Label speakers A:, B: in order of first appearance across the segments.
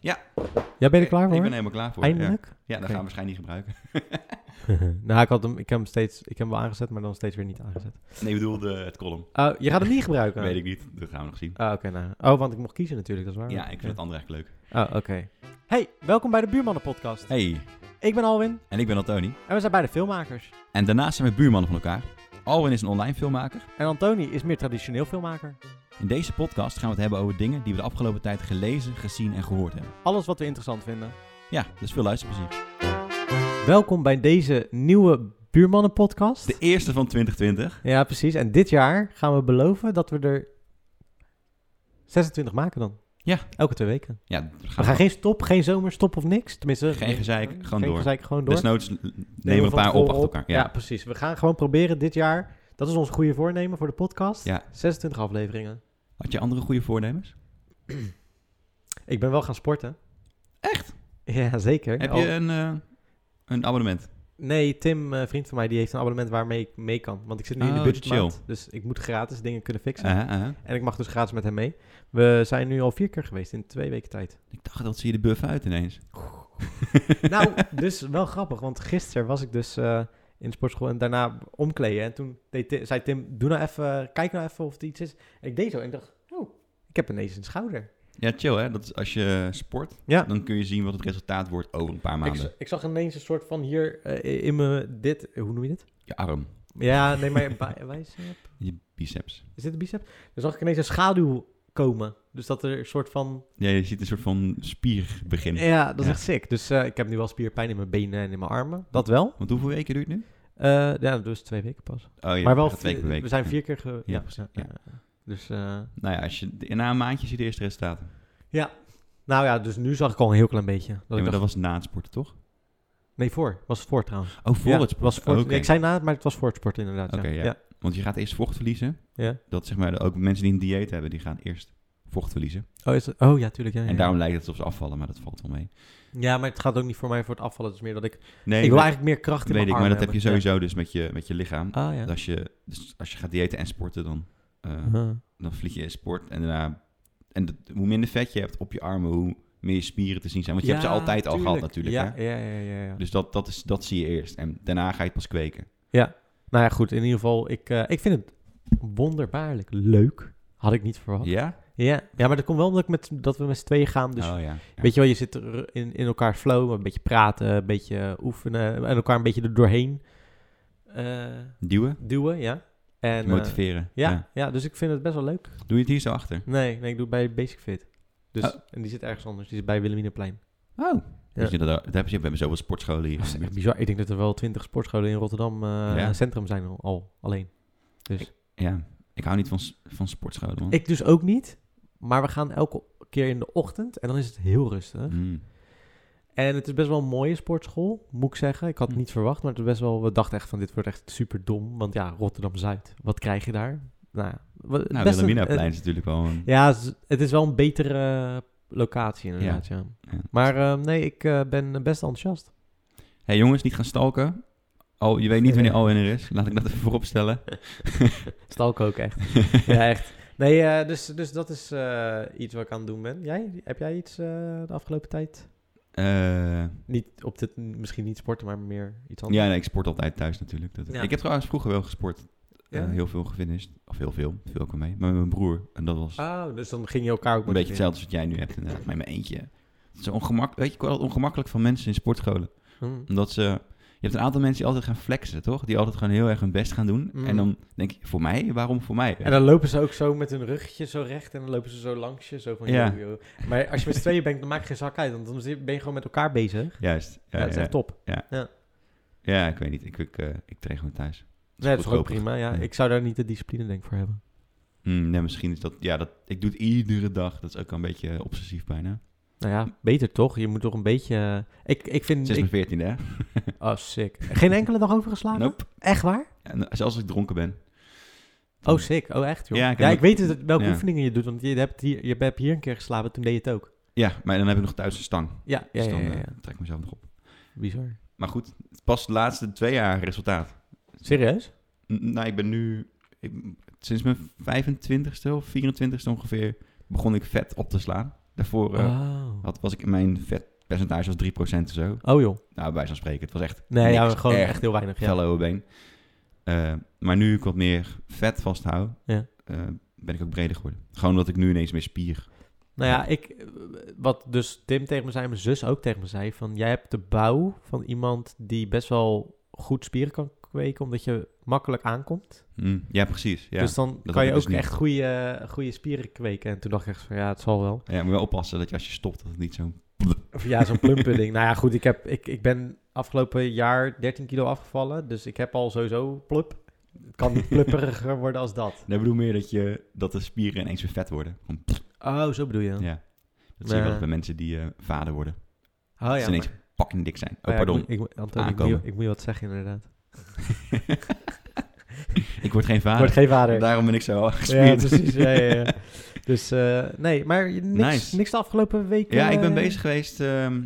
A: Ja.
B: Ja, ben je er klaar voor?
A: Ik ben helemaal klaar voor. Ja,
B: Eindelijk?
A: ja dat
B: Oké.
A: gaan we waarschijnlijk niet gebruiken.
B: nou, ik, had hem, ik, heb hem steeds, ik heb hem wel aangezet, maar dan steeds weer niet aangezet.
A: Nee, ik bedoel de, het column.
B: Oh, je gaat hem niet gebruiken?
A: Weet ik niet. Dat gaan we nog zien.
B: Ah, oké. nou. Oh, want ik mocht kiezen natuurlijk, dat is waar.
A: Ja, ik vind het andere echt leuk.
B: Oh, oké. Hey, welkom bij de Buurmannen-podcast.
A: Hey,
B: Ik ben Alwin
A: en ik ben Antoni.
B: en we zijn beide filmmakers.
A: En daarnaast zijn we buurmannen van elkaar. Alwin is een online filmmaker.
B: En Antoni is meer traditioneel filmmaker.
A: In deze podcast gaan we het hebben over dingen die we de afgelopen tijd gelezen, gezien en gehoord hebben.
B: Alles wat we interessant vinden.
A: Ja, dus veel luisterplezier.
B: Welkom bij deze nieuwe Buurmannen-podcast.
A: De eerste van 2020.
B: Ja, precies. En dit jaar gaan we beloven dat we er 26 maken dan.
A: Ja.
B: Elke twee weken.
A: Ja, we gaan,
B: We gaan geen stop, geen zomerstop of niks. Tenminste,
A: Geen gezeik, gewoon
B: geen
A: door.
B: gezeik, gewoon door.
A: desnoods l- nemen we
B: Nemen
A: een
B: van
A: paar op
B: tevoren
A: achter elkaar.
B: Ja.
A: Ja.
B: precies. We gaan gewoon proberen dit jaar. Dat is ons goede voornemen voor de podcast.
A: Ja.
B: 26 afleveringen.
A: Had je andere goede voornemens?
B: Ik ben wel gaan sporten.
A: Echt?
B: Ja, zeker.
A: Heb
B: Al-
A: je een, eh, een abonnement?
B: Nee, Tim, eh, vriend van mij, die heeft een abonnement waarmee ik mee kan. Want ik zit nu in de
A: Oh,
B: budgetmaand. Dus ik moet gratis dingen kunnen fixen.
A: Aha, aha.
B: En ik mag dus gratis met hem mee. We zijn nu al vier keer geweest in twee weken tijd.
A: Ik dacht, dat zie je de buff uit ineens.
B: nou, dus wel grappig. Want gisteren was ik dus eh, in de sportschool en daarna omkleden. En toen deed Ti- zei Tim, doe nou even, kijk nou even of het iets is. En ik deed zo en ik dacht, oh, ik heb ineens een schouder.
A: Ja, chill hè. Dat is als je sport,
B: Ja.
A: dan kun je zien wat het resultaat wordt over een paar
B: Ik,
A: maanden.
B: z- ik zag ineens een soort van hier eh, in mijn dit, hoe noem je dit?
A: Je arm,
B: Ja, nee, maar bij- bicep.
A: je biceps.
B: Is dit een bicep? Dan zag ik ineens een schaduw komen. Dus dat er een soort van...
A: Ja, je ziet een soort van spier beginnen.
B: Ja, dat is
A: Ja.
B: echt sick. Dus eh, ik heb nu wel spierpijn in mijn benen en in mijn armen. Dat wel.
A: Want hoeveel weken duurt het nu?
B: Eh, ja, dus twee weken pas.
A: Oh, ja,
B: maar wel,
A: gaat twee
B: vi-
A: keer per week.
B: we zijn
A: Ja.
B: vier keer... Ge...
A: Ja, precies, ja.
B: Dus, eh,
A: Nou ja, als je, na een maandje zie je de eerste resultaten.
B: ja. Nou ja, dus nu zag ik al een heel klein beetje. Dat
A: Ja,
B: ik
A: maar dat was
B: dacht-
A: na het sporten, toch?
B: Nee, voor. Was het voor trouwens.
A: Oh, voor
B: Ja,
A: het sporten.
B: Was voor...
A: Oké.
B: nee, ik zei na, maar het was voor het sporten inderdaad.
A: Oké, ja.
B: ja. ja.
A: Want je gaat eerst vocht verliezen.
B: ja.
A: Dat zeg maar, ook mensen die een dieet hebben, die gaan eerst vocht verliezen.
B: Oh, is het... oh ja, tuurlijk. Ja, ja,
A: En
B: ja.
A: daarom lijkt het alsof ze afvallen, maar dat valt wel mee.
B: Ja, maar het gaat ook niet voor mij voor het afvallen. Het is meer dat ik...
A: Nee,
B: ik wil
A: dat-
B: eigenlijk meer kracht in
A: weet
B: mijn
A: ik, maar dat
B: armen
A: heb je
B: hebben.
A: sowieso dus met je, met je lichaam.
B: Ja. Ah, ja. Uh-huh.
A: Als, je, dus als je gaat diëten en sporten, dan, eh,
B: Huh.
A: dan vlieg je in sport. En daarna, en dat- hoe minder vet je hebt op je armen, hoe meer je spieren te zien zijn. Want je hebt
B: Ja,
A: ze altijd al gehad
B: tuurlijk.
A: natuurlijk.
B: Ja,
A: hè?
B: ja, ja, ja, ja.
A: Dus dat, dat, is, dat zie je eerst. En daarna ga je het pas kweken.
B: Nou ja, goed. In ieder geval, ik, eh, ik vind het wonderbaarlijk leuk. Had ik niet verwacht. Ja,
A: Ja?
B: ja. maar dat komt wel omdat ik met, dat we met z'n tweeën gaan. Dus
A: oh ja. Ja.
B: weet je wel, je zit er in, in elkaar flow, een beetje praten, een beetje oefenen. En elkaar een beetje er doorheen eh,
A: Duwen,
B: duwen, ja. En, eh,
A: motiveren.
B: ja, ja. dus ik vind het best wel leuk.
A: Doe je het hier zo achter?
B: Nee, nee ik doe het bij Basic Fit. Dus,
A: Oh.
B: En die zit ergens anders. Die zit bij Wilhelminaplein.
A: Oh. Weet je, dat, dat hebben ze- we hebben zoveel sportscholen hier.
B: Dat is echt Dus, bizar. Ik denk dat er wel twintig sportscholen in Rotterdam eh,
A: Ja.
B: centrum zijn al, al alleen.
A: Ja, ik hou niet van, s- van sportscholen, man.
B: Ik dus ook niet. Maar we gaan elke keer in de ochtend en dan is het heel rustig.
A: Mm.
B: En het is best wel een mooie sportschool, moet ik zeggen. Ik had
A: Hm.
B: het niet verwacht, maar het is best wel, we dachten echt van dit wordt echt super dom. Want ja, Rotterdam-Zuid, wat krijg je daar? Nou, ja, wa- best een-
A: Nou, Wilhelminaplein
B: een-
A: is natuurlijk wel een...
B: Ja, het is- het is wel een betere eh, locatie inderdaad, ja.
A: Ja.
B: Maar eh, nee, ik eh, ben best enthousiast.
A: hey, jongens, niet gaan stalken. Oh, je weet niet wanneer Alwin er is. Laat ik dat even voorop stellen.
B: Stalk ook echt. ja, echt. Nee, eh, dus, dus dat is eh, iets wat ik aan het doen ben. Jij, heb jij iets eh, de afgelopen tijd
A: Eh,
B: Niet op dit, misschien niet sporten, maar meer iets anders.
A: ja, nee, ik sport altijd thuis natuurlijk. Dat,
B: Ja.
A: Ik heb trouwens vroeger wel gesport. Eh,
B: Ja?
A: heel veel gefinished. Of heel veel. Veel kwam mee. Maar met mijn broer. En dat was
B: Oh, dus dan ging je elkaar ook
A: een beetje
B: motiveren.
A: hetzelfde als wat jij nu hebt. Inderdaad, maar in mijn eentje. Het is ongemak... Weet je, ik word altijd ongemakkelijk van mensen in sportscholen.
B: Hmm.
A: Omdat ze... Je hebt een aantal mensen die altijd gaan flexen, toch? Die altijd gewoon heel erg hun best gaan doen.
B: Mm.
A: En dan denk ik, voor mij? Waarom voor mij?
B: En dan lopen ze ook zo met hun ruggetje zo recht en dan lopen ze zo langs je, zo van
A: Ja.
B: yo, yo. Maar als je met z'n tweeën bent, dan maak je geen zak uit, want dan zit- ben je gewoon met elkaar bezig.
A: Juist.
B: Ja,
A: Ja,
B: dat is
A: ja.
B: echt top.
A: Ja, ik weet niet. Ik, ik, eh, ik train gewoon thuis.
B: Nee, dat is ook
A: goedkoper.
B: prima, ja.
A: Ja.
B: Ik zou daar niet de discipline denk ik voor hebben.
A: Hmm, nee, misschien is dat... Ja, dat, ik doe het iedere dag. Dat is ook al een beetje obsessief bijna.
B: Nou ja, beter toch? Je moet toch een beetje... eh, Ik, ik vind...
A: Sinds
B: Ik... Ah.
A: mijn veertiende, hè?
B: Oh, sick. Geen enkele dag overgeslagen?
A: Nope.
B: Echt waar?
A: En zelfs als ik dronken ben.
B: Oh, sick. Oh, echt, joh.
A: Ja,
B: Ja,
A: ik
B: ik,
A: heb-
B: weet het, welke
A: Ja.
B: oefeningen je doet, want je hebt, hier, je hebt hier een keer geslapen, toen deed je het ook.
A: Ja, maar dan heb ik nog thuis een stang.
B: Ja, ja,
A: Dus
B: ja.
A: dan
B: ja,
A: eh,
B: ja.
A: trek ik mezelf nog op.
B: Bizar.
A: Maar goed, pas de laatste twee jaar resultaat.
B: Serieus?
A: N- nou, ik ben nu... ik- sinds mijn 25ste of 24ste ongeveer begon ik vet op te slaan. Daarvoor eh,
B: Oh.
A: had, was ik, mijn vetpercentage was 3% of zo.
B: oh joh.
A: Nou, bij zo'n spreken. Het was echt
B: Nee, ja,
A: niks.
B: gewoon
A: Echt
B: echt heel weinig. Ja.
A: felle oude been. Eh, maar nu ik wat meer vet vasthoud,
B: Ja.
A: eh, ben ik ook breder geworden. Gewoon omdat ik nu ineens meer spier.
B: Nou ja, ik, eh, wat dus Tim tegen me zei, mijn zus ook tegen me zei, van jij hebt de bouw van iemand die best wel goed spieren kan kweken, omdat je makkelijk aankomt.
A: Hm, Ja, precies. Ja.
B: dus dan
A: had
B: kan je
A: ik
B: ook
A: dus niet.
B: echt goede, eh, goede spieren kweken. En toen dacht ik echt van, ja, het zal wel.
A: ja, moet je wel oppassen dat je als je stopt, dat het niet zo...
B: Of ja, zo'n plumpudding. nou ja, goed, ik, heb, ik, ik ben afgelopen jaar 13 kilo afgevallen, dus ik heb al sowieso plup. Het kan niet plupperiger worden als dat.
A: Nee, ik bedoel meer dat, je, dat de spieren ineens weer vet worden. Gewoon, pff,
B: Oh, zo bedoel je
A: ja.
B: dan?
A: Dat zie je wel
B: Nee.
A: eens bij mensen die eh, vader worden.
B: Oh
A: dat
B: ja,
A: ze ineens
B: maar-
A: fucking dik zijn. Oh,
B: oh ja,
A: pardon.
B: Ik, moet- ik, moet- Antonie, ik, moet, je-
A: Aankomen.
B: ik moet je wat zeggen inderdaad.
A: ik word geen vader.
B: Wordt geen vader.
A: Daarom ben ik zo
B: Ja,
A: gespierd.
B: precies. Ja, ja, ja. Dus eh, nee, maar je- niks,
A: Nice.
B: niks de afgelopen weken.
A: Ja, ik ben
B: eh,
A: bezig geweest ehm,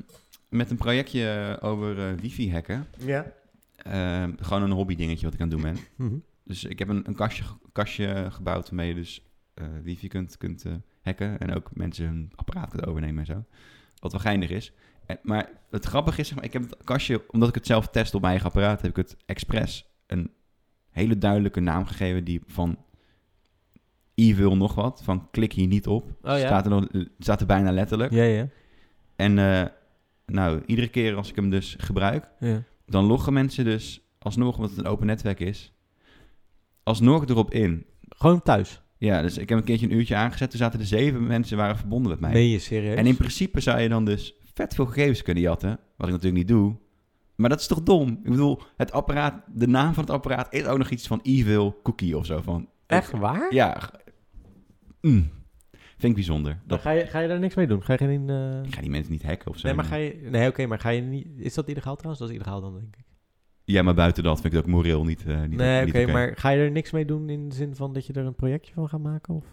A: met een projectje over eh, wifi-hacken.
B: Ja.
A: Ehm, gewoon een hobby-dingetje wat ik aan het doen ben.
B: Mhm.
A: Dus ik heb een, een kastje, ge- kastje gebouwd waarmee je dus eh, wifi kunt, kunt eh, hacken. En ook mensen hun apparaat kunt overnemen en zo. Wat wel geinig is. En, maar het grappige is, zeg maar, ik heb het kastje, omdat ik het zelf test op mijn eigen apparaat, heb ik het expres een hele duidelijke naam gegeven die van evil nog wat, van klik hier niet op.
B: Oh ja.
A: Staat, er nog, staat er bijna letterlijk.
B: Ja, ja.
A: En eh, nou, iedere keer als ik hem dus gebruik,
B: ja.
A: dan loggen mensen dus alsnog, omdat het een open netwerk is, alsnog erop in.
B: Gewoon thuis.
A: Ja, dus ik heb een keertje een uurtje aangezet. Toen zaten er zeven mensen waren verbonden met mij.
B: Nee, je serieus?
A: en in principe zou je dan dus vet veel gegevens kunnen jatten. Wat ik natuurlijk niet doe. Maar dat is toch dom? Ik bedoel, het apparaat, de naam van het apparaat is ook nog iets van evil cookie of zo. Van,
B: Echt waar?
A: Ja. g- Mm. Vind ik bijzonder.
B: Dan
A: Dat,
B: ga, je, ga je daar niks mee doen? Ga je geen... eh,
A: ik ga die mensen niet hacken of zo.
B: Nee, maar ga je... Nee, oké, maar ga je niet... Is dat illegaal trouwens? Dat is illegaal dan, denk ik.
A: Ja, maar buiten dat vind ik het ook moreel niet, eh niet
B: nee,
A: niet
B: oké, maar ga je er niks mee doen in de zin van dat je er een projectje van gaat maken? Of?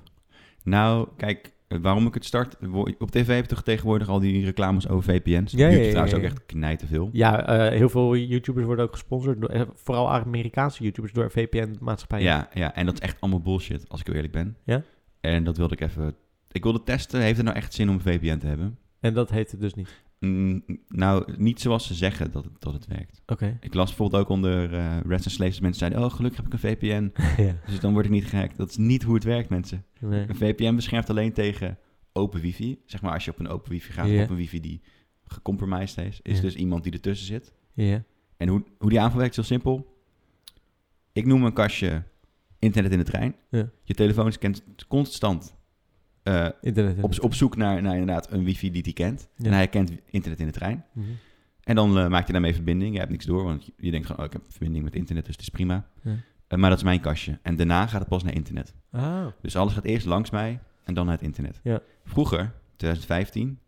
A: Nou, kijk, waarom ik het start... wo- Op tv heb je toch tegenwoordig al die reclames over VPN's?
B: Ja, ja,
A: YouTube
B: ja,
A: trouwens
B: ja,
A: ook
B: ja.
A: echt knijten veel.
B: Ja, eh, heel veel YouTubers worden ook gesponsord. Door, eh, vooral Amerikaanse YouTubers door VPN-maatschappijen.
A: Ja, ja, en dat is echt allemaal bullshit, als ik heel eerlijk ben.
B: Ja?
A: En dat wilde ik even... Ik wilde testen, heeft het nou echt zin om een VPN te hebben?
B: En dat heet het dus niet.
A: Mm, nou, niet zoals ze zeggen dat het, dat het werkt.
B: Oké.
A: Ik las bijvoorbeeld ook onder eh Reds and Slaves... dat mensen zeiden, oh, gelukkig heb ik een VPN.
B: ja.
A: Dus dan word ik niet gehackt. Dat is niet hoe het werkt, mensen.
B: Nee.
A: Een VPN beschermt alleen tegen open wifi. Zeg maar als je op een open wifi gaat,
B: Ja.
A: op een wifi die gecompromised is, is
B: Ja.
A: dus iemand die ertussen zit.
B: Ja.
A: En hoe, hoe die aanval werkt is heel simpel. Ik noem een kastje internet in de trein.
B: Ja.
A: Je telefoon is kent- constant eh,
B: Internet.
A: op, op zoek naar, naar inderdaad een wifi die die kent.
B: Ja.
A: En hij kent internet in de trein.
B: Mhm.
A: En dan eh, maak je daarmee verbinding. Je hebt niks door, want je- je denkt gewoon, oh, ik heb verbinding met internet, dus het is prima.
B: Ja.
A: Eh, maar dat is mijn kastje. En daarna gaat het pas naar internet.
B: Ah.
A: Dus alles gaat eerst langs mij en dan naar het internet.
B: Ja.
A: Vroeger, 2015,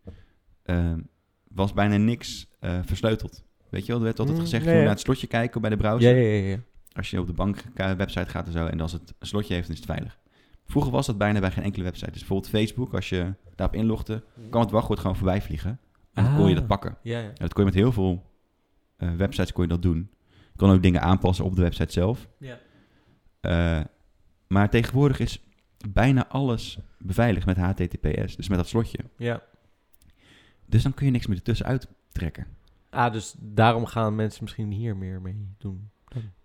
A: ehm, was bijna niks eh, versleuteld. Weet je wel, er werd altijd
B: Mm,
A: gezegd,
B: ja,
A: je moet
B: ja.
A: naar het slotje kijken bij de browser.
B: Ja, ja, ja, ja.
A: Als je op de bankwebsite gaat en zo, en als het een slotje heeft, dan is het veilig. Vroeger was dat bijna bij geen enkele website. Dus bijvoorbeeld Facebook, als je daarop inlogde, kwam het wachtwoord gewoon voorbij vliegen. En dan kon je
B: Mm. Ah.
A: dat pakken.
B: Ja, ja.
A: En dat kon je met heel veel eh, websites kon je dat doen. Je kon ook dingen aanpassen op de website zelf.
B: Ja.
A: Eh, maar tegenwoordig is bijna alles beveiligd met HTTPS, dus met dat slotje. Dus dan kun je niks meer ertussen uittrekken.
B: Ah, dus daarom gaan mensen misschien hier meer mee doen.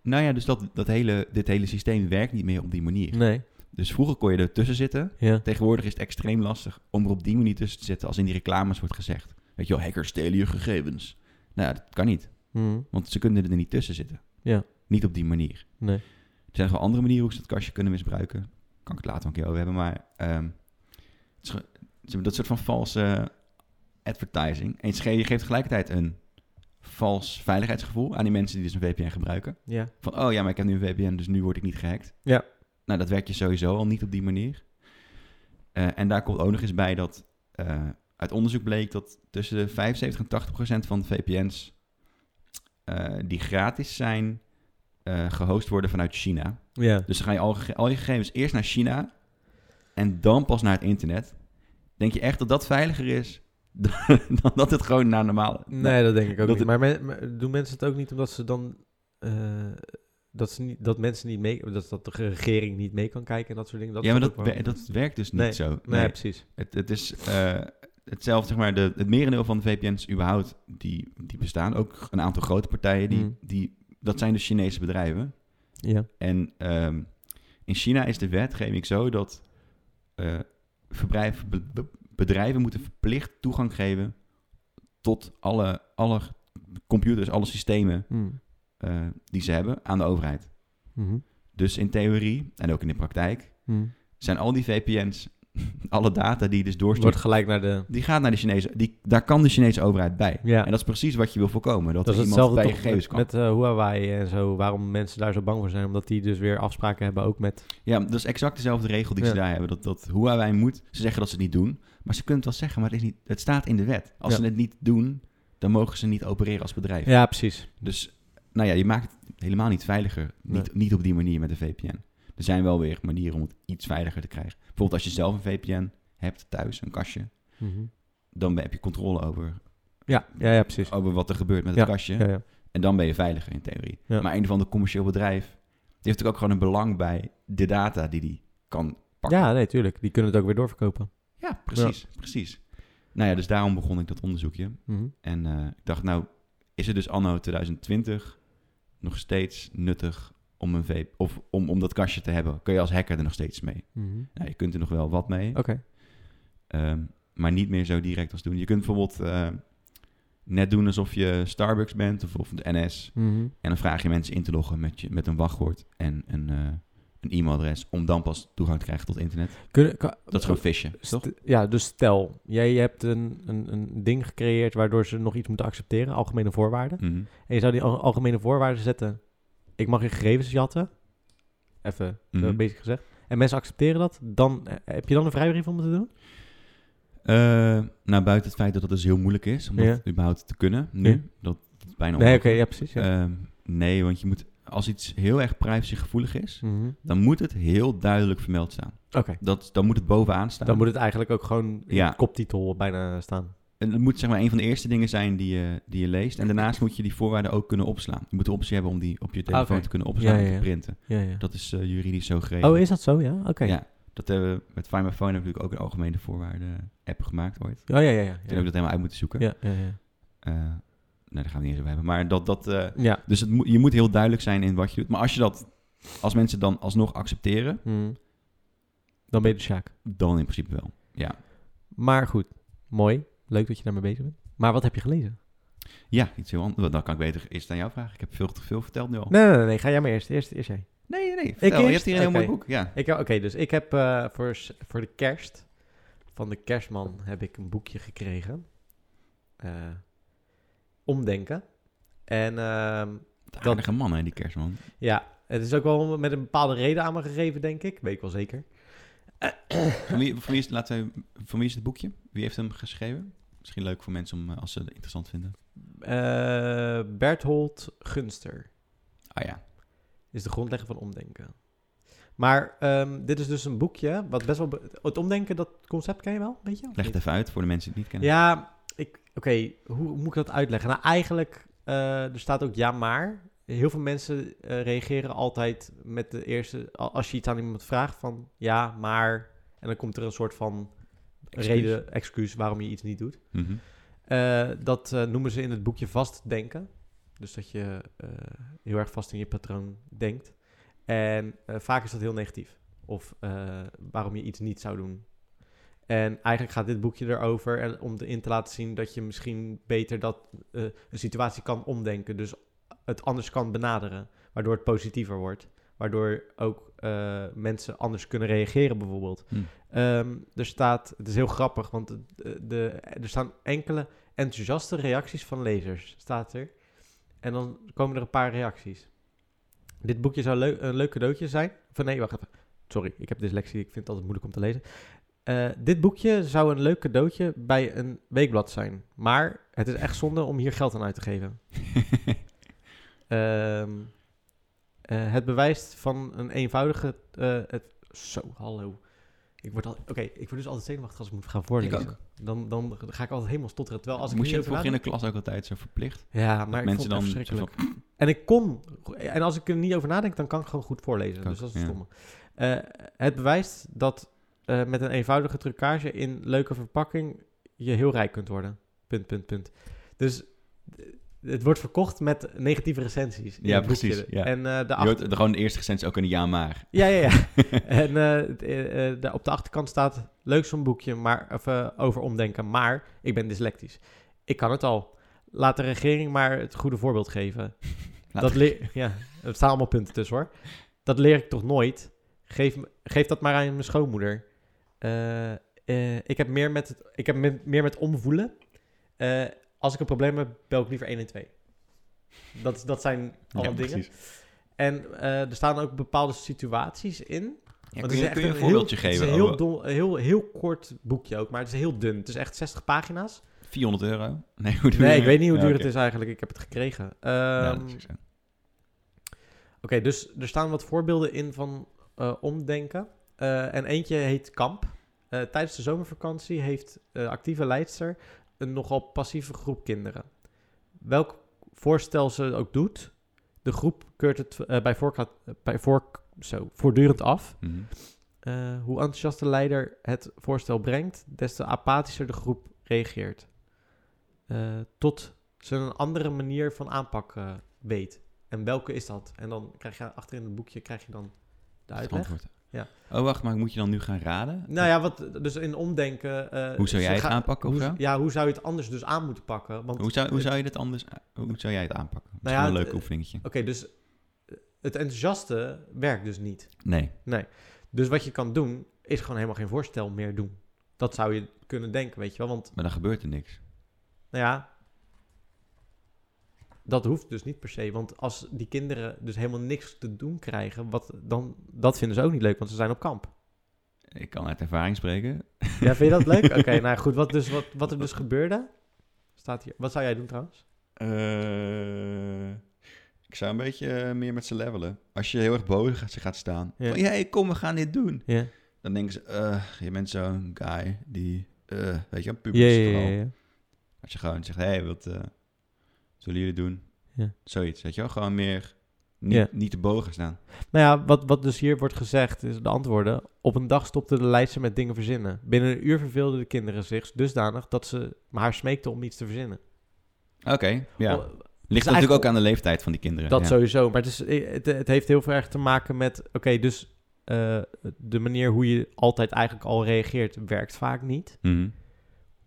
A: Nou ja, dus dat, dat hele, dit hele systeem werkt niet meer op die manier.
B: Nee.
A: Dus vroeger kon je ertussen zitten.
B: Ja.
A: Tegenwoordig is het extreem lastig om er op die manier tussen te zitten als in die reclames wordt gezegd. Weet je wel, hackers stelen je gegevens. Nou, ja, dat kan niet,
B: Mm.
A: want ze kunnen er niet tussen zitten.
B: Ja.
A: Niet op die manier.
B: Nee.
A: Er zijn nog wel andere manieren hoe ze dat kastje kunnen misbruiken. Kan ik het later een keer over hebben, maar... ehm, het is ge- ze hebben dat soort van valse advertising. En je ge- je geeft tegelijkertijd een vals veiligheidsgevoel aan die mensen die dus een VPN gebruiken.
B: Ja.
A: Van, oh ja, maar ik heb nu een VPN, dus nu word ik niet gehackt.
B: Ja.
A: Nou, dat werkt je sowieso al niet op die manier. Eh, en daar komt ook nog eens bij dat eh, uit onderzoek bleek dat tussen de 75 en 80 procent van de VPN's eh, die gratis zijn, eh, gehost worden vanuit China.
B: Ja.
A: Dus dan ga je al, gege- al je gegevens eerst naar China en dan pas naar het internet. Denk je echt dat dat veiliger is dan, dan dat het gewoon naar normale...
B: Nee, dat denk ik ook
A: Dat
B: niet. Maar, men- maar doen mensen het ook niet omdat ze dan... eh, dat, ze niet, dat mensen niet mee... Dat, dat de regering niet mee kan kijken en dat soort dingen. Dat
A: ja, maar
B: is
A: dat,
B: ook wel-
A: wer- dat werkt dus niet
B: Nee,
A: zo.
B: Nee,
A: Nee.
B: precies.
A: Het, het is eh, hetzelfde, zeg maar, de, het merendeel van de VPN's überhaupt, die, die bestaan. Ook een aantal grote partijen, die,
B: Mm.
A: die, dat zijn dus Chinese bedrijven.
B: Ja.
A: En ehm, in China is de wetgeving zo dat eh, verbrijf- be- be- bedrijven moeten verplicht toegang geven tot alle, alle computers, alle systemen
B: Mm.
A: eh, die ze hebben aan de overheid.
B: Mhm.
A: Dus in theorie en ook in de praktijk
B: Mm.
A: zijn al die VPN's, alle data die je dus doorstuurt,
B: Wordt gelijk naar de...
A: die gaat naar de Chinese, die, daar kan de Chinese overheid bij.
B: Ja.
A: En dat is precies wat je wil voorkomen, dat,
B: Dat is
A: er iemand
B: hetzelfde
A: bij je
B: toch
A: gegevens
B: met,
A: kan.
B: met eh, Huawei en zo, waarom mensen daar zo bang voor zijn. Omdat die dus weer afspraken hebben ook met...
A: Ja, dat is exact dezelfde regel die ze
B: Ja.
A: daar hebben. Dat, dat Huawei moet, ze zeggen dat ze het niet doen, maar ze kunnen het wel zeggen, maar het, is niet, het staat in de wet. Als
B: Ja.
A: ze het niet doen, dan mogen ze niet opereren als bedrijf.
B: Ja, precies.
A: Dus, nou ja, je maakt het helemaal niet veiliger. Niet, niet op die manier met een VPN. Er zijn wel weer manieren om het iets veiliger te krijgen. Bijvoorbeeld als je zelf een VPN hebt thuis, een kastje,
B: Mhm.
A: dan heb je controle over,
B: ja, ja, ja, precies.
A: over wat er gebeurt met het kastje.
B: Ja, ja.
A: En dan ben je veiliger in theorie.
B: Ja.
A: Maar een of ander commercieel bedrijf, die heeft natuurlijk ook gewoon een belang bij de data die die kan pakken.
B: ja, nee, tuurlijk. Die kunnen het ook weer doorverkopen.
A: Ja, precies, precies. Nou ja, dus daarom begon ik dat onderzoekje.
B: Mhm.
A: En eh, ik dacht, nou, is het dus anno 2020 nog steeds nuttig om een vape, of om, om dat kastje te hebben? Kun je als hacker er nog steeds mee?
B: Mhm.
A: Nou, je kunt er nog wel wat mee,
B: Oké.
A: ehm, maar niet meer zo direct als doen. Je kunt bijvoorbeeld eh, net doen alsof je Starbucks bent of, of de NS.
B: Mhm.
A: En dan vraag je mensen in te loggen met, je, met een wachtwoord en een, eh, een e-mailadres om dan pas toegang te krijgen tot internet.
B: Kunnen, kan-
A: Dat is gewoon fishen,
B: St-
A: toch?
B: ja, dus stel, jij hebt een, een, een ding gecreëerd waardoor ze nog iets moeten accepteren, algemene voorwaarden.
A: Mhm.
B: En je zou die al- algemene voorwaarden zetten, ik mag je gegevens jatten, even
A: Mhm.
B: eh, basic gezegd. En mensen accepteren dat, dan eh, heb je dan een vrijbrief om het te doen?
A: Eh, nou, buiten het feit dat dat dus heel moeilijk is om dat
B: Ja.
A: überhaupt te kunnen nu.
B: Ja.
A: Dat is bijna
B: Nee, oké,
A: onmogelijk.
B: ja, precies. Ja.
A: Ehm, nee, want je moet, als iets heel erg privacygevoelig is,
B: Mhm.
A: dan moet het heel duidelijk vermeld staan.
B: Oké,
A: Dat, dan moet het bovenaan staan.
B: dan moet het eigenlijk ook gewoon in
A: Ja.
B: de koptitel bijna staan.
A: En het moet zeg maar een van de eerste dingen zijn die je, die je leest. En daarnaast moet je die voorwaarden ook kunnen opslaan. Je moet de optie hebben om die op je telefoon
B: Ah, oké.
A: te kunnen opslaan
B: Ja,
A: en
B: ja, ja.
A: te printen.
B: Ja, ja.
A: Dat is eh, juridisch zo geregeld.
B: Oh, is dat zo? Ja, oké.
A: Ja. Dat hebben we met Find My Phone hebben we natuurlijk ook een algemene voorwaarden app gemaakt ooit. Toen
B: Oh, ja, ja, ja.
A: hebben
B: Ja,
A: we dat helemaal uit moeten zoeken.
B: ja, ja. ja.
A: Eh, nou, daar gaan we niet eens over hebben. Maar dat, dat, eh,
B: ja.
A: dus het moet- je moet heel duidelijk zijn in wat je doet. Maar als je dat, als mensen dan alsnog accepteren,
B: Mhm. Dan ben je de Sjaak.
A: dan in principe wel. Ja,
B: Maar goed, mooi. Leuk dat je daarmee bezig bent. Maar wat heb je gelezen?
A: ja iets heel anders. Dan kan ik beter eerst aan jou vragen. Ik heb veel te veel verteld nu al.
B: Nee, nee, nee, nee, ga jij maar eerst. Eerst, eerst jij.
A: Nee, nee, nee. Vertel. je hebt
B: eerst?
A: hier een heel
B: Oké.
A: mooi boek. Ja.
B: Ik heb- Oké, dus ik heb eh, voor, s- voor de kerst van de kerstman heb ik een boekje gekregen. Eh, omdenken. En ehm,
A: Dat aardige man, hè, die kerstman.
B: ja, het is ook wel met een bepaalde reden aan me gegeven, denk ik. Weet ik wel zeker.
A: Van wie, van wie, is, laten we, van wie is het boekje? Wie heeft hem geschreven? Misschien leuk voor mensen om, eh, als ze het interessant vinden.
B: Eh Berthold Gunster.
A: Ah ja.
B: is de grondlegger van omdenken. Maar ehm, dit is dus een boekje, wat best wel... be- het omdenken, dat concept ken je wel, weet je? of
A: Leg
B: niet?
A: het even uit voor de mensen die het niet kennen.
B: Ja, ik, oké, hoe moet ik dat uitleggen? Nou, eigenlijk, eh, er staat ook ja maar. Heel veel mensen eh, reageren altijd met de eerste... a- Als je iets aan iemand vraagt van ja, maar... En dan komt er een soort van
A: Excuus.
B: reden, excuus waarom je iets niet doet.
A: Mhm.
B: Eh, dat eh, noemen ze in het boekje vastdenken. Dus dat je eh, heel erg vast in je patroon denkt. En eh, vaak is dat heel negatief. Of eh, waarom je iets niet zou doen. En eigenlijk gaat dit boekje erover en om de- in te laten zien dat je misschien beter dat, eh, een situatie kan omdenken. Dus het anders kan benaderen, waardoor het positiever wordt. Waardoor ook eh, mensen anders kunnen reageren bijvoorbeeld.
A: Hm.
B: Ehm, er staat, het is heel grappig, want de, de, er staan enkele enthousiaste reacties van lezers, staat er. En dan komen er een paar reacties. Dit boekje zou leu- een leuk cadeautje zijn. Van nee, wacht even. Sorry, ik heb dyslexie, ik vind het altijd moeilijk om te lezen. Eh, dit boekje zou een leuk cadeautje bij een weekblad zijn. Maar het is echt zonde om hier geld aan uit te geven. Ehm, eh, het bewijst van een eenvoudige... eh, het, zo, hallo. Ik word, al, Oké, ik word dus altijd zenuwachtig als ik moet gaan voorlezen.
A: ook.
B: Dan, dan ga ik altijd helemaal stotteren. Terwijl als ik
A: Moest je dat
B: hierover
A: vroeger in de
B: nadenk-
A: klas ook altijd zo verplicht?
B: Ja, maar
A: dat
B: ik
A: mensen
B: vond het
A: dan...
B: echt
A: zo
B: verschrikkelijk.
A: van-
B: En ik kon. En als ik er niet over nadenk, dan kan ik gewoon goed voorlezen.
A: Kan
B: dus dat
A: ook,
B: is het
A: ja.
B: stomme. Eh, het bewijst dat eh, met een eenvoudige trucage in leuke verpakking je heel rijk kunt worden. Punt, punt, punt. Dus eh, het wordt verkocht met negatieve recensies. in
A: Ja,
B: het boekje.
A: precies, ja.
B: En eh, de
A: Je
B: achter...
A: hoort gewoon de eerste recensie ook een ja maar.
B: Ja, ja, ja. en eh, het, eh, eh, de- op de achterkant staat, leuk zo'n boekje, maar even over omdenken. Maar ik ben dyslectisch. Ik kan het al. Laat de regering maar het goede voorbeeld geven.
A: Laat
B: dat leer... Ja, er staan allemaal punten tussen hoor. Dat leer ik toch nooit. Geef, m- geef dat maar aan mijn schoonmoeder. Eh, eh, ik heb meer met, het, ik heb met- meer met omvoelen. Eh, als ik een probleem heb, bel ik liever 1 en 2. Dat, dat zijn alle
A: ja,
B: dingen.
A: precies.
B: En eh, er staan ook bepaalde situaties in.
A: Ja, kun,
B: Want het
A: je,
B: is
A: kun
B: echt
A: je een voorbeeldje
B: heel-
A: geven?
B: Het is een
A: Oh,
B: heel, dol- een heel, heel kort boekje ook, maar het is heel dun. Het is echt 60 pagina's.
A: 400 euro? Nee, hoe duur
B: Nee, ik weet niet hoe
A: Ja,
B: duur
A: oké.
B: het is eigenlijk. Ik heb het gekregen. Ehm,
A: Ja, dat
B: Oké,
A: is ook zo.
B: dus er staan wat voorbeelden in van eh, omdenken. Eh, en eentje heet Kamp. Eh, tijdens de zomervakantie heeft eh actieve leidster een nogal passieve groep kinderen. Welk voorstel ze ook doet, de groep keurt het eh, bij, voorka- bij voor- zo, voortdurend af.
A: Mhm.
B: Eh, hoe enthousiast de leider het voorstel brengt, des te apathischer de groep reageert. Eh, tot ze een andere manier van aanpak eh, weet. En welke is dat? En dan krijg je achterin het boekje krijg je dan de
A: Dat is het
B: uitleg.
A: antwoord.
B: Ja.
A: Oh, wacht, maar moet je dan nu gaan raden?
B: Nou ja, wat, dus in omdenken. eh,
A: Hoe zou
B: ze
A: jij het
B: gaan-
A: aanpakken of
B: hoe,
A: zo?
B: Ja, hoe zou je het anders dus aan moeten pakken? Want
A: Hoe zou, hoe zou je dit anders... Hoe zou jij het aanpakken? Misschien
B: Nou ja,
A: wel een
B: het-
A: leuk oefeningetje.
B: Oké, dus eh, het enthousiaste werkt dus niet.
A: Nee.
B: Dus wat je kan doen, is gewoon helemaal geen voorstel meer doen. Dat zou je kunnen denken, weet je wel. Want
A: Maar dan gebeurt er niks.
B: Nou ja, dat hoeft dus niet per se. Want als die kinderen dus helemaal niks te doen krijgen, wat, dan, dat vinden ze ook niet leuk, want ze zijn op kamp.
A: Ik kan uit ervaring spreken.
B: Ja, vind je dat leuk? Oké, nou ja, goed. Wat, dus, wat, wat er dus gebeurde, staat hier. Wat zou jij doen trouwens?
A: eh, ik zou een beetje eh, meer met ze levelen. Als je heel erg boven gaat, ze gaat staan.
B: Ja.
A: Van, hey, kom, we gaan dit doen.
B: Ja,
A: Dan denken ze, eh, je bent zo'n guy die, eh, weet je, een
B: ja,
A: pubers
B: ja.
A: vooral.
B: ja.
A: Als je gewoon zegt, hé, hey, wat eh, zullen jullie doen?
B: Ja.
A: Zoiets, weet je wel? Gewoon meer niet,
B: Ja.
A: niet te boven gaan staan.
B: Nou ja, wat, wat dus hier wordt gezegd, is de antwoorden. Op een dag stopte de leidster met dingen verzinnen. Binnen een uur verveelden de kinderen zich dus dusdanig dat ze haar smeekte om iets te verzinnen.
A: Oké, ja.
B: Oh,
A: Ligt
B: eigenlijk-
A: natuurlijk ook aan de leeftijd van die kinderen.
B: Dat
A: ja.
B: sowieso. Maar het, is, eh, het, het heeft heel veel erg te maken met... Oké, dus eh, de manier hoe je altijd eigenlijk al reageert... werkt vaak niet.
A: Mhm.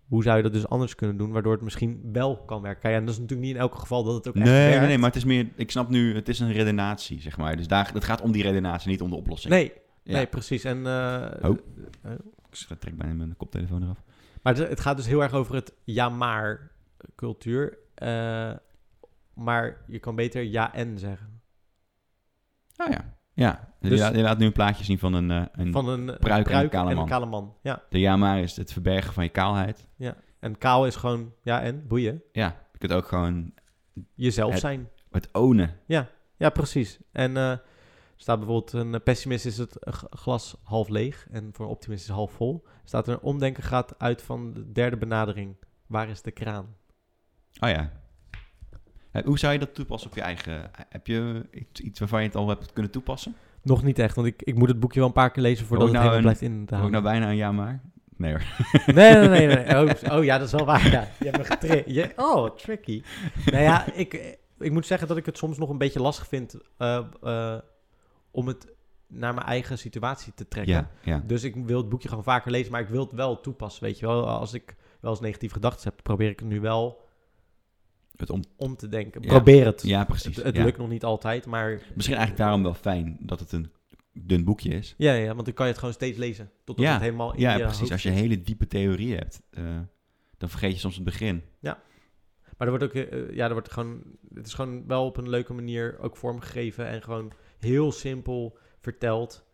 B: Hoe zou je dat dus anders kunnen doen... waardoor het misschien wel kan werken? Kijk, en dat is natuurlijk niet in elk geval dat het ook
A: Nee,
B: echt
A: nee,
B: werkt.
A: nee, maar het is meer, ik snap nu, het is een redenatie, zeg maar. Dus daar, het gaat om die redenatie, niet om de oplossing.
B: Nee,
A: Ja.
B: nee, precies. En, eh,
A: Oh. Ik trek bijna mijn koptelefoon eraf.
B: Maar het, het gaat dus heel erg over het ja-maar-cultuur. Eh, maar je kan beter ja-en zeggen.
A: Oh ja. Ja, je,
B: Dus-
A: laat, je laat nu een plaatje zien van een, eh, een
B: Van een
A: pruik en een kale
B: en een
A: man.
B: kale man. Ja,
A: de ja maar is het verbergen van je kaalheid.
B: en kaal is gewoon ja-en, boeien.
A: Ja, je kunt ook gewoon
B: Jezelf
A: Het-
B: zijn.
A: het ownen.
B: Ja, precies. En eh, er staat bijvoorbeeld een eh, pessimist is het eh, g- glas half leeg en voor een optimist is het half vol. Staat er een omdenken gaat uit van de derde benadering. Waar is de kraan?
A: Oh ja. Eh, Hoe zou je dat toepassen op je eigen... eh, Heb je iets, iets waarvan je het al hebt kunnen toepassen?
B: Nog niet echt, want ik, ik moet het boekje wel een paar keer lezen voordat
A: Ook
B: het
A: nou
B: helemaal een- blijft in te
A: Heb ik
B: houden.
A: nou bijna een ja maar? Nee hoor.
B: Nee, nee, nee. nee. Oh, oh ja, dat is wel waar. Ja. Je hebt me getriggerd. Je- Oh, tricky. Nou ja, ik, ik moet zeggen dat ik het soms nog een beetje lastig vind eh, eh, om het naar mijn eigen situatie te trekken.
A: Ja, ja.
B: Dus ik wil het boekje gewoon vaker lezen, maar ik wil het wel toepassen. Weet je wel, als ik wel eens negatieve gedachten heb, probeer ik het nu wel
A: Het om...
B: om te denken.
A: Ja.
B: Probeer het.
A: Ja,
B: het
A: precies.
B: het
A: ja.
B: lukt nog niet altijd, maar
A: Misschien eigenlijk daarom wel fijn dat het een dun boekje is.
B: ja, ja, want dan kan je het gewoon steeds lezen. Totdat
A: Ja.
B: het helemaal in
A: Ja,
B: je
A: precies.
B: hoofd
A: Als je
B: zit.
A: hele diepe theorieën hebt, eh, dan vergeet je soms het begin.
B: Maar er wordt ook, eh, ja, er wordt gewoon, het is gewoon wel op een leuke manier ook vormgegeven en gewoon heel simpel verteld.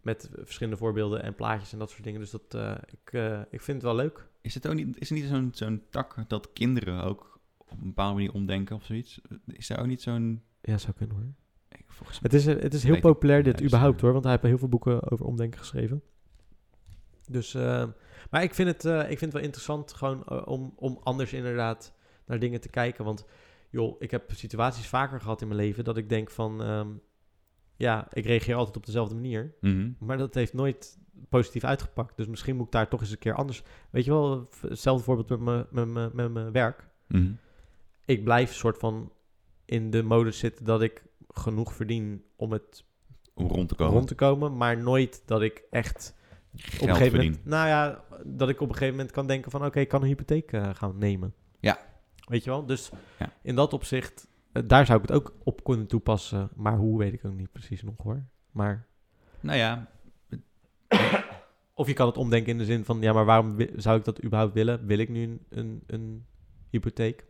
B: Met verschillende voorbeelden en plaatjes en dat soort dingen. Dus dat, eh, ik, eh, ik vind het wel leuk.
A: Is het ook niet, is er niet zo'n zo'n tak dat kinderen ook op een bepaalde manier omdenken of zoiets? Is daar ook niet zo'n...
B: Ja, zou kunnen hoor.
A: ik- volgens mij-
B: Het is, het is heel
A: Weet ik dus, eh,
B: populair dit
A: niet.
B: überhaupt hoor, want hij heeft heel veel boeken over omdenken geschreven. Dus, eh, maar ik vind, het, eh, ik vind het wel interessant gewoon eh, om, om anders inderdaad naar dingen te kijken. Want joh, ik heb situaties vaker gehad in mijn leven dat ik denk van, ehm, ja, ik reageer altijd op dezelfde manier.
A: Mhm.
B: Maar dat heeft nooit positief uitgepakt. Dus misschien moet ik daar toch eens een keer anders... Weet je wel, v- hetzelfde voorbeeld met mijn- met mijn- met mijn werk.
A: Mhm.
B: Ik blijf soort van in de modus zitten dat ik genoeg verdien om het
A: Om rond te komen.
B: rond te komen. Maar nooit dat ik echt op een
A: Geld
B: gegeven
A: verdienen.
B: moment... Nou ja, dat ik op een gegeven moment kan denken van... Oké, ik kan een hypotheek eh, gaan nemen.
A: Ja.
B: Weet je wel? Dus
A: Ja.
B: in dat opzicht, eh, daar zou ik het ook op kunnen toepassen. Maar hoe, weet ik ook niet precies nog hoor. Maar...
A: Nou ja,
B: Of je kan het omdenken in de zin van, ja, maar waarom wi- zou ik dat überhaupt willen? Wil ik nu een, een, een hypotheek?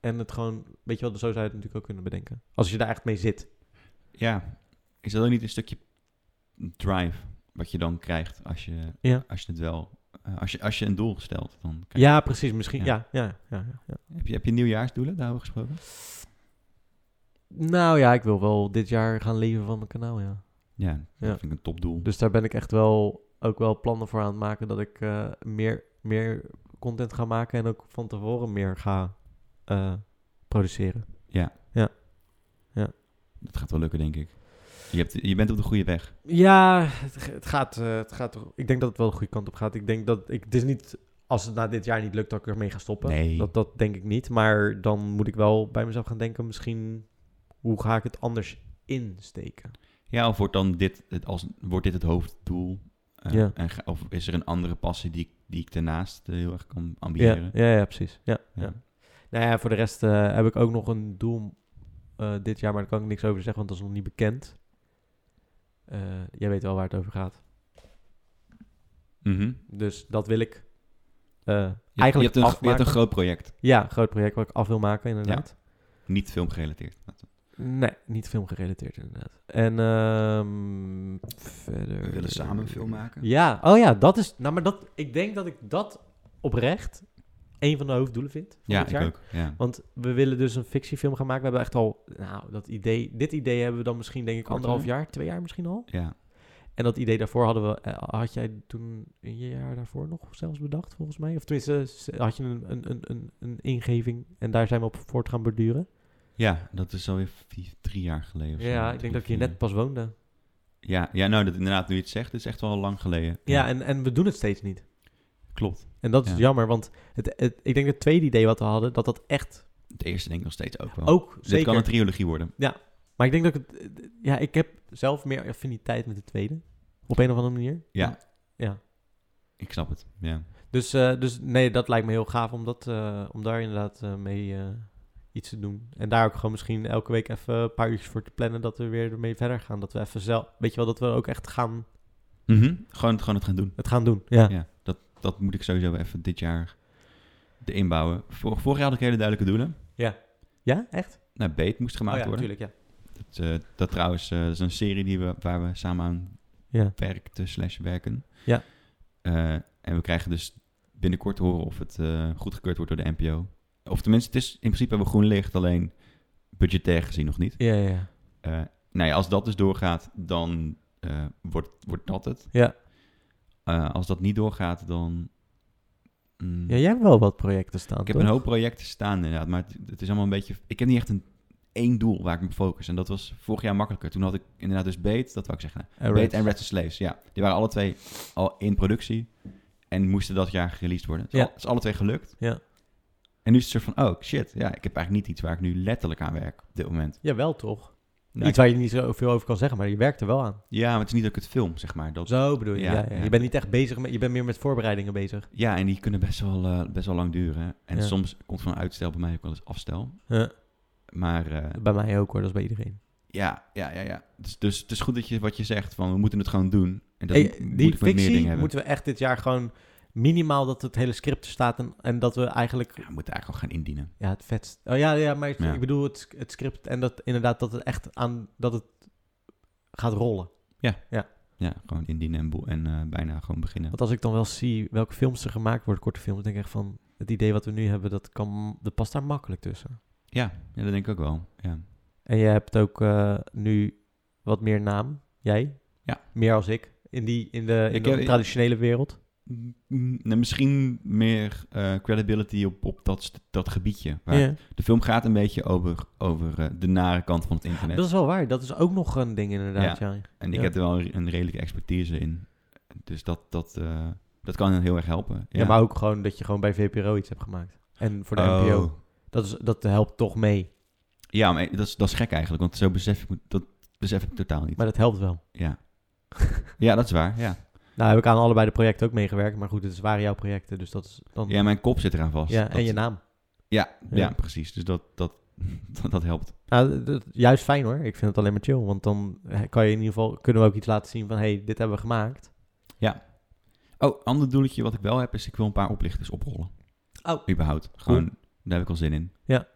B: En het gewoon, weet je wel, zo zou je het natuurlijk ook kunnen bedenken. Als je daar echt mee zit.
A: ja, is dat ook niet een stukje drive wat je dan krijgt als je,
B: Ja.
A: als je het wel... eh, als, je, als je een doel stelt, dan krijg
B: Ja, precies. Misschien,
A: Ja.
B: ja. Ja, ja, ja, ja.
A: je- Heb je, heb je nieuwjaarsdoelen daarover gesproken?
B: Nou ja, ik wil wel dit jaar gaan leven van mijn kanaal, ja.
A: Ja, dat
B: Ja.
A: vind ik een topdoel.
B: Dus daar ben ik echt wel, ook wel plannen voor aan het maken dat ik eh, meer, meer content ga maken en ook van tevoren meer ga eh, produceren.
A: Dat gaat wel lukken, denk ik. Je, hebt, je bent op de goede weg.
B: Ja, het, g- het gaat, eh, het gaat toch. Ik denk dat het wel de goede kant op gaat. Ik denk dat ik. Het is niet. Als het na dit jaar niet lukt, dat ik ermee ga stoppen.
A: Nee.
B: Dat, dat denk ik niet. Maar dan moet ik wel bij mezelf gaan denken: misschien. Hoe ga ik het anders insteken?
A: Ja, of wordt dan dit het, als, wordt dit het hoofddoel? Eh,
B: Ja.
A: en ga- of is er een andere passie die, ik- die ik daarnaast eh, heel erg kan
B: Ja,
A: ambiëren?
B: ja, ja, precies. Ja, ja.
A: Ja.
B: Nou ja, voor de rest eh, heb ik ook nog een doel eh, dit jaar. Maar daar kan ik niks over zeggen, want dat is nog niet bekend. Eh, jij weet wel waar het over gaat.
A: Mhm.
B: Dus dat wil ik. eh,
A: Je,
B: eigenlijk
A: je, hebt een, je
B: afmaken.
A: hebt een groot project,
B: Ja, groot project wat ik af wil maken, inderdaad.
A: niet filmgerelateerd.
B: Nee, niet filmgerelateerd inderdaad. En ehm, verder...
A: We willen samen een film maken.
B: Ja, oh ja, dat is... Nou, maar dat, ik denk dat ik dat oprecht een van de hoofddoelen vind van
A: Ja,
B: dit
A: ik
B: jaar.
A: ook. Ja.
B: Want we willen dus een fictiefilm gaan maken. We hebben echt al... Nou, dat idee, dit idee hebben we dan misschien denk ik
A: Kort,
B: anderhalf
A: hè?
B: jaar, twee jaar misschien al.
A: ja.
B: En dat idee daarvoor hadden we... eh, Had jij toen een jaar daarvoor nog zelfs bedacht, volgens mij? Of tenminste, s- had je een, een, een, een, een ingeving en daar zijn we op voort gaan borduren.
A: ja, dat is alweer vier, drie jaar geleden. of zo.
B: Ja, ik
A: Drie,
B: denk dat ik hier
A: vier.
B: net pas woonde.
A: Ja, ja, nou, dat, inderdaad, nu je het zegt, is echt wel lang geleden.
B: Ja, en, en we doen het steeds niet.
A: klopt.
B: En dat is
A: Ja.
B: jammer, want het, het, ik denk het tweede idee wat we hadden, dat dat echt
A: Het eerste denk ik nog steeds ook wel.
B: ook
A: Dit
B: zeker...
A: kan een trilogie worden.
B: maar ik denk dat ik het... eh, Ja, ik heb zelf meer affiniteit met de tweede. Op een of andere manier.
A: Ja.
B: Ja.
A: Ik snap het, ja.
B: Dus, eh, dus nee, dat lijkt me heel gaaf om, dat, eh, om daar inderdaad eh, mee eh, iets te doen. En daar ook gewoon misschien elke week even een paar uurtjes voor te plannen dat we weer ermee verder gaan. Dat we even zelf... Weet je wel, dat we ook echt gaan,
A: Mhm. gewoon, gewoon het gaan doen.
B: het gaan doen. Ja.
A: Ja, dat, dat moet ik sowieso even dit jaar erin bouwen. Vor, vorig jaar had ik hele duidelijke doelen.
B: Ja, echt?
A: Nou, Beet moest gemaakt
B: oh ja,
A: worden.
B: natuurlijk, ja.
A: Dat, eh, dat trouwens, eh, dat is een serie die we, waar we samen aan
B: Ja.
A: werkten slash werken.
B: Ja.
A: Eh, en we krijgen dus binnenkort te horen of het eh, goedgekeurd wordt door de NPO. Of tenminste, het is in principe hebben we groen licht, alleen budgetair gezien nog niet.
B: Ja, ja, ja.
A: Eh, nou ja, als dat dus doorgaat, dan eh, wordt, wordt dat het.
B: Ja.
A: Eh, als dat niet doorgaat, dan... mm,
B: Ja, jij hebt wel wat projecten staan,
A: ik heb
B: toch?
A: een hoop projecten staan inderdaad, maar het, het is allemaal een beetje... Ik heb niet echt een één doel waar ik me op focus. En dat was vorig jaar makkelijker. Toen had ik inderdaad dus Beet, dat wou ik zeggen.
B: En
A: Beet
B: Reds.
A: en Red Slaves, ja. Die waren alle twee al in productie en moesten dat jaar gereleased worden. Het is,
B: Ja.
A: al- het is alle twee gelukt.
B: Ja.
A: En nu is het soort van, oh shit, ja, ik heb eigenlijk niet iets waar ik nu letterlijk aan werk op dit moment.
B: Jawel, toch?
A: Nou,
B: Iets waar je niet zoveel over kan zeggen, maar je werkt er wel aan.
A: Ja, maar het is niet dat ik het film, zeg maar. Dat,
B: Zo bedoel je.
A: Ja,
B: Ja, ja.
A: ja.
B: Je bent niet echt bezig met, je bent meer met voorbereidingen bezig.
A: Ja, en die kunnen best wel, eh, best wel lang duren. En
B: Ja.
A: soms komt van uitstel bij mij ook wel eens afstel.
B: Ja.
A: Maar eh,
B: Bij mij ook hoor, dat is bij iedereen.
A: ja, ja, ja, ja. Dus, dus het is goed dat je wat je zegt, van we moeten het gewoon doen. En dat
B: Hey,
A: moet- moet ik
B: die
A: met meer dingen
B: fictie
A: hebben.
B: moeten we echt dit jaar gewoon minimaal dat het hele script er staat en, en dat we eigenlijk...
A: Ja, we moeten eigenlijk al gaan indienen.
B: Ja, het vetst. Oh ja, ja maar ik,
A: Ja.
B: ik bedoel het, het script en dat inderdaad dat het echt aan... Dat het gaat rollen.
A: Ja, gewoon indienen en, boel- en eh, bijna gewoon beginnen.
B: Want als ik dan wel zie welke films er gemaakt worden, korte films, denk ik echt van... Het idee wat we nu hebben, dat, kan, dat past daar makkelijk tussen.
A: Ja, ja, dat denk ik ook wel. Ja.
B: En jij hebt ook eh, nu wat meer naam. Jij?
A: Ja.
B: Meer als ik. In, die, in de, in
A: Ik
B: de
A: heb-
B: traditionele wereld.
A: mm, nou, misschien meer eh, credibility op, op dat, st- dat gebiedje. Waar
B: Ja.
A: De film gaat een beetje over, over eh, de nare kant van het internet.
B: Dat is wel waar. Dat is ook nog een ding inderdaad. Ja.
A: En ik
B: ja.
A: heb er wel een redelijke expertise in. Dus dat, dat, eh, dat kan heel erg helpen.
B: Ja, maar ook gewoon dat je gewoon bij VPRO iets hebt gemaakt. En voor de
A: Oh.
B: NPO. Dat, is, dat helpt toch mee.
A: Ja, maar dat is, dat is gek eigenlijk, want zo besef ik me- dat besef ik totaal niet.
B: Maar dat helpt wel.
A: Ja. ja, dat is waar. Ja.
B: Nou heb ik aan allebei de projecten ook meegewerkt. Maar goed, het waren jouw projecten. Dus dat is dan...
A: ja, mijn kop zit eraan vast.
B: Ja,
A: Dat-
B: en je naam.
A: Ja, ja.
B: Ja.
A: precies. Dus dat, dat, dat, dat helpt.
B: Nou, d- d- juist fijn hoor. Ik vind het alleen maar chill. Want dan eh, kan je in ieder geval, kunnen we ook iets laten zien van... hey, dit hebben we gemaakt.
A: Oh, ander doeletje wat ik wel heb is ik wil een paar oplichters oprollen.
B: Oh.
A: Überhaupt. Gewoon, daar heb ik al zin in.
B: Ja.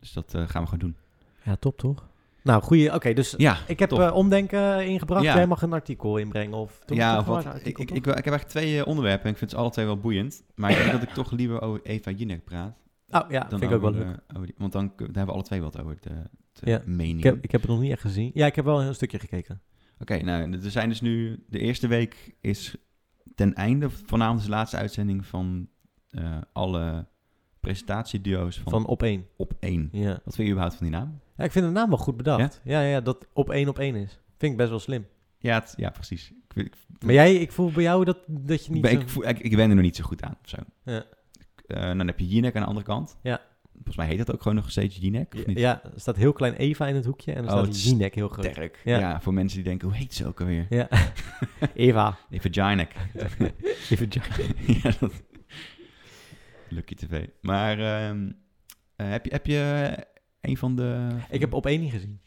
A: Dus dat eh, gaan we gewoon doen.
B: Ja, top toch? Nou, goeie... Oké, dus
A: Ja,
B: ik heb
A: top.
B: eh, omdenken ingebracht.
A: Ja.
B: Jij mag een artikel inbrengen. Of Toen
A: ja,
B: was
A: of
B: het
A: wat,
B: een
A: ik,
B: artikel,
A: ik,
B: toch?
A: ik, wil- ik heb eigenlijk twee eh, onderwerpen en ik vind ze alle twee wel boeiend. Maar ik denk dat ik toch liever over Eva Jinek praat.
B: Oh ja,
A: dan
B: vind ik ook wel
A: over,
B: leuk.
A: eh, over die- want dan, kun- dan hebben we alle twee wat over de, de
B: Ja.
A: meningen.
B: Ik heb, ik heb het nog niet echt gezien. Ja, ik heb wel een stukje gekeken.
A: Oké, nou, er zijn dus nu... De eerste week is ten einde. Vanavond is de laatste uitzending van eh, alle presentatieduo's van,
B: Van op één.
A: Op 1.
B: Ja.
A: Wat vind je überhaupt van die naam?
B: Ja, ik vind de naam wel goed bedacht. Ja? Ja, ja, dat op één op één is. Vind ik best wel slim.
A: Ja, het- ja precies. Ik, weet- ik,
B: Maar jij, ik voel bij jou dat, dat je niet...
A: ben,
B: zo-
A: ik, voel- ik, ik ben er nog niet zo goed aan, of zo.
B: Ja.
A: Eh, dan heb je Jinek aan de andere kant.
B: Ja.
A: Volgens mij heet dat ook gewoon nog steeds Jinek, of niet?
B: Ja, er staat heel klein Eva in het hoekje en er
A: Oh,
B: staat
A: het is
B: Jinek heel groot.
A: Sterk. Ja.
B: Ja.
A: voor mensen die denken, hoe heet ze ook alweer?
B: Ja. Eva.
A: Even Jinek.
B: Even Jack.
A: ja, dat... Lucky TV. Maar ehm, eh, heb, je, heb je een van de...
B: Ik heb op één niet gezien.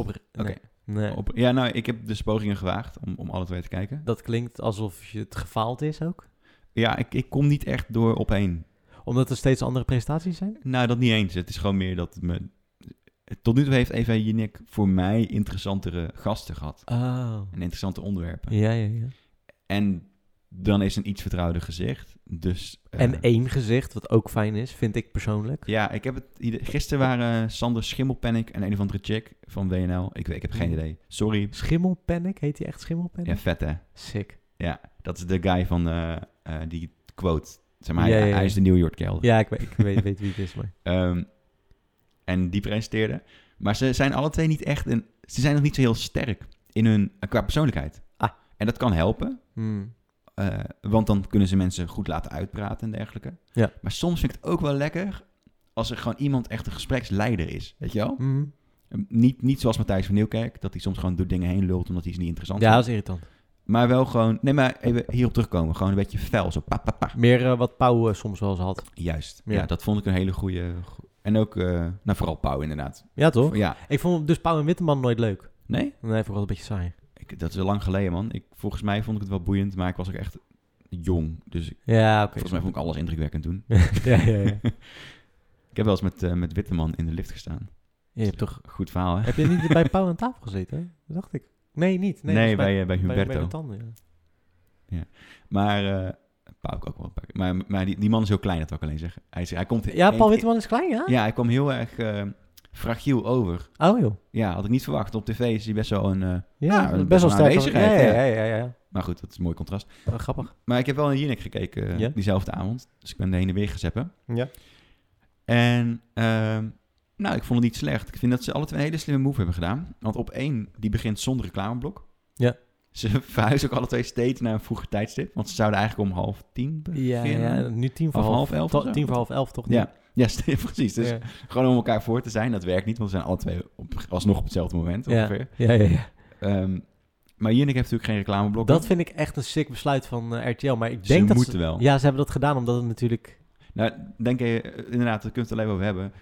B: Op...
A: Oké.
B: Nee. Nee.
A: Op- ja, nou, ik heb dus pogingen gewaagd om, om alle twee te kijken.
B: Dat klinkt alsof je het gefaald is ook.
A: Ja, ik, ik kom niet echt door op één.
B: Omdat er steeds andere prestaties zijn.
A: Nou, dat niet eens. Het is gewoon meer dat me... Tot nu toe heeft Eva Jinek voor mij interessantere gasten gehad.
B: Oh.
A: En interessante onderwerpen.
B: Ja, ja, ja.
A: En dan is een iets vertrouwder gezicht. Dus... eh,
B: En één gezicht, wat ook fijn is, vind ik persoonlijk.
A: Ja, ik heb het... ieder- Gisteren waren Sander Schimmelpanic en een of andere chick van WNL. Ik, weet- ik heb geen idee. Sorry.
B: Schimmelpanic, heet hij echt Schimmelpanic?
A: Ja, vet hè.
B: Sick.
A: Dat is de guy van eh, eh, die quote. Zeg maar,
B: Ja,
A: hij,
B: ja, ja.
A: hij is de New York Kelder.
B: Ja, ik, weet- ik weet, weet wie het is, maar...
A: Ehm, en die presenteerde. Maar ze zijn alle twee niet echt een. Ze zijn nog niet zo heel sterk in hun, eh, qua persoonlijkheid.
B: Ah.
A: En dat kan helpen.
B: Hmm.
A: eh, want dan kunnen ze mensen goed laten uitpraten en dergelijke.
B: Ja.
A: Maar soms vind ik het ook wel lekker als er gewoon iemand echt een gespreksleider is. Weet je wel? Ehm,
B: Mhm.
A: Niet, niet zoals Matthijs van Nieuwkerk, dat hij soms gewoon door dingen heen lult omdat hij ze niet interessant
B: Ja,
A: vindt.
B: dat is irritant.
A: Maar wel gewoon, nee, maar even hierop terugkomen. Gewoon een beetje fel, zo pa, pa, pa.
B: Meer eh, wat Pauw eh, soms wel eens had.
A: Juist. Ja.
B: Ja.
A: dat vond ik een hele goede. En ook, eh nou vooral Pauw inderdaad.
B: Ja, toch?
A: Ja.
B: Ik vond dus Pauw en Witteman nooit leuk.
A: Nee?
B: Nee, vond ik wel een beetje saai.
A: Ik, dat is al lang geleden, man. Ik, volgens mij vond ik het wel boeiend, maar ik was ook echt jong. Dus ik-
B: Ja, oké.
A: volgens mij vond ik alles indrukwekkend toen.
B: ja, ja, ja.
A: Ik heb wel eens met, eh, met Witteman in de lift gestaan.
B: Je hebt toch...
A: Goed verhaal, hè?
B: Heb je niet bij Pauw aan tafel gezeten? hè? Dat dacht ik. Nee, niet.
A: Nee,
B: Nee, dat is
A: bij, eh, bij Humberto.
B: Bij, bij de tanden, ja.
A: Maar, eh Pauw ook wel een paar keer. Maar, maar die, die man is heel klein, dat wil ik alleen zeggen. Hij, is, hij komt...
B: ja, Paul
A: ik-
B: Witteman is klein, ja?
A: Ja, hij kwam heel erg eh, fragiel over.
B: Oh, joh.
A: Ja, had ik niet verwacht. Op tv is hij best wel een... eh,
B: Ja,
A: een-
B: best wel
A: een
B: sterk.
A: aanwezigheid,
B: ja,
A: ja.
B: ja, ja, ja, ja.
A: maar goed, dat is een mooi contrast.
B: Wel grappig.
A: Maar ik heb wel een Jinek gekeken eh,
B: Ja?
A: diezelfde avond. Dus ik ben de heen en weer gezeppen.
B: Ja.
A: En ehm, nou, ik vond het niet slecht. Ik vind dat ze alle twee een hele slimme move hebben gedaan. Want op één, die begint zonder reclameblok.
B: Ja.
A: Ze verhuizen ook alle twee steeds naar een vroeger tijdstip. Want ze zouden eigenlijk om half tien
B: Ja,
A: beginnen.
B: ja, nu tien voor
A: Of
B: half,
A: half elf
B: to-
A: of zo.
B: Tien voor half elf, toch?
A: Ja, ja, st- precies. Dus
B: ja.
A: gewoon om elkaar voor te zijn, dat werkt niet. Want ze zijn alle twee op, alsnog op hetzelfde moment
B: Ja.
A: ongeveer.
B: Ja, ja, ja.
A: Ehm, maar Jinek heeft natuurlijk geen reclameblok. Dus
B: Dat vind ik echt een sick besluit van eh, RTL, maar ik
A: ze
B: denk dat
A: moeten
B: ze...
A: wel.
B: Ja, ze hebben dat gedaan omdat het natuurlijk...
A: Nou, denk je, eh, inderdaad, daar kunnen we het alleen wel over hebben.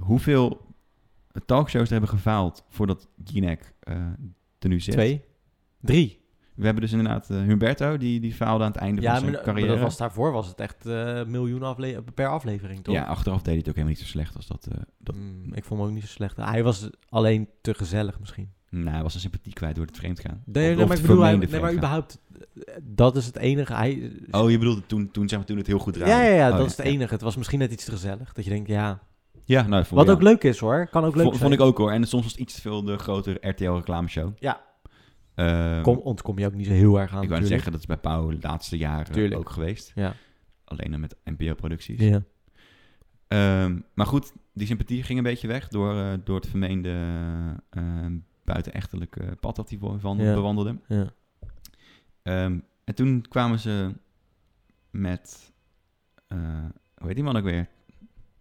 A: Hoeveel talkshows er hebben gefaald voordat Jinek eh er nu zit?
B: Twee? Drie.
A: We hebben dus inderdaad eh, Humberto, die, die faalde aan het einde
B: Ja,
A: van
B: maar,
A: zijn
B: maar
A: carrière.
B: dat was, daarvoor was het echt eh miljoen afle- per aflevering, toch?
A: ja, achteraf deed hij het ook helemaal niet zo slecht als dat. eh dat
B: Mm, ik vond hem ook niet zo slecht. Hij was alleen te gezellig misschien.
A: nou, hij was zijn sympathie kwijt door het vreemd gaan.
B: Nee,
A: Of-
B: nee,
A: of
B: maar ik
A: het
B: bedoel, hij,
A: vermeende
B: nee, maar
A: vreemdgaan.
B: überhaupt, eh, dat is het enige. Hij,
A: Oh, je bedoelde toen, toen, zeg maar, toen het heel goed draaide.
B: ja, ja, ja,
A: Oh,
B: dat is het enige. Het was misschien net iets te gezellig. Dat je denkt, ja.
A: Ja, nou, dat vond
B: Wat
A: ik-
B: ook leuk is hoor, kan ook leuk
A: vond,
B: zijn.
A: vond ik ook hoor. En soms was het iets te veel de grotere RTL reclameshow.
B: Ja.
A: Ehm,
B: Kom, ontkom je ook niet zo heel erg aan.
A: ik wou net
B: natuurlijk.
A: zeggen, dat is bij Pauw de laatste jaren
B: Tuurlijk.
A: ook geweest.
B: Ja.
A: Alleen dan met NPO-producties.
B: Ja.
A: Ehm, maar goed, die sympathie ging een beetje weg door, eh, door het vermeende eh, buitenechtelijke pad dat hij wo- van
B: Ja.
A: bewandelde.
B: ja.
A: Ehm, en toen kwamen ze met, eh, hoe heet die man ook weer?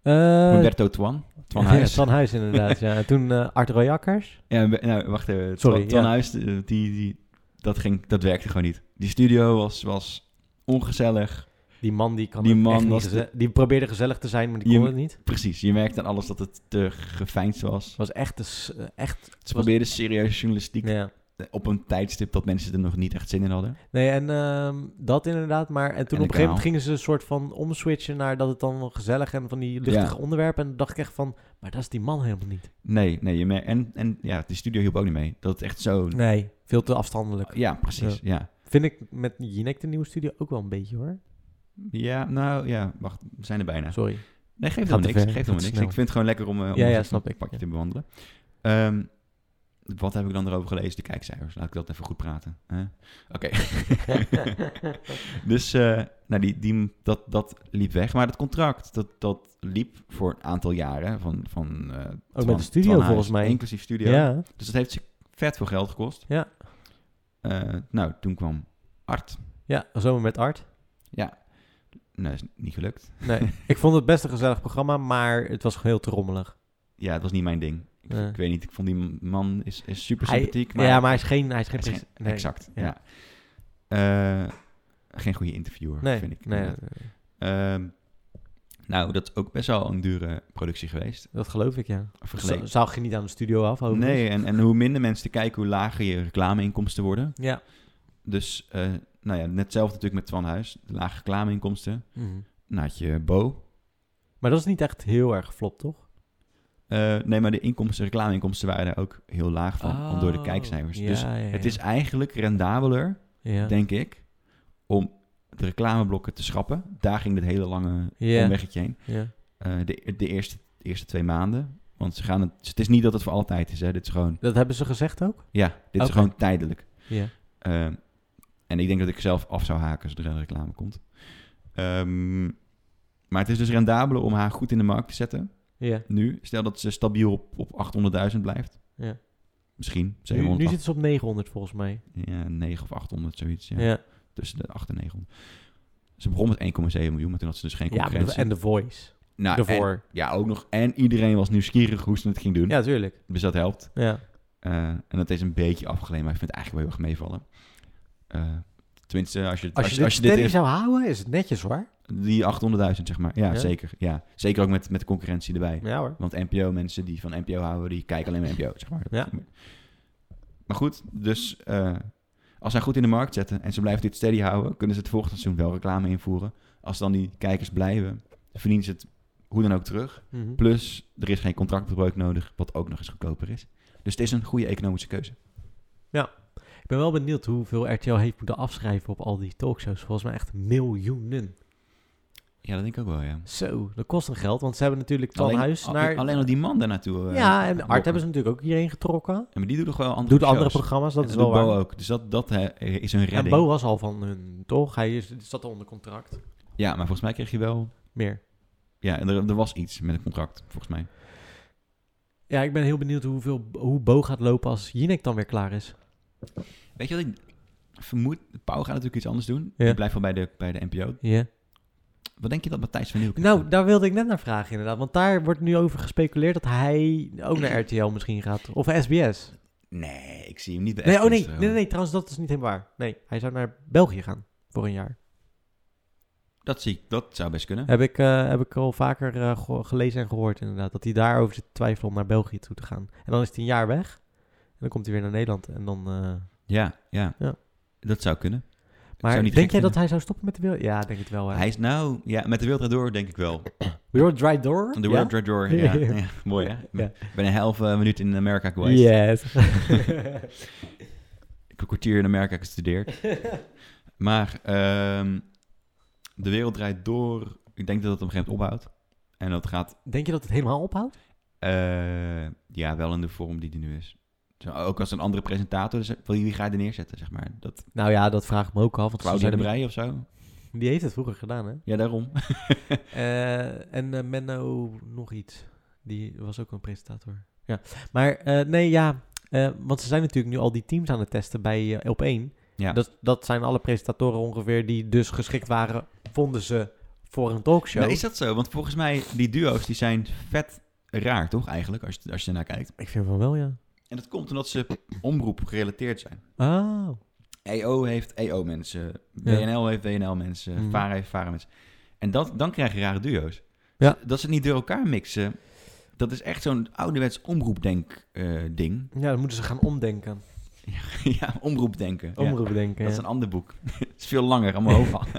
B: Eh,
A: Humberto Twan. Twan Huis.
B: Van Huis, inderdaad. ja. En toen eh Art Royakkers.
A: Ja, we- nou, wacht even.
B: Sorry,
A: Twan, Twan
B: ja.
A: Huis, eh, die, die, dat, ging, dat werkte gewoon niet. Die studio was, was ongezellig.
B: Die man die kan
A: Die
B: het
A: man
B: echt niet
A: was
B: geze- Die probeerde gezellig te zijn, maar die
A: Je-
B: kon het niet.
A: Precies, je merkte aan alles dat het te geveinsd was.
B: Het was echt... een s- echt
A: Ze probeerden serieuze journalistiek
B: ja.
A: op een tijdstip dat mensen er nog niet echt zin in hadden.
B: Nee, en ehm, dat inderdaad. Maar en toen
A: En
B: op
A: de
B: een gegeven
A: kanaal.
B: moment gingen ze een soort van omswitchen naar dat het dan wel gezellig en van die luchtige onderwerpen. En dan dacht ik echt van, maar dat is die man helemaal niet.
A: Nee, nee, je mer- en, en ja, de studio hielp ook niet mee. Dat het echt zo...
B: Nee, veel te afstandelijk.
A: Ja, precies, ja.
B: Vind ik met Jinek de nieuwe studio ook wel een beetje hoor.
A: Ja, nou ja, wacht, we zijn er bijna.
B: Sorry.
A: Nee, geeft
B: Gaat
A: helemaal
B: te
A: niks.
B: ver,
A: Geeft
B: gaat
A: helemaal niks.
B: te
A: Ik
B: snel.
A: vind het gewoon lekker om, eh om
B: Ja, ja,
A: een
B: snap ik,
A: pakje
B: ja.
A: te bewandelen. Ehm, wat heb ik dan erover gelezen? De kijkcijfers. Laat ik dat even goed praten. hè? Oké. dus eh, nou, die, die, dat, dat liep weg. Maar dat contract, dat, dat liep voor een aantal jaren. Van, van, eh, Twan-
B: met de studio
A: Twan Huis,
B: volgens mij.
A: Inclusief studio.
B: Ja.
A: Dus dat heeft ze vet veel geld gekost.
B: Ja.
A: Eh, nou, toen kwam Art.
B: ja, zomer met Art.
A: Nou, is niet gelukt.
B: Nee, ik vond het best een gezellig programma, maar het was heel te rommelig.
A: Ja, het was niet mijn ding. Ik,
B: Nee.
A: ik weet niet, ik vond die man is, is super
B: Hij-
A: sympathiek.
B: ja, maar hij is geen... Hij is geen,
A: Hij is
B: pres- nee.
A: Exact, ja.
B: Ja.
A: Eh, geen goede interviewer,
B: Nee,
A: vind ik.
B: nee,
A: inderdaad.
B: nee,
A: Ehm, nou, dat is ook best wel een dure productie geweest.
B: dat geloof ik, ja. Zou
A: Vergeleken.
B: zag je niet aan de studio af, overigens.
A: Nee, en, en hoe minder mensen kijken, hoe lager je reclameinkomsten worden.
B: Ja.
A: Dus, eh, nou ja, net hetzelfde natuurlijk met Twan Huis. De lage reclameinkomsten. Dan had je Bo.
B: Mhm. Maar dat is niet echt heel erg geflopt, toch?
A: Eh, nee, maar de inkomsten, reclameinkomsten waren daar ook heel laag van, om door de
B: Oh,
A: kijkcijfers.
B: ja,
A: dus
B: ja,
A: het
B: ja.
A: is eigenlijk rendabeler
B: Ja.
A: denk ik, om de reclameblokken te schrappen. Daar ging het hele lange
B: Ja.
A: omweggetje heen.
B: ja.
A: Eh, de, de eerste, de eerste twee maanden. Want ze gaan het, het is niet dat het voor altijd is. Hè. Dit is gewoon,
B: Dat hebben ze gezegd ook?
A: ja, dit is
B: Oké.
A: gewoon tijdelijk.
B: Ja.
A: Ehm, en ik denk dat ik zelf af zou haken zodra er reclame komt. Ehm, maar het is dus rendabeler om haar goed in de markt te zetten.
B: ja.
A: Nu, stel dat ze stabiel op, op 800.000 blijft.
B: Ja.
A: Misschien
B: Nu,
A: 700.
B: nu zitten ze op 900 volgens mij.
A: ja, 9 of 800, zoiets.
B: Ja,
A: Ja. Tussen de 8 en 900. Ze begon met 1,7 miljoen, maar toen had ze dus geen
B: ja
A: concurrentie.
B: en The Voice.
A: Nou,
B: daarvoor.
A: en- ja, ook nog. En iedereen was nieuwsgierig hoe ze het ging doen.
B: Ja, tuurlijk.
A: Dus dat helpt.
B: Ja.
A: Eh, en dat is een beetje afgelegen, maar ik vind het eigenlijk wel heel erg meevallen. Eh, tenminste, als je,
B: Als, je, dit steady
A: in-
B: zou houden, is het netjes hoor.
A: die 800.000, zeg maar. Ja,
B: Ja?
A: zeker. Ja. Zeker ook met, met de concurrentie erbij.
B: Ja hoor.
A: Want NPO-mensen die van NPO houden, die kijken alleen maar NPO, zeg maar.
B: Ja.
A: Maar goed, dus eh, als zij goed in de markt zetten en ze blijven dit steady houden, kunnen ze het volgende seizoen wel reclame invoeren. Als dan die kijkers blijven, verdienen ze het hoe dan ook terug.
B: Mhm.
A: Plus, er is geen contractbreuk nodig, wat ook nog eens goedkoper is. Dus het is een goede economische keuze.
B: Ik ben wel benieuwd hoeveel RTL heeft moeten afschrijven op al die talkshows. Volgens mij echt miljoenen.
A: Ja, dat denk ik ook wel, ja.
B: Zo, dat kost een geld, want ze hebben natuurlijk van
A: alleen,
B: huis
A: al-
B: naar...
A: alleen al die man daar naartoe. eh,
B: ja, en
A: lokken.
B: Art hebben ze natuurlijk ook hierheen getrokken.
A: Ja, Maar die doet toch wel andere
B: Doet andere
A: shows?
B: programma's, dat
A: En
B: is wel
A: doet
B: waar.
A: Bo ook. Dus dat, dat hè, is een
B: en
A: redding.
B: Bo was al van hun, toch? Hij is, zat al onder contract.
A: Ja, maar volgens mij kreeg je wel...
B: Meer.
A: Ja, en er, er was iets met een contract, volgens mij.
B: Ja, ik ben heel benieuwd hoeveel, hoe Bo gaat lopen als Jinek dan weer klaar is.
A: Weet je wat ik vermoed? Pauw gaat natuurlijk iets anders doen.
B: Ja.
A: Die blijft wel bij de, bij de NPO.
B: Ja.
A: Wat denk je dat Matthijs van Nieuwkerk...
B: Nou, daar wilde ik net naar vragen inderdaad. Want daar wordt nu over gespeculeerd dat hij ook naar RTL misschien gaat. Of SBS.
A: Nee, ik zie hem niet bij
B: Nee, oh nee,
A: SBS
B: nee,
A: hoor.
B: nee, nee, trouwens, dat is niet helemaal waar. Nee, hij zou naar België gaan voor een jaar.
A: Dat zie ik. Dat zou best kunnen.
B: Heb ik, eh, heb ik al vaker eh, ge- gelezen en gehoord inderdaad. Dat hij daarover zit te twijfelen om naar België toe te gaan. En dan is hij een jaar weg. En dan komt hij weer naar Nederland. En dan, eh,
A: Ja, ja.
B: Ja.
A: Dat zou kunnen. Ik zou
B: Maar
A: niet
B: denk jij
A: gek vinden.
B: dat hij zou stoppen met de wereld? Ja, denk het wel. Hè.
A: Hij is nou... Ja, met de Wild Draait Door denk ik wel.
B: We were dry door.
A: The
B: ja?
A: World Trade Door, ja.
B: Ja.
A: ja. Mooi, hè?
B: Ja.
A: Ik ben een half eh, minuut in Amerika geweest.
B: Yes.
A: Ik heb een kwartier in Amerika gestudeerd. maar ehm, De Wereld Draait Door... Ik denk dat het op een gegeven moment ophoudt. En dat gaat
B: Denk je dat het helemaal ophoudt?
A: eh, ja, wel in de vorm die die nu is. Zo, Ook als een andere presentator, dus wil je wie ga je er neerzetten, zeg maar? Dat
B: Nou ja, dat vraag ik me ook af. Want ze
A: Claudia de
B: zeiden-
A: Brij of zo?
B: die heeft het vroeger gedaan, hè?
A: Ja, daarom.
B: Eh, en eh, Menno nog iets. Die was ook een presentator. Ja. Maar eh, nee, ja. eh, want ze zijn natuurlijk nu al die teams aan het testen bij eh, op 1.
A: Ja.
B: Dat, dat zijn alle presentatoren ongeveer die dus geschikt waren, vonden ze, voor een talkshow.
A: Maar is dat zo? Want volgens mij, die duo's die zijn vet raar, toch? Eigenlijk, als je, als je ernaar kijkt.
B: Ik vind van wel, ja.
A: En dat komt omdat ze omroep gerelateerd zijn.
B: Ah.
A: EO heeft E EO-mensen,
B: Ja.
A: WNL heeft WNL-mensen,
B: Mhm.
A: VARA heeft VARA-mensen. En dat, dan krijg je rare duo's. Dus
B: Ja.
A: Dat ze het niet door elkaar mixen, dat is echt zo'n ouderwets omroepdenk-ding.
B: Ja, dan moeten ze gaan omdenken.
A: ja, omroepdenken. Ja.
B: Omroepen denken.
A: Dat is
B: ja.
A: een ander boek. Het is veel langer, allemaal hoofd.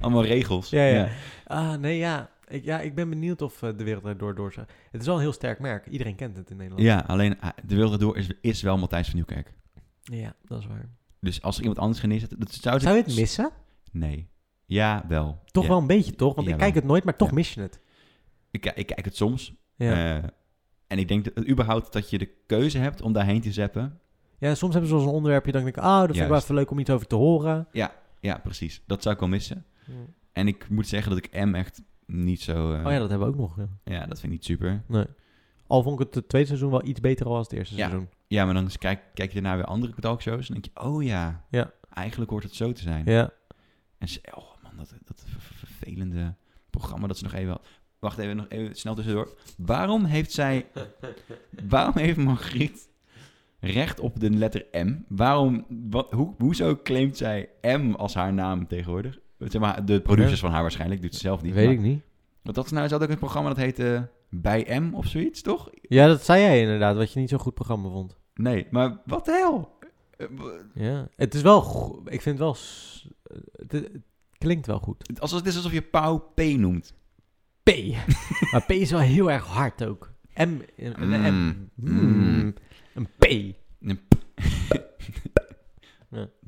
A: allemaal regels.
B: Ja, ja. Ah, nee, ja. Ik, ja, ik ben benieuwd of eh, de wereld erdoor door zou- Het is wel een heel sterk merk. Iedereen kent het in Nederland.
A: Ja, alleen ah, de wilde door is, is wel Matthijs van Nieuwkerk.
B: ja dat is waar.
A: Dus als er iemand anders gaan neerzetten, dat zou...
B: Zou je het missen?
A: Nee. Ja, wel.
B: Dus- Toch
A: Ja.
B: wel een beetje, toch? Want ik
A: Jawel.
B: kijk het nooit, maar toch
A: Ja.
B: mis je het.
A: Ik, ki- ik kijk het soms.
B: Ja.
A: eh, en ik denk dat, überhaupt dat je de keuze hebt om daarheen te zappen.
B: ja, soms hebben ze zo'n onderwerpje dat ik denk, ah, dat vind ik wel
A: Juist.
B: even leuk om iets over te horen.
A: Ja, precies. Dat zou ik wel missen. En ik moet zeggen dat ik M echt niet zo... eh,
B: Oh ja, dat hebben we ook nog. Ja.
A: ja, dat vind ik niet super.
B: Nee. Al vond ik het, het tweede seizoen wel iets beter al als het eerste
A: Ja.
B: seizoen.
A: Ja, maar dan eens kijk, kijk je daarna weer andere talkshows en denk je... Oh ja,
B: Ja.
A: eigenlijk hoort het zo te zijn.
B: Ja.
A: En ze, oh man, dat, dat ver- ver- vervelende programma dat ze nog even had. Wacht even, nog even snel tussendoor. Waarom heeft zij... waarom heeft Margriet recht op de letter M? Waarom... Wat, hoe, hoezo claimt zij M als haar naam tegenwoordig? Zeg maar, de producers van haar waarschijnlijk, doet ze zelf niet.
B: Weet
A: maar-
B: ik niet.
A: Want dat is nou, ze had ook een programma dat heette Bij M of zoiets, toch?
B: Ja, dat zei jij inderdaad, wat je niet zo'n goed programma vond.
A: Nee, maar wat de hel? Eh, w-
B: Ja. Het is wel, go- ik vind het wel, s- het, het klinkt wel goed.
A: het- Alsof het is alsof je Pau P noemt.
B: P. maar P is wel heel erg hard ook. M. Een, een M.
A: Mm. Mm.
B: Een P.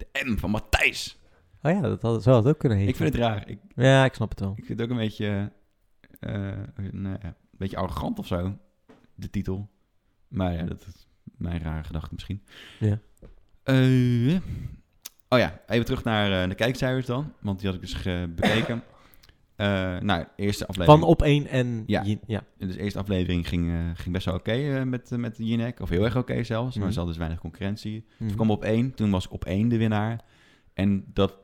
A: De M van Matthijs.
B: Oh ja, dat had, zo had het ook kunnen heten.
A: Ik vind het raar. Ik,
B: Ja, ik snap het wel.
A: ik vind het ook een beetje, eh, nou ja, een beetje arrogant of zo, de titel. Maar ja, dat is mijn rare gedachte misschien.
B: Ja.
A: Eh, oh ja, even terug naar eh, de kijkcijfers dan. Want die had ik dus eh, bekeken. Eh, nou, eerste aflevering.
B: Van op één en...
A: Ja.
B: je- ja.
A: Dus de eerste aflevering ging, eh, ging best wel oké eh, met, eh, met Jinek. Of heel erg oké zelfs. Maar
B: Mhm.
A: er zat dus weinig concurrentie.
B: Mhm.
A: Ik kwam Dus op één. Toen was ik op één de winnaar. En dat...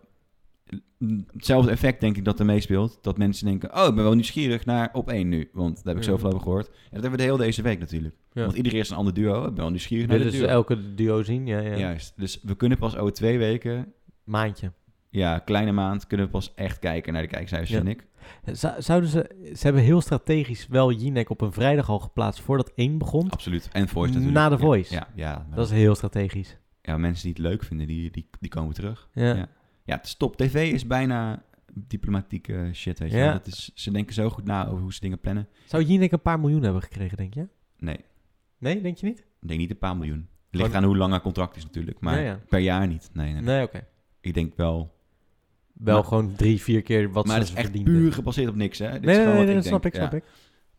A: Hetzelfde effect denk ik dat er meespeelt. Dat mensen denken, oh, ik ben wel nieuwsgierig naar op één nu. Want daar heb ik
B: Ja.
A: zoveel over gehoord. En dat hebben we de hele deze week natuurlijk.
B: Ja.
A: Want iedereen is een ander duo. Ik ben wel nieuwsgierig naar
B: Willen
A: dit
B: ze
A: duo.
B: elke duo zien? Ja, ja.
A: Juist. Dus we kunnen pas over twee weken,
B: Maandje.
A: ja, kleine maand, kunnen we pas echt kijken naar de kijkcijfers,
B: Ja.
A: vind ik.
B: Zou- zouden ze... Ze hebben heel strategisch wel Jinek op een vrijdag al geplaatst voordat één begon.
A: Absoluut. En Voice natuurlijk.
B: Na de
A: Ja,
B: Voice.
A: Ja, Oh, ja, maar
B: Dat is heel strategisch.
A: ja, mensen die het leuk vinden, die, die, die komen terug.
B: Ja.
A: Ja. Ja, het is top. TV is bijna diplomatieke shit, weet je
B: Ja.
A: wel. Dat is, ze denken zo goed na over hoe ze dingen plannen.
B: Zou Jinek een paar miljoen hebben gekregen, denk je?
A: Nee,
B: Nee, denk je niet?
A: ik denk niet een paar miljoen. Ligt
B: Gewoon-
A: aan hoe lang haar contract is natuurlijk, maar
B: Ja, ja.
A: per jaar niet. Nee, nee, nee.
B: Nee, oké.
A: Ik denk wel.
B: Wel
A: Maar-
B: gewoon drie, vier keer wat
A: maar
B: ze
A: het is echt
B: verdienden.
A: puur gebaseerd op niks, hè? Dit
B: Nee,
A: is
B: nee,
A: gewoon wat
B: nee, nee,
A: ik
B: dat snap ik,
A: denk.
B: snap
A: Ja.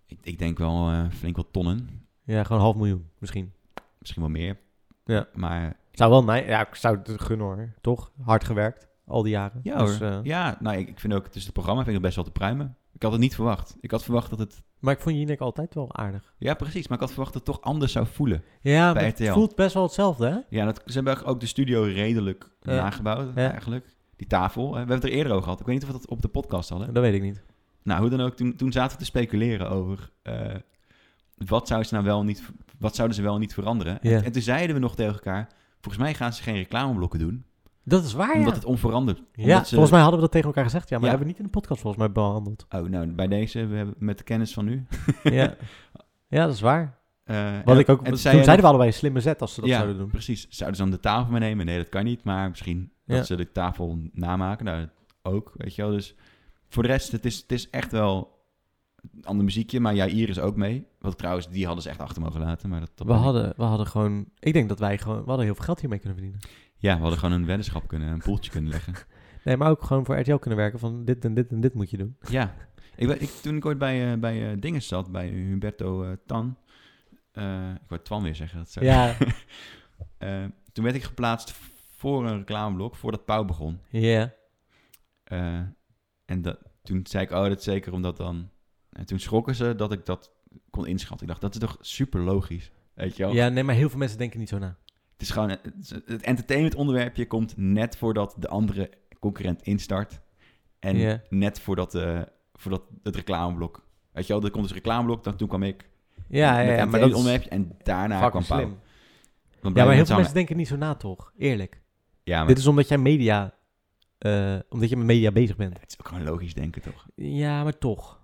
B: ik.
A: ik. Ik denk wel eh, flink wat tonnen.
B: Ja, gewoon een half miljoen misschien.
A: Misschien wel meer.
B: Ja.
A: Maar
B: Zou wel, nee, ja, ik zou het gunnen hoor. Toch? Hard gewerkt, al die jaren.
A: ja hoor.
B: Dus, eh,
A: ja, nou, ik, ik vind ook, dus het programma vind ik best wel te pruimen. Ik had het niet verwacht. Ik had verwacht dat het,
B: Maar ik vond Jinek altijd wel aardig.
A: ja precies, maar ik had verwacht dat het toch anders zou voelen.
B: Ja,
A: Bij
B: maar het
A: RTL.
B: voelt best wel hetzelfde, hè?
A: Ja, dat, ze hebben ook de studio redelijk
B: Ja.
A: nagebouwd
B: Ja.
A: eigenlijk. Die tafel, hè, we hebben het er eerder over gehad. Ik weet niet of we dat op de podcast hadden.
B: Dat weet ik niet.
A: Nou, hoe dan ook, toen, toen zaten we te speculeren over... eh, wat, zouden ze nou wel niet, wat zouden ze wel niet veranderen?
B: Ja.
A: En, en toen zeiden we nog tegen elkaar... Volgens mij gaan ze geen reclameblokken doen.
B: Dat is waar,
A: omdat
B: Ah, ja.
A: het onveranderd...
B: Ja,
A: omdat ze-
B: volgens mij hadden we dat tegen elkaar gezegd. Ja, maar
A: Ja.
B: hebben we niet in de podcast volgens mij behandeld.
A: Oh, nou, bij deze, we hebben met de kennis van nu...
B: ja. ja, dat is waar.
A: eh,
B: Wat
A: en-
B: ik ook,
A: en
B: toen
A: zei jij
B: zeiden we
A: nog-
B: allebei een slimme zet als ze dat
A: ja,
B: zouden doen.
A: precies. Zouden ze dan de tafel meenemen? Nee, dat kan niet. Maar misschien
B: Ja.
A: dat ze de tafel namaken. Nou, dat ook, weet je wel. Dus voor de rest, het is, het is echt wel een ander muziekje. Maar ja, hier is ook mee. Wat trouwens, die hadden ze echt achter mogen laten. Maar dat, dat
B: We hadden, we hadden gewoon, ik denk dat wij gewoon, we hadden heel veel geld hiermee kunnen verdienen.
A: Ja, we hadden gewoon een weddenschap kunnen, een poeltje kunnen leggen.
B: Nee, maar ook gewoon voor RTL kunnen werken van dit en dit en dit moet je doen.
A: Ja. Ik, ben- ik, toen ik ooit bij, eh bij eh, Dingen zat, bij Humberto eh, Tan, eh, ik wou Twan weer zeggen. Dat zou-
B: Ja,
A: Eh, toen werd ik geplaatst voor een reclameblok, voordat Pauw begon.
B: ja.
A: Eh, en dat, toen zei ik, oh, dat is zeker omdat dan... En toen schrokken ze dat ik dat kon inschatten. Ik dacht, dat is toch super logisch, weet je wel?
B: Ja, nee, maar heel veel mensen denken niet zo na.
A: Het is gewoon... Het, is- het entertainment onderwerpje komt net voordat de andere concurrent instart. En
B: Ja.
A: net voordat, eh, voordat het reclameblok... Weet je wel, er komt dus een reclameblok, dan toen kwam ik.
B: Ja,
A: met
B: ja, ja maar dat is
A: onderwerpje, en daarna
B: fucking
A: kwam Pauw.
B: slim.
A: Dan
B: Ja,
A: blijven
B: maar
A: we
B: heel veel
A: samen-
B: mensen denken niet zo na, toch? Eerlijk.
A: Ja, maar
B: Dit is omdat jij media... eh, omdat je met media bezig bent.
A: het is ook gewoon logisch denken, toch?
B: Ja, maar toch.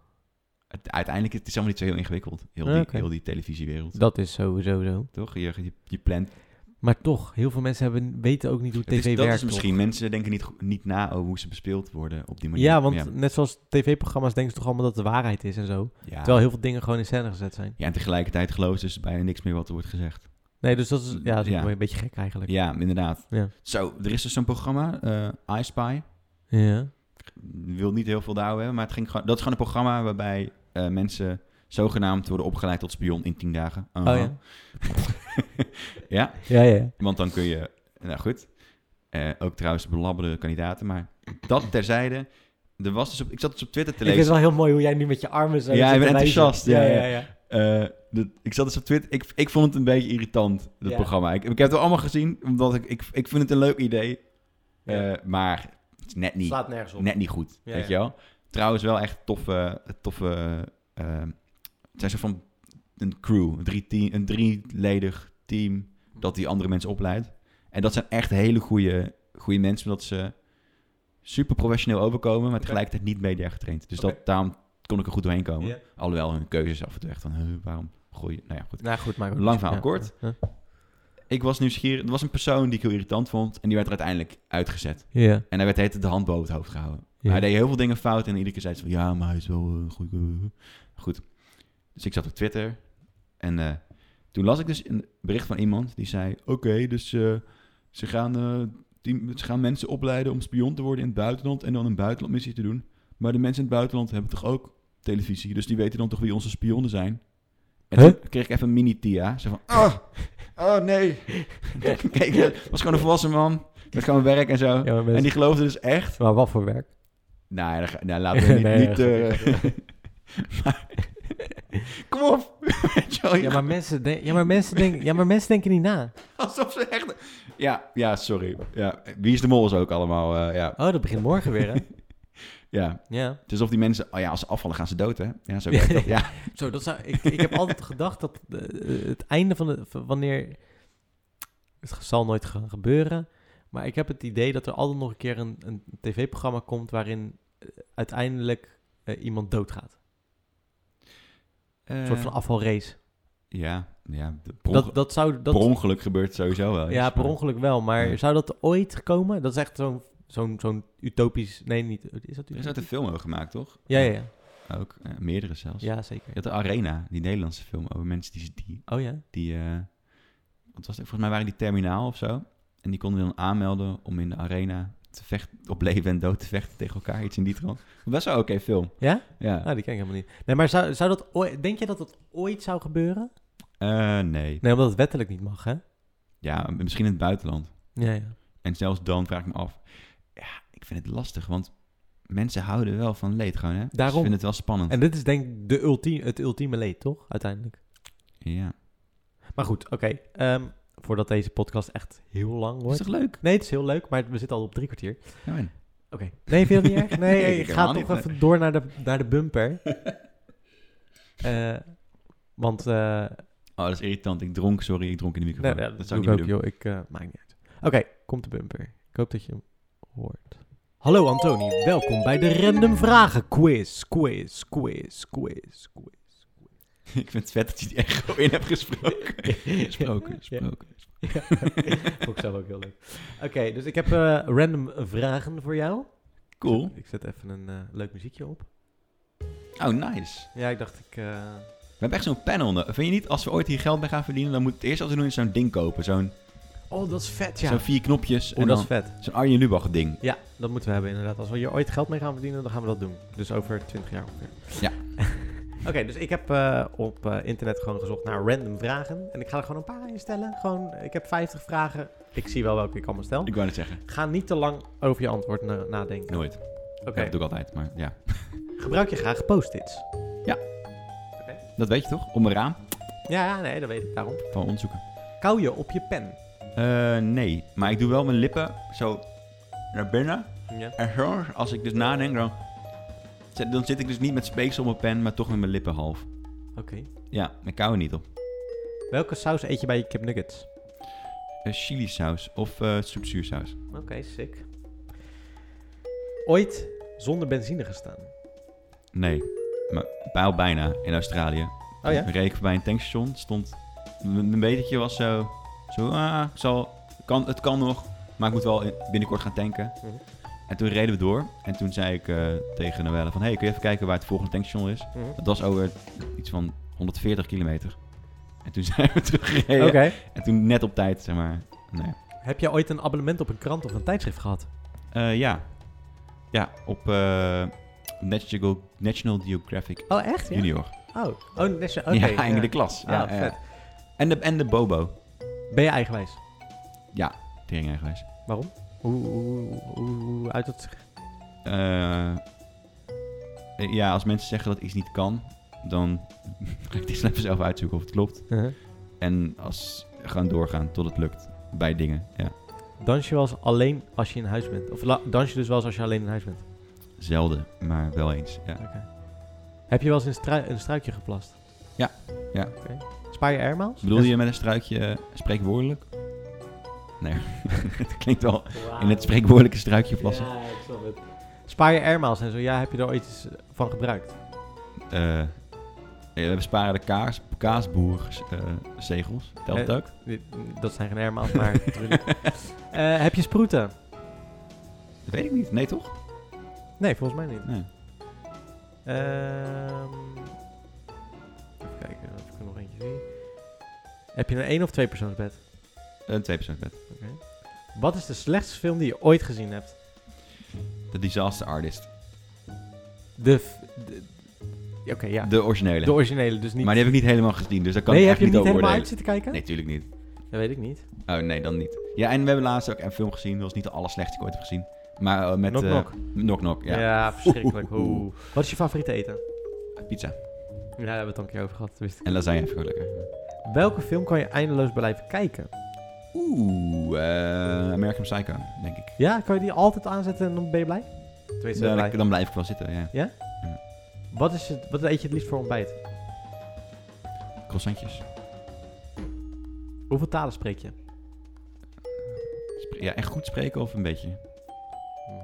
A: Het- uiteindelijk het is allemaal niet zo heel ingewikkeld. Heel die,
B: Ah, oké.
A: heel die televisiewereld,
B: Dat is sowieso zo.
A: toch? Je, je, je plant
B: Maar toch, heel veel mensen hebben, weten ook niet hoe
A: Het
B: tv
A: is- dat
B: werkt.
A: is misschien. Mensen denken niet, goed- niet na over hoe ze bespeeld worden op die
B: toch?
A: manier.
B: Ja, want net zoals tv-programma's denken ze toch allemaal dat het de waarheid is en zo.
A: Ja.
B: Terwijl heel veel dingen gewoon in scène gezet zijn.
A: Ja, en tegelijkertijd geloven ze dus bijna niks meer wat er wordt gezegd.
B: Nee, dus dat is, ja, dat is ook
A: Ja.
B: wel een beetje gek eigenlijk.
A: Ja, inderdaad.
B: Ja.
A: Zo, er is dus zo'n programma, eh iSpy.
B: Ja.
A: Wil niet heel veel daarover hebben, maar het ging, gewoon- dat is gewoon een programma waarbij eh, mensen zogenaamd worden opgeleid tot spion in tien dagen. Uh-huh.
B: Oh ja.
A: Ja,
B: Ja, ja. ja.
A: want dan kun je, nou goed, Eh, ook trouwens belabberde kandidaten, maar dat terzijde. Er was dus op, ik zat dus op Twitter te
B: Ik vind het
A: lezen.
B: wel heel mooi hoe jij nu met je armen zo
A: Ja,
B: zit
A: ik ben
B: te wijzen.
A: enthousiast, ja,
B: ja,
A: ja.
B: ja, ja.
A: Eh, dat- ik zat dus op Twitter. Ik, ik vond het een beetje irritant, dat
B: Ja.
A: programma. Ik, ik heb het wel allemaal gezien, omdat ik, ik, ik vind het een leuk idee.
B: Ja.
A: Eh, maar het is net niet,
B: Slaat nergens op.
A: net niet goed,
B: Ja,
A: weet
B: ja.
A: je wel. Trouwens wel echt toffe... toffe eh, het zijn zo van een crew, een, drie team, een drieledig team dat die andere mensen opleidt. En dat zijn echt hele goede, goede mensen, omdat ze super professioneel overkomen, maar tegelijkertijd niet media getraind. Dus
B: Oké.
A: dat, daarom kon ik er goed doorheen komen.
B: Ja.
A: Alhoewel hun keuzes af en toe echt van, huh, waarom gooi je... Nou ja, goed.
B: Nou goed, maar...
A: Lang verhaal
B: Ja.
A: kort.
B: Ja.
A: Ik was nieuwsgierig. Er was een persoon die ik heel irritant vond en die werd er uiteindelijk uitgezet.
B: Ja.
A: En hij werd de hele tijd de hand boven het hoofd gehouden.
B: Ja.
A: Hij deed heel veel dingen fout en iedere keer zei ze van, ja, maar hij is wel eh, goed. eh, Goed. Dus ik zat op Twitter en eh, toen las ik dus een bericht van iemand die zei, oké, dus eh, ze, gaan, eh, die- ze gaan mensen opleiden om spion te worden in het buitenland en dan een buitenlandmissie te doen. Maar de mensen in het buitenland hebben toch ook televisie, dus die weten dan toch wie onze spionnen zijn. En
B: Huh?
A: toen kreeg ik even een mini-tia. Zo van, oh, oh nee. Kijk, het was gewoon een volwassen man met gewoon werk en zo.
B: Ja, maar,
A: En
B: mensen-
A: die geloofde dus echt
B: maar wat voor werk?
A: nou, ja, dan ga- nou, laten we niet...
B: Nee,
A: niet
B: ja,
A: eh, maar- kom op! Weet je wel,
B: Ja, maar mensen, de- ja, maar mensen, denken, ja, maar mensen denken niet na.
A: Alsof ze echt... Ja, ja, sorry. Ja, wie is de mol is ook allemaal... eh, ja.
B: Oh, dat begint morgen weer, hè?
A: ja,
B: Ja.
A: het is alsof die mensen... Oh ja, als ze afvallen gaan ze dood, hè? Ja, zo werkt dat. Ja,
B: Zo, dat zou, ik, ik heb altijd gedacht dat eh, het einde van de... van wanneer... Het zal nooit gaan gebeuren. Maar ik heb het idee dat er altijd nog een keer een, een tv-programma komt... waarin eh, uiteindelijk eh, iemand doodgaat. Een soort van afvalrace.
A: Eh, Ja, ja. de- Per, onge-
B: Dat, dat zou...
A: per
B: Dat,
A: ongeluk gebeurt het sowieso wel. eens,
B: ja, per
A: maar-
B: ongeluk wel. Maar
A: Ja.
B: zou dat ooit komen? Dat is echt zo'n zo'n zo'n utopisch... Nee, niet... Is dat
A: Er is
B: utopisch?
A: net een film over gemaakt, toch?
B: Ja, ja, ja.
A: Ook eh, meerdere zelfs.
B: Ja, zeker.
A: Je had de Arena, die Nederlandse film over mensen die, die
B: Oh ja?
A: die, eh, wat was het? Volgens mij waren die terminaal of zo. En die konden dan aanmelden om in de arena te vechten, op leven en dood te vechten tegen elkaar. Iets in die trant. Best wel een oké film.
B: Ja?
A: Ja.
B: Nou, die ken ik helemaal niet. Nee, maar zou, zou dat ooit, denk je dat dat ooit zou gebeuren?
A: Eh, nee.
B: Nee, omdat het wettelijk niet mag, hè?
A: Ja, misschien in het buitenland.
B: Ja, ja.
A: En zelfs dan vraag ik me af. Ja, ik vind het lastig, want mensen houden wel van leed gewoon, hè? Ze
B: Daarom.
A: vinden het wel spannend.
B: En dit is denk ik de ultie, het ultieme leed, toch? Uiteindelijk.
A: Ja.
B: Maar goed, oké. ehm, voordat deze podcast echt heel lang
A: Is
B: wordt.
A: toch leuk?
B: Nee, het is heel leuk, maar we zitten al op drie kwartier. Oké.
A: Ja, man.
B: Nee, vind je dat niet erg? Nee,
A: Nee,
B: ik ga
A: helemaal
B: toch
A: niet,
B: even door naar de, naar de bumper. Eh, want, eh,
A: Oh, dat is irritant. Ik dronk, sorry, ik dronk in de
B: nee,
A: microfoon.
B: nee,
A: dat
B: Nou doe
A: zou
B: ik
A: ik niet
B: ook,
A: meer doen.
B: joh. Ik eh, maak maakt niet uit. Oké, komt de bumper. Ik hoop dat je hem hoort. Hallo Antoni, welkom bij de Random Vragen Quiz. Quiz, quiz, quiz, quiz.
A: ik vind het vet dat je die echt gewoon in hebt gesproken. gesproken,
B: Ja.
A: gesproken.
B: Ja, vond ik zelf ook heel leuk. Oké, dus ik heb eh, random vragen voor jou.
A: Cool.
B: Ik zet even een eh, leuk muziekje op.
A: Oh, nice.
B: Ja, ik dacht ik... eh,
A: We hebben echt zo'n panel. nodig. Vind je niet, als we ooit hier geld mee gaan verdienen, dan moet het eerst als we doen is zo'n ding kopen. Zo'n
B: Oh, dat is vet,
A: zo'n vier knopjes
B: Oh,
A: en
B: dat is
A: dan
B: vet.
A: zo'n Arjen Lubach ding.
B: Ja, dat moeten we hebben inderdaad. Als we hier ooit geld mee gaan verdienen, dan gaan we dat doen. Dus over 20 jaar ongeveer.
A: Ja.
B: Oké, dus ik heb eh, op eh, internet gewoon gezocht naar random vragen. En ik ga er gewoon een paar instellen. Gewoon, ik heb 50 vragen. Ik zie wel welke ik allemaal stel.
A: Ik wou net zeggen,
B: Ga niet te lang over je antwoord na- nadenken.
A: nooit.
B: Oké.
A: Ja, dat doe ik altijd, maar ja.
B: Gebruik je graag post-its?
A: Ja. Dat weet je toch? Om een raam
B: Ja, ja, nee, dat weet ik daarom.
A: van onderzoeken.
B: Kou je op je pen?
A: Eh, nee, maar ik doe wel mijn lippen zo naar binnen.
B: Ja.
A: En zo, als ik dus nadenk, dan, zit- dan zit ik dus niet met speeksel op mijn pen, maar toch met mijn lippen half.
B: Oké.
A: Ja, ik kou er niet op.
B: Welke saus eet je bij je kipnuggets?
A: Eh, chili saus of eh zoetzuursaus.
B: Oké, sick. Ooit zonder benzine gestaan?
A: Nee, maar bijl bijna in Australië.
B: Oh ja?
A: Ik reed voorbij een tankstation, stond... Mijn metertje was zo... Zo, ah, ik zal, kan, het kan nog, maar ik moet wel in- binnenkort gaan tanken.
B: Mhm.
A: En toen reden we door. En toen zei ik eh, tegen Noelle van... Hey, kun je even kijken waar het volgende tankstation is?
B: Mhm.
A: Dat was over iets van 140 kilometer. En toen zijn we teruggereden.
B: Oké.
A: En toen net op tijd, zeg maar. Nou ja.
B: Heb jij ooit een abonnement op een krant of een tijdschrift gehad?
A: Eh, ja. ja, op eh, National, National Geographic
B: Oh, echt? Ja?
A: Junior.
B: Oh, oh, dat is- oké.
A: ja, eigenlijk de klas. Ja,
B: Ah,
A: ja,
B: vet.
A: ja. En, de, en de Bobo.
B: Ben je eigenwijs?
A: Ja, tering eigenwijs.
B: Waarom? Hoe, hoe, hoe, hoe uit het...
A: Eh, ja, als mensen zeggen dat iets niet kan, dan ga ik dit snel even zelf uitzoeken of het klopt.
B: Uh-huh.
A: En als gaan doorgaan tot het lukt bij dingen. Ja,
B: Dans je wel eens alleen als je in huis bent? Of la- dans je dus wel eens als je alleen in huis bent?
A: zelden, maar wel eens. Ja.
B: Heb je wel eens een, strui- een struikje geplast?
A: Ja, ja.
B: Oké. Spaar je airmaals?
A: Bedoel je met een struikje eh, spreekwoordelijk? Nee, het klinkt wel in het spreekwoordelijke struikje plassen.
B: Ja, ik snap het. Spaar je airmaals en zo? Ja, heb je daar ooit iets van gebruikt?
A: Eh, ja, we sparen de kaas, kaasboerzegels. Telt dat ook?
B: Dit- Dat zijn geen airmaals, maar... natuurlijk. Eh, heb je sproeten?
A: Dat weet ik niet. Nee, toch?
B: Nee, volgens mij niet.
A: Nee.
B: Ehm, even kijken of ik er nog eentje zie. Heb je een één of twee persoons bed?
A: Een 2% bed.
B: Wat is de slechtste film die je ooit gezien hebt?
A: De Disaster Artist.
B: De... f- de- Oké, ja.
A: De originele.
B: De originele, dus niet...
A: Maar die heb ik niet helemaal gezien, dus daar kan
B: nee,
A: ik
B: heb
A: echt
B: je hem
A: niet
B: niet
A: over
B: helemaal
A: oordelen.
B: uit zitten kijken?
A: Nee, natuurlijk niet.
B: Dat weet ik niet.
A: Oh, nee, dan niet. Ja, en we hebben laatst ook een film gezien. Dat was niet de allerslechtste die ik ooit heb gezien. Maar eh, met...
B: Knock,
A: eh,
B: knock.
A: knock, knock,
B: Ja,
A: ja.
B: verschrikkelijk. Oeh. Wat is je favoriete eten?
A: Pizza.
B: Ja, daar hebben we het al een keer over gehad. wist ik.
A: En lasagne even lekker.
B: Welke film kan je eindeloos blijven kijken?
A: Oeh, eh American Psycho, denk ik.
B: Ja, kan je die altijd aanzetten en dan ben je blij? Tenminste,
A: Dan,
B: blij.
A: dan blijf ik wel zitten, ja.
B: Wat, is het, wat eet je het liefst voor ontbijt?
A: Croissantjes.
B: Hoeveel talen spreek je?
A: Spre- Ja, echt goed spreken of een beetje?
B: Mm,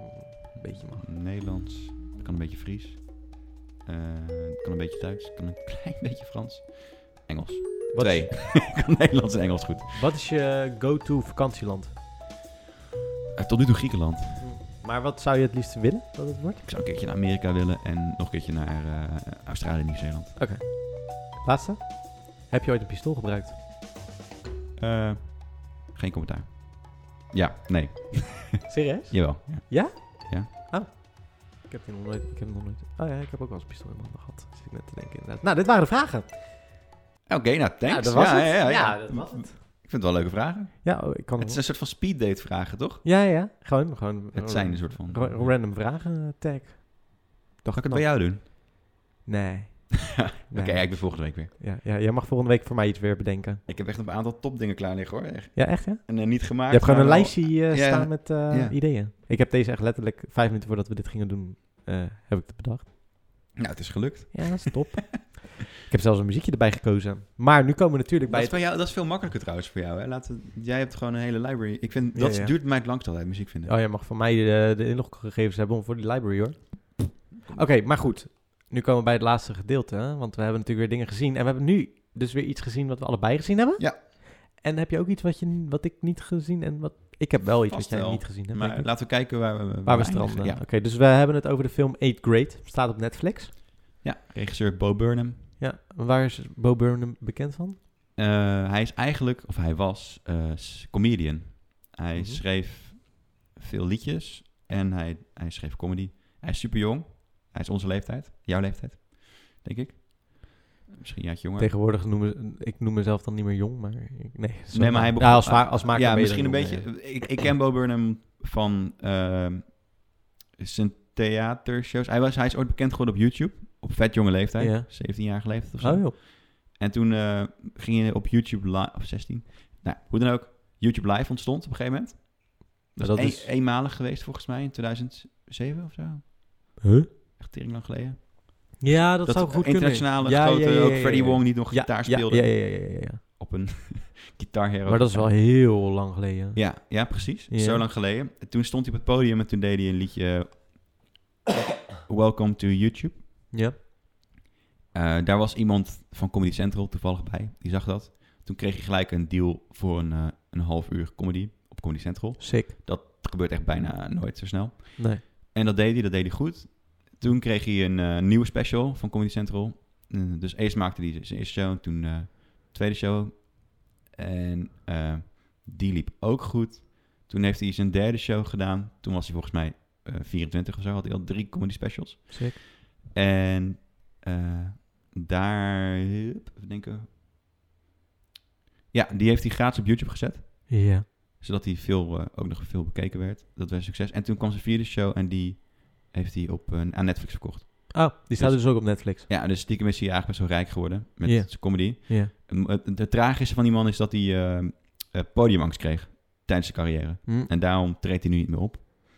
B: Een beetje man.
A: Nederlands. Ik kan een beetje Fries. Eh, ik kan een beetje Duits. Ik kan een klein beetje Frans. Engels.
B: Wat
A: Twee. ik kan Nederlands en Engels goed.
B: Wat is je go-to vakantieland?
A: Eh, tot nu toe Griekenland.
B: Maar wat zou je het liefst willen dat het wordt?
A: Ik zou een keertje naar Amerika willen en nog een keertje naar eh, Australië en Nieuw-Zeeland.
B: Laatste. Heb je ooit een pistool gebruikt?
A: Eh, geen commentaar. Ja, nee.
B: Serieus?
A: Jawel. Ja.
B: Ik heb die nog nooit. Ik heb nog nooit. Oh ja, ik heb ook wel eens een pistool in mijn handen gehad. Zit ik net te denken inderdaad. Nou, dit waren de vragen.
A: Oké, nou, thanks.
B: Ja, dat was
A: ja,
B: het.
A: Ja, ja, ja.
B: dat was het.
A: Ik vind het wel leuke vragen.
B: Ja, oh, ik kan
A: Het is een soort van speeddate vragen, toch?
B: Ja, ja, ja. Gewoon, gewoon.
A: Het zijn een soort van...
B: ra-
A: Ga
B: random vragen eh, tag. Toch
A: ik het bij jou doen?
B: Nee.
A: Oké, ik ben volgende week weer.
B: Ja, ja, jij mag volgende week voor mij iets weer bedenken.
A: Ik heb echt een aantal topdingen klaar liggen, hoor. Echt.
B: Ja, echt ja?
A: En eh, niet gemaakt.
B: Je hebt gewoon een
A: maar wel-
B: lijstje eh,
A: Ja,
B: staan met eh,
A: ja.
B: ideeën. Ik heb deze echt letterlijk vijf minuten voordat we dit gingen doen, eh, heb ik het bedacht.
A: Nou, het is gelukt.
B: Ja, dat is top. ik heb zelfs een muziekje erbij gekozen. Maar nu komen we natuurlijk
A: Dat
B: bij
A: is,
B: het...
A: bij jou, dat is veel makkelijker trouwens voor jou. Hè? Laten, jij hebt gewoon een hele library. Ik vind,
B: Ja,
A: dat
B: ja.
A: duurt mij het langst altijd, muziek vinden.
B: Oh, jij mag van mij eh, de inloggegevens hebben om voor die library hoor. Oké, maar goed. Nu komen we bij het laatste gedeelte. Hè? Want we hebben natuurlijk weer dingen gezien. En we hebben nu dus weer iets gezien wat we allebei gezien hebben.
A: Ja.
B: En heb je ook iets wat, je, wat ik niet gezien en wat... Ik heb wel iets
A: Vast
B: wat jij
A: wel.
B: niet gezien hebt. denk
A: maar
B: ik.
A: laten we kijken waar we,
B: Waar we
A: eindigen.
B: stranden. Oké,
A: Ja.
B: dus we hebben het over de film Eight Grade. Staat op Netflix.
A: ja, regisseur Bo Burnham.
B: Ja, waar is Bo Burnham bekend van?
A: Eh, hij is eigenlijk, of hij was, eh, s- comedian. Hij
B: Mhm.
A: schreef veel liedjes en hij, hij schreef comedy. Hij is super jong. Hij is onze leeftijd, jouw leeftijd, denk ik. Misschien een jaartje jonger.
B: Tegenwoordig noemen ze- ik noem mezelf dan niet meer jong, maar ik, nee. zo-
A: Nee, maar hij begon-
B: ja, als, ma- als maker
A: ja,
B: ben je
A: misschien een
B: dan jong,
A: beetje.
B: ja.
A: Ik, ik ken Bo Burnham van ehm, zijn theatershows. Hij, was, hij is ooit bekend geworden op YouTube. Op vet jonge leeftijd.
B: Ja.
A: 17 jaar leeftijd of zo.
B: Oh, joh.
A: En toen eh, ging je op YouTube live, of 16. Nou, hoe dan ook, YouTube live ontstond op een gegeven moment. Dat,
B: Maar dat
A: is,
B: is-
A: een- eenmalig geweest volgens mij in 2007 of zo.
B: Huh?
A: Echt tering lang geleden.
B: Ja, dat, zou goed kunnen.
A: internationale
B: Ja, ja,
A: grote,
B: ja, ja,
A: ook
B: ja,
A: Freddie
B: ja.
A: Wong die nog
B: Ja,
A: gitaar
B: ja,
A: speelde
B: Ja, ja, ja, ja, ja.
A: op een gitaarhero.
B: Maar dat is wel heel lang geleden.
A: Ja, ja precies.
B: Ja.
A: Zo lang geleden. En toen stond hij op het podium en toen deed hij een liedje... eh, Welcome to YouTube.
B: Ja.
A: Eh, daar was iemand van Comedy Central toevallig bij. Die zag dat. Toen kreeg hij gelijk een deal voor een, eh, een half uur comedy op Comedy Central.
B: Sick.
A: Dat gebeurt echt bijna nooit zo snel.
B: Nee.
A: En dat deed hij, dat deed hij goed. Toen kreeg hij een eh, nieuwe special van Comedy Central. Eh, dus eerst maakte hij zijn eerste show, toen eh tweede show. En eh, die liep ook goed. Toen heeft hij zijn derde show gedaan. Toen was hij volgens mij eh, 24 of zo, had hij al drie comedy specials.
B: Sick.
A: En eh, daar, hup, even denken. Ja, die heeft hij gratis op YouTube gezet
B: Ja.
A: zodat hij veel, eh, ook nog veel bekeken werd. Dat werd een succes. En toen kwam zijn vierde show en die heeft hij op, een aan Netflix verkocht.
B: Oh, die staat dus, ook op Netflix.
A: Ja, dus stiekem is hij eigenlijk best wel rijk geworden met
B: Ja.
A: zijn comedy.
B: Ja.
A: En Het, het tragische van die man is dat hij eh, eh, podiumangst kreeg tijdens zijn carrière.
B: Hm.
A: En daarom treedt hij nu niet meer op.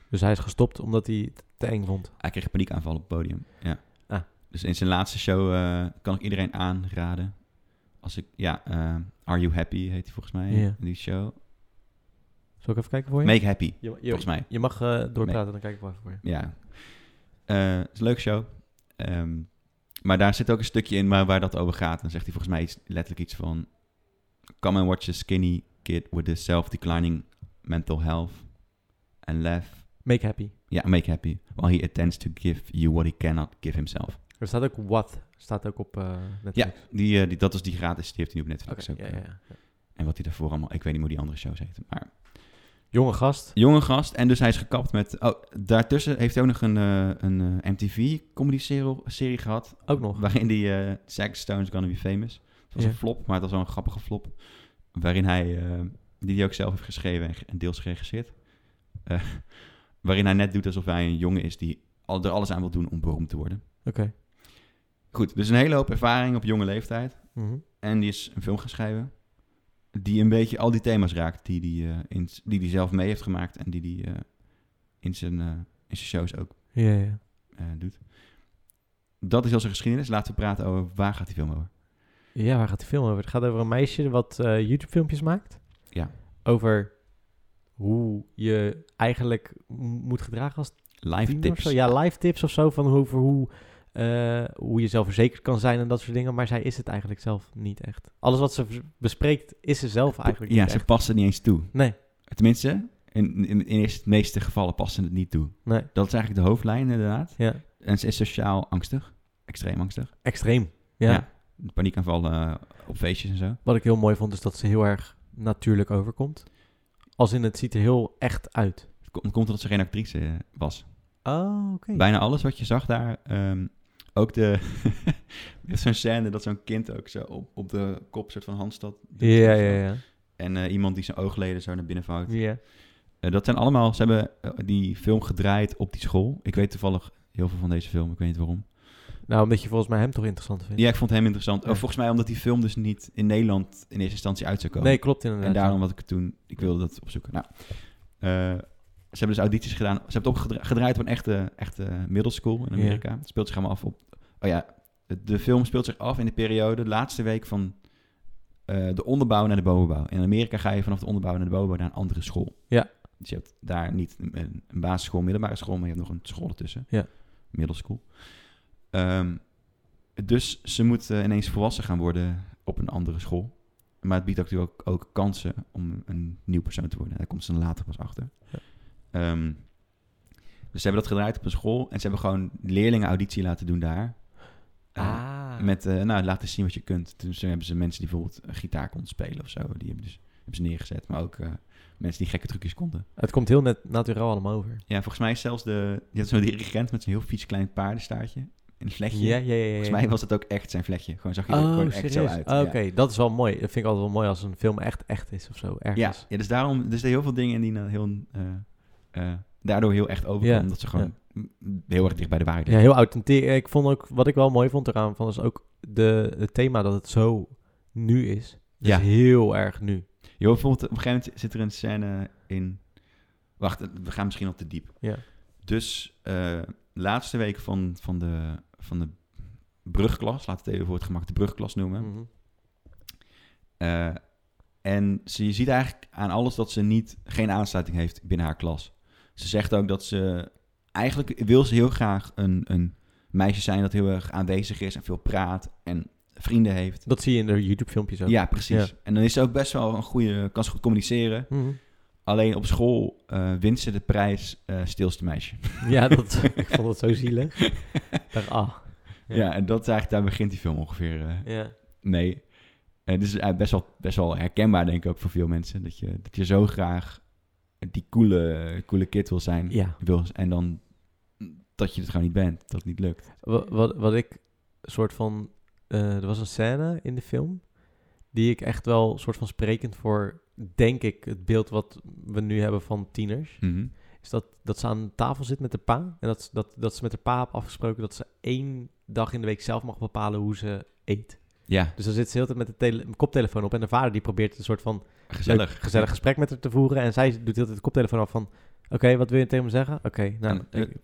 B: Dus hij is gestopt omdat hij het te eng vond.
A: Hij kreeg paniekaanval op het podium. Ja.
B: Ah.
A: Dus in zijn laatste show eh, kan ik iedereen aanraden. Als ik, ja, eh, Are You Happy heet hij volgens mij,
B: Ja.
A: die show.
B: Zal ik even kijken voor je?
A: Make Happy,
B: je, je,
A: volgens mij.
B: je mag eh, doorpraten, dan kijk ik wel even voor je.
A: Ja. Eh, het is een leuke show. Ehm, maar daar zit ook een stukje in waar, waar dat over gaat. Dan zegt hij volgens mij iets, letterlijk iets van... Come and watch a skinny kid with a self-declining mental health. And laugh.
B: Make happy.
A: Ja, make happy. While he attempts to give you what he cannot give himself.
B: Er staat ook what, staat ook op eh Netflix.
A: Ja, die, eh, die, dat is die gratis. Die heeft hij nu op Netflix
B: Oké,
A: ook.
B: ja,
A: eh.
B: ja, ja.
A: En wat hij daarvoor allemaal... Ik weet niet hoe die andere shows heten. Maar
B: Jonge gast.
A: jonge gast. En dus hij is gekapt met... Oh, daartussen heeft hij ook nog een, eh, een eh, MTV comedy serie- serie gehad.
B: Ook nog.
A: Waarin die eh Sax Stones Gonna Be Famous. Het was
B: Ja.
A: een flop, maar het was wel een grappige flop. Waarin hij, eh, die hij ook zelf heeft geschreven en, ge- en deels geregisseerd. Eh, waarin hij net doet alsof hij een jongen is die al, er alles aan wil doen om beroemd te worden.
B: Oké.
A: Goed, dus een hele hoop ervaring op jonge leeftijd.
B: Mhm.
A: En die is een film gaan schrijven. Die een beetje al die thema's raakt die, die, eh, in, z- die die zelf mee heeft gemaakt. En die die eh, in, zijn, eh, in zijn shows ook
B: Ja, ja.
A: eh, doet. Dat is al zijn geschiedenis. Laten we praten over waar gaat die film over.
B: Ja, waar gaat die film over? Het gaat over een meisje wat eh, YouTube-filmpjes maakt.
A: Ja.
B: Over hoe je eigenlijk m- moet gedragen als
A: Live
B: tiener
A: tips.
B: Of zo. Ja, live tips of zo van hoe- over hoe, eh, hoe je zelfverzekerd kan zijn en dat soort dingen. Maar zij is het eigenlijk zelf niet echt. Alles wat ze v- bespreekt, is ze zelf eigenlijk
A: ja,
B: niet
A: ze
B: echt.
A: passen niet eens toe.
B: Nee,
A: Tenminste, in, in, in eerst- de meeste gevallen passen het niet toe.
B: nee,
A: Dat is eigenlijk de hoofdlijn inderdaad.
B: ja.
A: En ze is sociaal angstig. Extreem angstig.
B: Extreem. Ja.
A: Ja. Paniekaanvallen eh, op feestjes en zo.
B: Wat ik heel mooi vond, is dat ze heel erg natuurlijk overkomt. Als in, het ziet er heel echt uit.
A: Het komt, komt omdat ze geen actrice eh, was.
B: Oh, oké.
A: Bijna alles wat je zag daar, ehm, ook de... er is zo'n scène dat zo'n kind ook zo op, op de kop soort van handstad.
B: Ja, ja, ja.
A: En eh, iemand die zijn oogleden zo naar binnen vouwt.
B: Ja.
A: Eh, dat zijn allemaal, ze hebben eh, die film gedraaid op die school. Ik weet toevallig heel veel van deze film, ik weet niet waarom.
B: Nou, omdat je volgens mij hem toch interessant vindt.
A: Ja, ik vond hem interessant.
B: Ja.
A: Oh, volgens mij omdat die film dus niet in Nederland in eerste instantie uit zou komen.
B: Nee, klopt inderdaad.
A: en daarom wat ik het toen, ik wilde dat opzoeken. Nou, eh, ze hebben dus audities gedaan. Ze hebben het ook gedra- gedraaid op een echte, echte middle school in
B: Ja.
A: Amerika. Het speelt zich allemaal af op... Oh ja, de- de film speelt zich af in de periode, de laatste week van eh, de onderbouw naar de bovenbouw. In Amerika ga je vanaf de onderbouw naar de bovenbouw naar een andere school.
B: Ja.
A: Dus je hebt daar niet een, een basisschool, middelbare school, maar je hebt nog een school ertussen.
B: Ja.
A: Middle school. Ehm, dus ze moet eh, ineens volwassen gaan worden op een andere school. Maar het biedt natuurlijk ook, ook kansen om een nieuw persoon te worden. Daar komt ze dan later pas achter.
B: Ja.
A: Ehm, dus ze hebben dat gedraaid op een school. En ze hebben gewoon leerlingen auditie laten doen daar. Eh,
B: Ah.
A: Met, eh, nou, laat eens zien wat je kunt. Toen ze- hebben ze mensen die bijvoorbeeld een gitaar konden spelen of zo. Die hebben, dus, hebben ze neergezet. Maar ook eh, mensen die gekke trucjes konden.
B: Het komt heel net natuurlijk allemaal over.
A: Ja, volgens mij is zelfs de... Je had zo'n dirigent met zo'n heel vies klein paardenstaartje. een vlekje.
B: Ja, ja, ja. ja.
A: Volgens mij was het ook echt zijn vlekje. Gewoon zag je er
B: Oh,
A: gewoon echt
B: serieus?
A: zo uit.
B: Oh,
A: Ja.
B: Oké, dat is wel mooi. Dat vind ik altijd wel mooi als een film echt echt is of zo,
A: Ja,
B: ergens.
A: ja, dus daarom, er zijn heel veel dingen in die nou heel, eh, eh, daardoor heel echt overkomen.
B: Ja,
A: Omdat ze gewoon m- heel erg dicht bij de waarheid
B: Ja,
A: liggen.
B: heel authentiek. Ik vond ook, wat ik wel mooi vond eraan, van is ook de, het thema dat het zo nu is. Het
A: Ja.
B: is heel erg nu.
A: Joh, bijvoorbeeld op een gegeven moment zit er een scène in... Wacht, we gaan misschien al te diep.
B: Ja.
A: Dus eh, laatste week van, van, de, van de brugklas, laat het even voor het gemak de brugklas noemen.
B: Mhm.
A: Eh, en ze, je ziet eigenlijk aan alles dat ze niet, geen aansluiting heeft binnen haar klas. Ze zegt ook dat ze... Eigenlijk wil ze heel graag een, een meisje zijn dat heel erg aanwezig is en veel praat en vrienden heeft.
B: Dat zie je in de YouTube-filmpjes ook.
A: Ja, precies. En dan is ze ook best wel een goede... Kan ze goed communiceren.
B: Mhm.
A: Alleen op school eh wint ze de prijs eh, stilste meisje.
B: Ja, dat, ik vond het zo zielig. Ik dacht, ah. Ja.
A: Ja. en dat is eigenlijk... Daar begint die film ongeveer eh,
B: Ja.
A: mee. Eh, dit is eigenlijk best wel, best wel herkenbaar, denk ik, ook voor veel mensen. Dat je, dat je zo graag die coole, coole kid wil zijn.
B: ja.
A: Wil, en dan dat je het gewoon niet bent. Dat het niet lukt.
B: Wa- Wat, wat ik soort van... eh, er was een scène in de film die ik echt wel soort van sprekend voor, denk ik, het beeld wat we nu hebben van tieners.
A: Mhm.
B: is dat, dat ze aan tafel zit met de pa. En dat, dat, dat ze met de pa heeft afgesproken dat ze één dag in de week zelf mag bepalen hoe ze eet.
A: Ja,
B: Dus dan zit ze heel de tijd met de tele- koptelefoon op. En de vader die probeert een soort van
A: gezellig.
B: leuk, gezellig gesprek met haar te voeren. En zij doet heel de hele tijd de koptelefoon af van... Oké, wat wil je tegen me zeggen? Oké, nou,
A: En,
B: ik-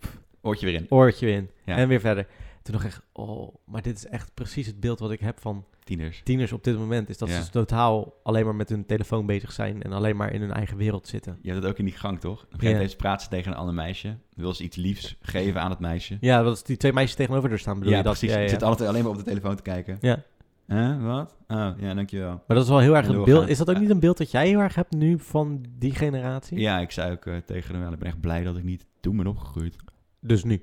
A: Oortje weer in.
B: oortje in.
A: Ja.
B: En weer verder. Toen nog echt, oh, maar dit is echt precies het beeld wat ik heb van
A: Tieners.
B: tieners op dit moment. Is dat
A: Ja.
B: ze dus totaal alleen maar met hun telefoon bezig zijn en alleen maar in hun eigen wereld zitten.
A: Je hebt het ook in die gang, toch? Op een gegeven
B: Ja.
A: moment praat ze tegen een ander meisje. Wil ze iets liefs geven aan het meisje.
B: Ja, dat is die twee meisjes tegenover haar staan, bedoel
A: ja,
B: je dat?
A: precies.
B: Ja, ja,
A: Je
B: ja.
A: Zit altijd alleen maar op de telefoon te kijken.
B: Ja.
A: Hè, wat? Oh, ja, dankjewel.
B: Maar dat is wel heel erg
A: En
B: een beeld.
A: doorgaan.
B: Is dat ook
A: Ja.
B: niet een beeld dat jij heel erg hebt nu van die generatie?
A: Ja, ik zei ook eh, tegen hem, wel, ik ben echt blij dat ik niet toen ben opgegroeid.
B: Dus nu.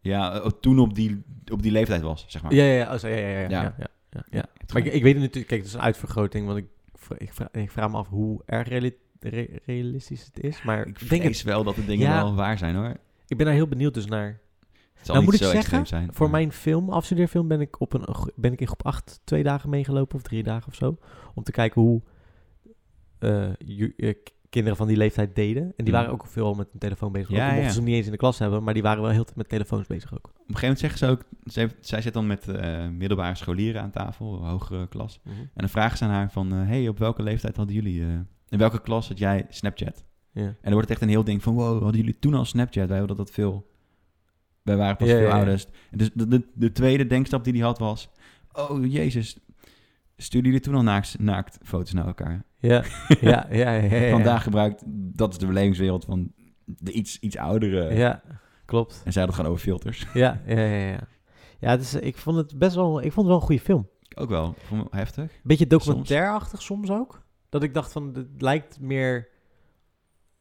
A: Ja, eh, toen op die, op die leeftijd was, zeg maar.
B: Ja, ja, ja. oh, zo, ja, ja, ja, ja,
A: Ja.
B: ja, ja, ja, ja.
A: Het is
B: Maar ik,
A: gewoon-
B: ik weet het natuurlijk. Kijk, het is een uitvergroting, want ik, vra- ik, vraag, ik vraag me af hoe erg reali- re- realistisch het is. Maar
A: ik
B: ik denk
A: denk
B: het,
A: wel dat de dingen
B: Ja.
A: wel waar zijn, hoor.
B: Ik ben daar heel benieuwd dus naar.
A: Het zal
B: Nou,
A: niet
B: moet ik
A: zo extreem
B: zeggen,
A: zijn.
B: Voor
A: Ja.
B: mijn film, afstudeerfilm, ben ik, op een, ben ik in groep 8 twee dagen meegelopen of drie dagen of zo. Om te kijken hoe eh, ju- eh, k- kinderen van die leeftijd deden. En die
A: Ja.
B: waren ook veel met hun telefoon bezig.
A: Ja,
B: ook al mochten
A: ja.
B: ze hem niet eens in de klas hebben, maar die waren wel heel de tijd met telefoons bezig ook.
A: Op een gegeven moment zeggen ze ook... Ze heeft- zij zit dan met eh, middelbare scholieren aan tafel, hogere klas. En dan vragen ze aan haar van... eh, hey, op welke leeftijd hadden jullie... eh, in welke klas had jij Snapchat? En
B: Ja.
A: dan wordt het echt een heel ding van... Wow, hadden jullie toen al Snapchat? Wij hadden dat veel... Wij waren pas
B: Ja,
A: veel
B: ja, ja.
A: ouders. En Dus de, de, de tweede denkstap die hij had was... Oh, jezus... Stuurden jullie toen al naakt, naakt foto's naar elkaar?
B: Ja, ja, ja, ja, ja, ja.
A: vandaag gebruikt, dat is de belevingswereld van de iets, iets oudere.
B: Ja, klopt.
A: En zij dat gewoon over filters.
B: Ja, ja, ja, ja. Ja, het is, ik vond het best wel, ik vond het wel een goede film.
A: Ook wel, Ik vond het heftig.
B: Beetje documentairachtig soms. ook. Dat ik dacht van, het lijkt meer...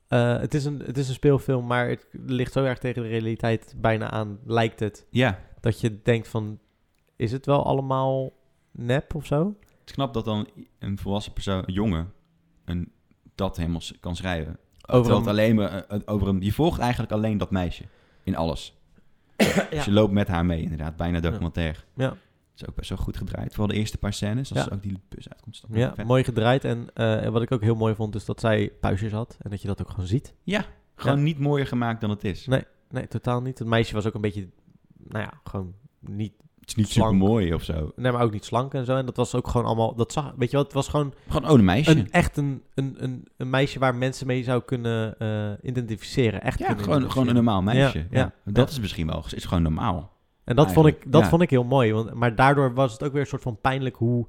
B: eh, het, is een, het is een speelfilm, maar het ligt zo erg tegen de realiteit bijna aan, lijkt het.
A: Ja, het
B: Dat je denkt van, is het wel allemaal nep of zo?
A: is knap dat dan een volwassen persoon, een jongen, een, dat helemaal s- kan schrijven.
B: Over
A: Terwijl
B: een-
A: het alleen maar eh, eh, over hem, je volgt eigenlijk alleen dat meisje in alles. Dus je
B: ja.
A: loopt met haar mee, inderdaad, bijna documentair.
B: Ja.
A: Het is ook best wel goed gedraaid. Vooral de eerste paar scènes, als
B: Ja.
A: ook die bus uitkomt. is dat wel
B: ja,
A: vet.
B: mooi gedraaid. En eh, wat ik ook heel mooi vond, is dat zij puistjes had. En dat je dat ook gewoon ziet.
A: Gewoon niet mooier gemaakt dan het is.
B: Nee, totaal niet. Het meisje was ook een beetje, nou ja, gewoon niet,
A: Het is niet
B: Slank.
A: super mooi of zo.
B: nee, maar ook niet slank en zo. En dat was ook gewoon allemaal, dat zag, weet je wel, het was gewoon
A: Gewoon oh, een meisje.
B: een, echt een, een, een, een meisje waar mensen mee zou kunnen eh, identificeren. Echt
A: Ja,
B: kunnen
A: gewoon, gewoon een
B: identificeren.
A: normaal meisje.
B: Ja,
A: Ja,
B: ja.
A: Dat
B: Ja.
A: is misschien wel, is gewoon normaal.
B: En dat, vond ik,
A: eigenlijk,
B: dat
A: ja.
B: vond ik heel mooi. Want, maar daardoor was het ook weer een soort van pijnlijk hoe,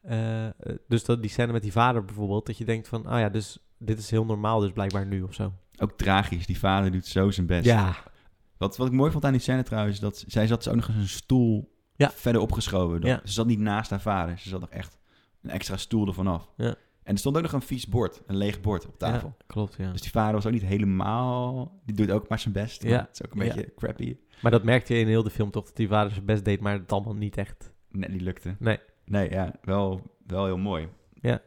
B: eh, eh, dus dat, die scène met die vader bijvoorbeeld, dat je denkt van, ah ja, dus dit is heel normaal dus blijkbaar nu of zo.
A: Ook tragisch, die vader doet zo zijn best.
B: Ja,
A: Wat, wat ik mooi vond aan die scène trouwens, dat z- zij zat zo ook nog eens een stoel
B: Ja.
A: verder opgeschoven. Dan-
B: Ja.
A: Ze zat niet naast haar vader, ze zat nog echt een extra stoel ervan af.
B: Ja.
A: En er stond ook nog een vies bord, een leeg bord op tafel.
B: Ja, klopt, ja.
A: Dus die vader was ook niet helemaal, die doet ook maar zijn best.
B: Ja.
A: maar Het is ook een
B: Ja.
A: beetje crappy.
B: Maar dat merkte je in heel de film toch, dat die vader zijn best deed, maar het allemaal niet echt.
A: Net niet lukte.
B: Nee.
A: Nee, ja, wel, wel heel mooi.
B: Ja.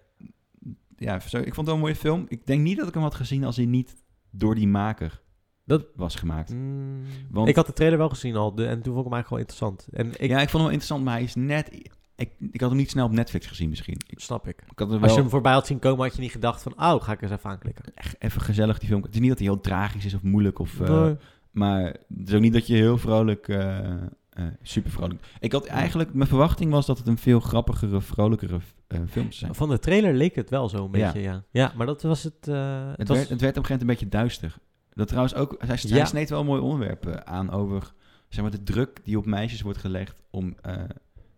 A: Ja, zo- ik vond het wel een mooie film. Ik denk niet dat ik hem had gezien als hij niet door die maker
B: Dat-
A: was gemaakt.
B: Mm,
A: Want-
B: Ik had de trailer wel gezien al de, en toen vond ik hem eigenlijk wel interessant. En ik
A: ja, ik vond hem wel interessant, maar hij is net... Ik, ik had hem niet snel op Netflix gezien misschien. Ik,
B: snap ik.
A: ik had er
B: Als je
A: wel
B: hem voorbij had zien komen, had je niet gedacht van, oh, ga ik eens even aanklikken.
A: echt even gezellig die film... Het is niet dat hij heel tragisch is of moeilijk of... eh,
B: Nee.
A: Maar het is ook niet dat je heel vrolijk... eh, eh, super vrolijk. Ik had eigenlijk... Mijn verwachting was dat het een veel grappigere, vrolijkere eh, film zou zijn.
B: Van de trailer leek het wel zo een
A: Ja.
B: beetje, ja. Ja, maar dat was het... eh, het
A: Het,
B: was,
A: werd, het werd op een gegeven moment een beetje duister. Dat trouwens ook, hij, hij
B: Ja.
A: sneed wel een mooi onderwerp eh, aan over zeg maar, de druk die op meisjes wordt gelegd om eh,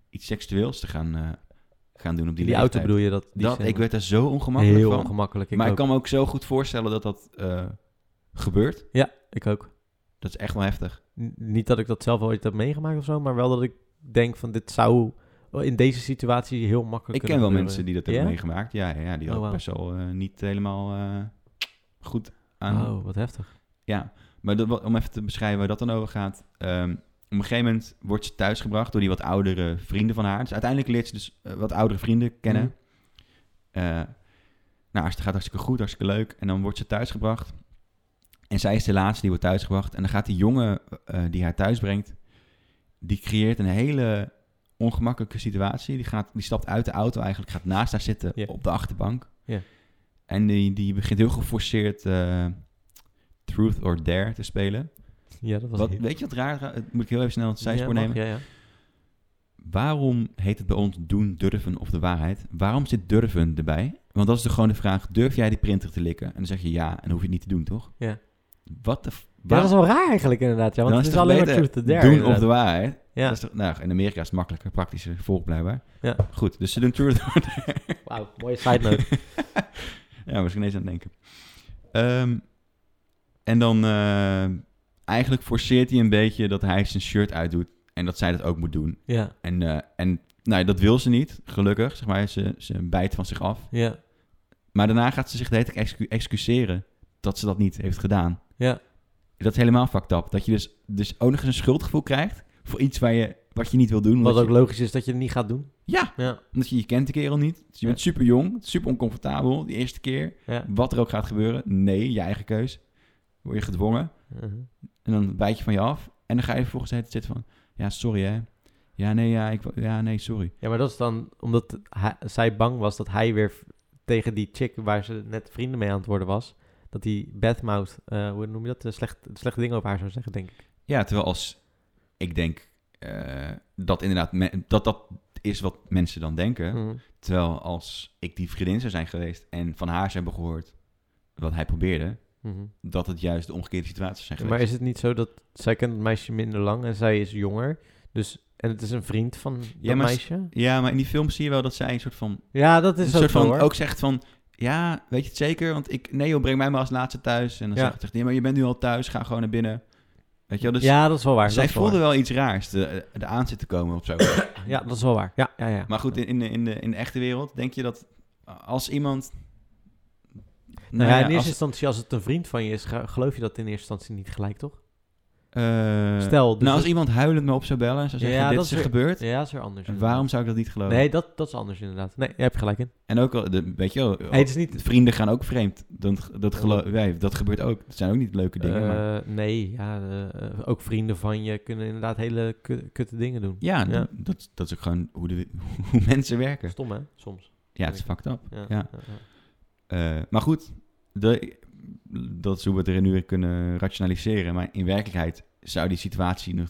A: iets seksueels te gaan, eh, gaan doen op die,
B: die auto
A: leeftijd.
B: bedoel je dat? Die
A: dat,
B: scène?
A: ik werd daar zo ongemakkelijk
B: Heel
A: van.
B: ongemakkelijk. Ik
A: maar
B: ook.
A: ik kan me ook zo goed voorstellen dat dat eh, gebeurt.
B: Ja, ik ook.
A: Dat is echt wel heftig.
B: N- niet dat ik dat zelf ooit heb meegemaakt of zo, maar wel dat ik denk van, dit zou in deze situatie heel makkelijk
A: Ik ken wel mensen die dat hebben
B: Ja?
A: meegemaakt. Ja, ja, ja die
B: Oh,
A: dat
B: wauw.
A: best wel eh, niet helemaal eh, goed aan,
B: Oh, wat heftig.
A: Ja, maar dat, wat- om even te beschrijven waar dat dan over gaat. Ehm, op een gegeven moment wordt ze thuisgebracht door die wat oudere vrienden van haar. Dus uiteindelijk leert ze dus eh, wat oudere vrienden kennen.
B: Mhm.
A: Eh, nou, het gaat hartstikke goed, hartstikke leuk. En dan wordt ze thuisgebracht. En zij is de laatste die wordt thuisgebracht. En dan gaat die jongen eh, die haar thuis brengt... die creëert een hele ongemakkelijke situatie. Die, gaat, die stapt uit de auto eigenlijk, gaat naast haar zitten
B: Ja.
A: op de achterbank.
B: Ja.
A: En die, die begint heel geforceerd eh, Truth or Dare te spelen.
B: Ja, dat was
A: Wat,
B: heel-
A: weet je wat raar? eh, Het moet ik heel even snel het zijspoor
B: Ja, mag,
A: nemen.
B: Ja, ja.
A: Waarom heet het bij ons doen, durven of de waarheid? Waarom zit durven erbij? Want dat is toch gewoon de vraag, durf jij die printer te likken? En dan zeg je ja, en dan hoef je het niet te doen, toch?
B: Ja.
A: Wat de... f-
B: Ja, dat
A: waar-
B: is wel raar eigenlijk inderdaad. Ja, want
A: dan
B: het is
A: toch
B: alleen maar
A: beter
B: truth to dare.
A: Doen of
B: inderdaad.
A: de waarheid?
B: Ja,
A: Dat is toch, nou, in Amerika is het makkelijker, praktischer, volk blijkbaar.
B: Ja.
A: Goed, dus ze doen truth or dare.
B: wauw, mooie side note.
A: ja, misschien eens aan het denken. Ehm, en dan eh, eigenlijk forceert hij een beetje dat hij zijn shirt uitdoet en dat zij dat ook moet doen.
B: ja,
A: En, eh, en nou, dat wil ze niet, gelukkig. Zeg maar, ze, ze bijt van zich af.
B: ja,
A: Maar daarna gaat ze zich de hele tijd excu- excuseren dat ze dat niet heeft gedaan.
B: ja.
A: Dat is helemaal fucked up. Dat je dus, dus ook nog eens een schuldgevoel krijgt voor iets waar je, wat je niet wil doen.
B: Wat
A: omdat
B: ook
A: je-
B: logisch is dat je het niet gaat doen.
A: Ja,
B: Ja,
A: omdat je je kent de kerel niet. Dus je bent super jong, super oncomfortabel die eerste keer.
B: ja.
A: Wat er ook gaat gebeuren, nee, je eigen keus. Word je gedwongen
B: Mhm.
A: en dan bijt je van je af. En dan ga je vervolgens de hele tijd zitten van, ja, sorry hè. Ja, nee, ja, ik, wou- ja, nee, sorry.
B: Ja, maar dat is dan omdat hij- zij bang was dat hij weer v- tegen die chick waar ze net vrienden mee aan het worden was, dat die badmouth, eh, hoe noem je dat, eh, slecht, slechte dingen over haar zou zeggen, denk ik.
A: Ja, terwijl als ik denk eh, dat inderdaad me- dat dat is wat mensen dan denken.
B: Mhm.
A: Terwijl als ik die vriendin zou zijn geweest en van haar zou hebben gehoord wat hij probeerde,
B: Mhm.
A: dat het juist de omgekeerde situatie zou zijn
B: Maar
A: geweest.
B: is het niet zo dat zij kent het meisje minder lang en zij is jonger, dus en het is een vriend van dat
A: maar s-
B: meisje?
A: Ja, maar in die film zie je wel dat zij een soort van,
B: Ja, dat is
A: een
B: ook
A: soort
B: zo,
A: van
B: hoor.
A: ook zegt van. Ja, weet je het zeker? Want ik, nee joh, breng mij maar als laatste thuis. En dan
B: Ja.
A: zegt hij, nee, maar je bent nu al thuis, ga gewoon naar binnen. Weet je wel, dus
B: ja, dat is wel waar.
A: zij
B: dat is wel
A: voelde wel iets raars, de, de aan zit te komen of zo.
B: waar. Ja, dat is wel waar. Ja, ja, ja. Nou
A: Maar goed, in, in, de, in, de, in de echte wereld denk je dat als iemand.
B: Nou ja, in
A: als-
B: eerste instantie, als het een vriend van je is, ge- geloof je dat in eerste instantie niet gelijk, toch?
A: eh,
B: Stel, dus
A: nou, als
B: dat-
A: iemand huilend me op zou bellen en zou zeggen:
B: Ja,
A: Dit
B: dat
A: is
B: is
A: er
B: weer-
A: gebeurd.
B: Ja, dat is weer anders.
A: En
B: inderdaad.
A: waarom zou ik dat niet geloven?
B: Nee, dat, dat is anders inderdaad. Nee, je hebt gelijk in.
A: En ook al, de, weet je wel,
B: Nee, het is niet... Oh.
A: vrienden gaan ook vreemd. Dat, dat, gelo- wij- dat gebeurt ook. Dat zijn ook niet leuke dingen. maar-
B: eh, nee, ja, eh, eh, ook vrienden van je kunnen inderdaad hele ku- kutte dingen doen.
A: ja,
B: ja.
A: Dat, dat is ook gewoon hoe, de, hoe mensen werken.
B: Stom, hè? Soms.
A: Ja, het is fucked up.
B: Ja.
A: Ja. Eh, maar goed, de, dat is hoe we het er nu weer kunnen rationaliseren. Maar in werkelijkheid zou die situatie nog...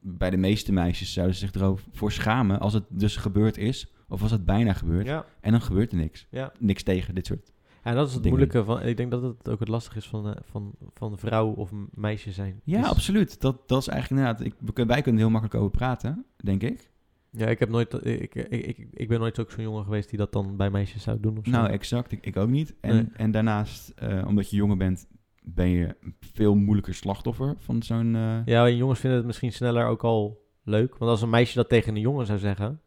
A: Bij de meeste meisjes zouden ze zich erover voor schamen... als het dus gebeurd is, of als het bijna gebeurt.
B: ja.
A: En dan gebeurt er niks.
B: Ja.
A: Niks tegen dit soort...
B: En dat is het
A: Dingen.
B: moeilijke van... Ik denk dat het ook het lastige is van, eh, van, van vrouw of m- meisje zijn.
A: Ja,
B: Dus-
A: absoluut. Dat, dat is eigenlijk inderdaad... Ik, we kun- wij kunnen er heel makkelijk over praten, denk ik.
B: Ja, ik heb nooit... eh, Ik, ik, ik, ik ben nooit ook zo'n jongen geweest die dat dan bij meisjes zou doen of zo.
A: Nou, exact. Ik, ik ook niet. En,
B: Nee.
A: en daarnaast, eh, omdat je jonger bent... ben je een veel moeilijker slachtoffer van zo'n... eh,
B: Ja, en jongens vinden het misschien sneller ook al leuk. Want als een meisje dat tegen een jongen zou zeggen...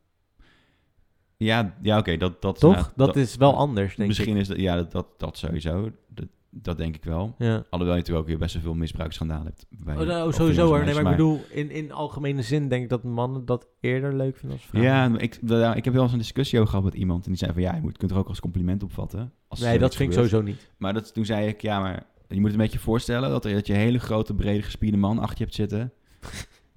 A: Ja, ja oké. dat, dat,
B: toch?
A: nou,
B: dat, is wel anders, denk
A: Misschien
B: ik.
A: is dat, ja, dat, dat, dat sowieso. Dat, dat denk ik wel.
B: Ja.
A: Alhoewel je natuurlijk ook weer best wel veel misbruiksschandalen hebt. bij-
B: Oh, nou,
A: of
B: sowieso
A: jongens en
B: hoor. Nee,
A: meisjes,
B: maar ik bedoel, in, in algemene zin denk ik dat mannen dat eerder leuk vinden als vrouwen.
A: Ja, maar ik, nou, ik heb wel eens een discussie over gehad met iemand. En die zei van, ja, je moet, kunt er ook als compliment opvatten. Als
B: nee, dat vind ik
A: zo
B: sowieso niet.
A: Maar dat, toen zei ik, ja, maar je moet het een beetje voorstellen dat, er, dat je een hele grote, brede, gespierde man achter je hebt zitten.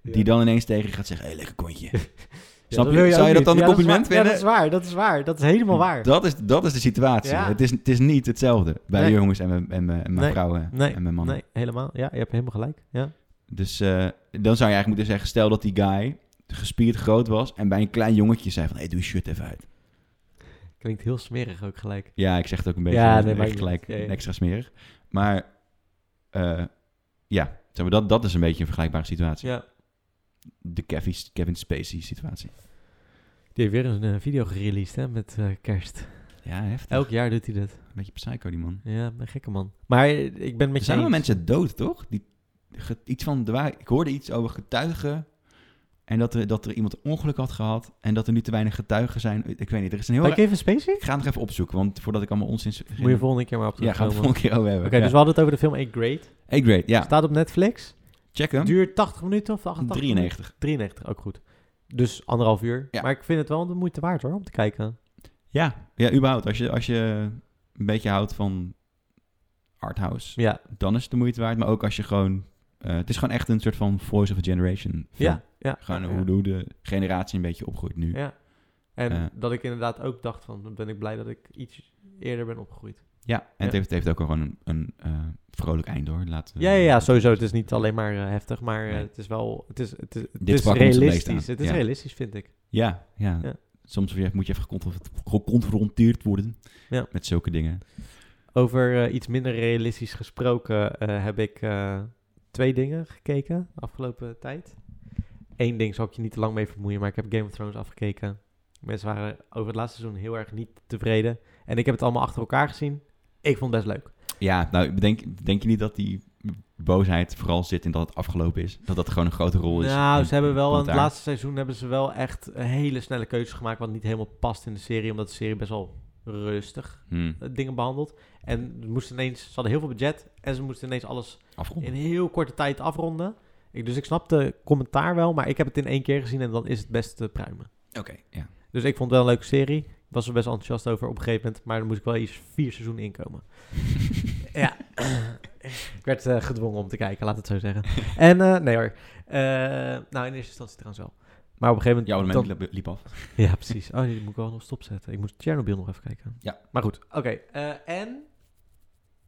B: Ja.
A: Die dan ineens tegen je gaat zeggen, hé, hey, lekker kontje.
B: Ja,
A: Snap
B: dat
A: je?
B: wil
A: Zou
B: ook
A: je dat
B: niet.
A: dan een
B: Ja, is
A: compliment
B: waar. Ja,
A: vinden? Hm,
B: dat is waar, dat is waar. Dat is helemaal waar.
A: Dat is, dat is de situatie.
B: Ja.
A: Het, is, het is niet hetzelfde bij
B: Nee.
A: jongens en, mijn- en, mijn- en mijn
B: Nee.
A: vrouwen
B: Nee.
A: en mijn mannen.
B: Nee, helemaal. Ja, je hebt helemaal gelijk. Ja.
A: Dus eh, dan zou je eigenlijk moeten zeggen, stel dat die guy gespierd groot was en bij een klein jongetje zei van, hé, hey, doe je shirt even uit.
B: Klinkt heel smerig ook gelijk.
A: Ja, ik zeg het ook een beetje
B: Ja,
A: eh,
B: nee, maakt
A: echt
B: niet
A: gelijk
B: uit. Ja, ja.
A: extra smerig. Maar eh, ja, zeg maar, dat, dat is een beetje een vergelijkbare situatie.
B: Ja.
A: De Kevin, Kevin Spacey situatie.
B: Die heeft weer een eh, video gereleased hè, met eh, kerst.
A: Ja, heftig.
B: Elk jaar doet hij dat.
A: Een beetje psycho die man.
B: Ja, een gekke man. Maar eh, ik ben het met
A: Er
B: je
A: zijn wel
B: eens.
A: mensen dood, toch? Die, ge- iets van, de waar- ik hoorde iets over getuigen en dat er, dat er iemand een ongeluk had gehad en dat er nu te weinig getuigen zijn. Ik weet niet, er is een heel...
B: Bij Kevin Spacey?
A: Ik ga het nog even opzoeken, want voordat ik allemaal onzin...
B: Moet je volgende keer maar op
A: Ja, gaan we
B: terugkomen.
A: het volgende keer over hebben.
B: Oké, dus we
A: ja.
B: hadden het over de film 8 Grade.
A: Hey, great, ja.
B: Staat op Netflix.
A: Check hem.
B: Duurt 80 minuten of 88 minuten?
A: 93.
B: 93, ook goed. Dus anderhalf uur.
A: Ja.
B: Maar ik vind het wel de moeite waard hoor, om te kijken.
A: Ja, ja überhaupt. Als je, als je een beetje houdt van arthouse,
B: Ja,
A: dan is het de moeite waard. Maar ook als je gewoon... eh, het is gewoon echt een soort van voice of a generation film.
B: ja, ja.
A: Gewoon
B: ja,
A: hoe, hoe de generatie een beetje opgroeit nu.
B: Ja. En
A: Eh.
B: dat ik inderdaad ook dacht van, dan ben ik blij dat ik iets eerder ben opgegroeid.
A: Ja, en Het,
B: Ja.
A: heeft, het heeft ook gewoon een, een eh, vrolijk eind hoor. eh, Laten we-
B: Ja, ja, ja, sowieso. Het is niet alleen maar eh, heftig, maar eh,
A: Nee.
B: het is wel, het is, het is, het
A: Dit
B: is
A: pak ons het meest
B: realistisch.
A: aan.
B: Het is
A: Ja.
B: realistisch, vind ik.
A: Ja, ja.
B: Ja.
A: Soms moet je- moet je even geconf- geconfronteerd worden
B: Ja.
A: met zulke dingen.
B: Over eh, iets minder realistisch gesproken eh, heb ik eh, twee dingen gekeken de afgelopen tijd. Eén ding zal ik je niet te lang mee vermoeien, maar ik heb Game of Thrones afgekeken. Mensen waren over het laatste seizoen heel erg niet tevreden. En ik heb het allemaal achter elkaar gezien. Ik vond het best leuk.
A: Ja, nou, denk, denk je niet dat die boosheid vooral zit in dat het afgelopen is? Dat dat gewoon een grote rol is?
B: Nou,
A: in-
B: ze hebben
A: in
B: wel in het
A: commentaar?
B: laatste seizoen hebben ze wel echt een hele snelle keuzes gemaakt. Wat niet helemaal past in de serie, omdat de serie best wel rustig
A: Hmm,
B: eh, dingen behandelt. En ze moesten ineens, ze hadden heel veel budget en ze moesten ineens alles in
A: afgerond.
B: heel korte tijd afronden. Ik, dus ik snap de commentaar wel, maar ik heb het in één keer gezien en dan is het best te pruimen.
A: Oké, ja.
B: Dus ik vond het wel een leuke serie. Ik was er best enthousiast over op een gegeven moment, maar dan moest ik wel iets vier seizoenen inkomen. ja, ik werd eh, gedwongen om te kijken, laat het zo zeggen. en eh, nee hoor, Eh, nou in eerste instantie trouwens wel. Maar op een gegeven moment...
A: Jouw
B: dan-
A: abonnement liep, liep af.
B: ja, precies. Oh, die moet ik wel nog stopzetten. Ik moest Chernobyl nog even kijken.
A: Ja.
B: Maar goed, oké. eh, en...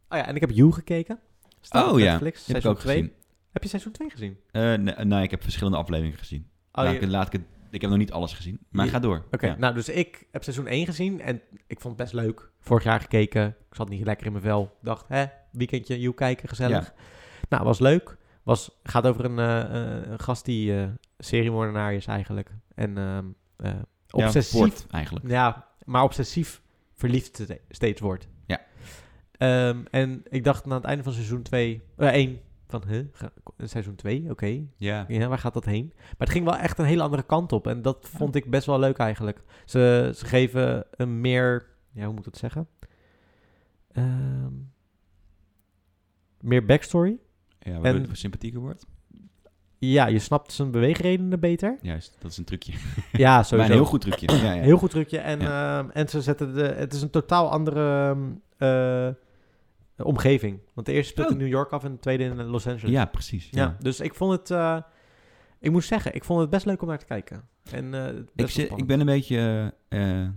B: Oh ja, en ik heb You gekeken. Staat
A: Oh
B: op
A: ja,
B: Netflix,
A: Die heb ik
B: seizoen
A: ook
B: twee.
A: gezien.
B: Heb je seizoen 2 gezien?
A: Eh, nee, nee, ik heb verschillende afleveringen gezien.
B: Oh,
A: laat
B: je-
A: ik, het- laat ik, het- ik heb nog niet alles gezien, maar
B: Je-
A: ga door.
B: Oké,
A: Ja.
B: nou dus ik heb seizoen 1 gezien en ik vond het best leuk. Vorig jaar gekeken, ik zat niet lekker in mijn vel. Dacht, hè, weekendje, you kijken, gezellig. Nou, was leuk. Was, gaat over een, eh, eh, een gast die eh seriemoordenaar is eigenlijk. En ehm, eh,
A: Ja,
B: obsessief
A: voort eigenlijk.
B: ja, maar obsessief verliefd ste- steeds wordt.
A: Ja.
B: Ehm, en ik dacht na het einde van seizoen 2, eh 1, van huh, Ga- seizoen 2, oké,
A: Ja.
B: ja, waar gaat dat heen? Maar het ging wel echt een hele andere kant op. En dat vond ik best wel leuk eigenlijk. Ze, ze geven een meer... Ja, hoe moet ik dat zeggen? Ehm, meer backstory.
A: Ja, waardoor
B: En-
A: het sympathieker wordt.
B: Ja, je snapt zijn beweegredenen beter.
A: Juist, dat is een trucje.
B: Ja, sowieso.
A: Maar een heel goed trucje. Ja, ja.
B: Heel goed trucje. En, ehm, en ze zetten de... Het is een totaal andere ehm, eh, omgeving. Want de eerste speelt
A: Oh.
B: in New York af en de tweede in Los Angeles.
A: ja precies. Ja.
B: Ja, dus ik vond het... eh, ik moet zeggen, ik vond het best leuk om naar te kijken. En, eh, best wel
A: Ik, zit-
B: spannend.
A: ik ben een beetje. eh, eh,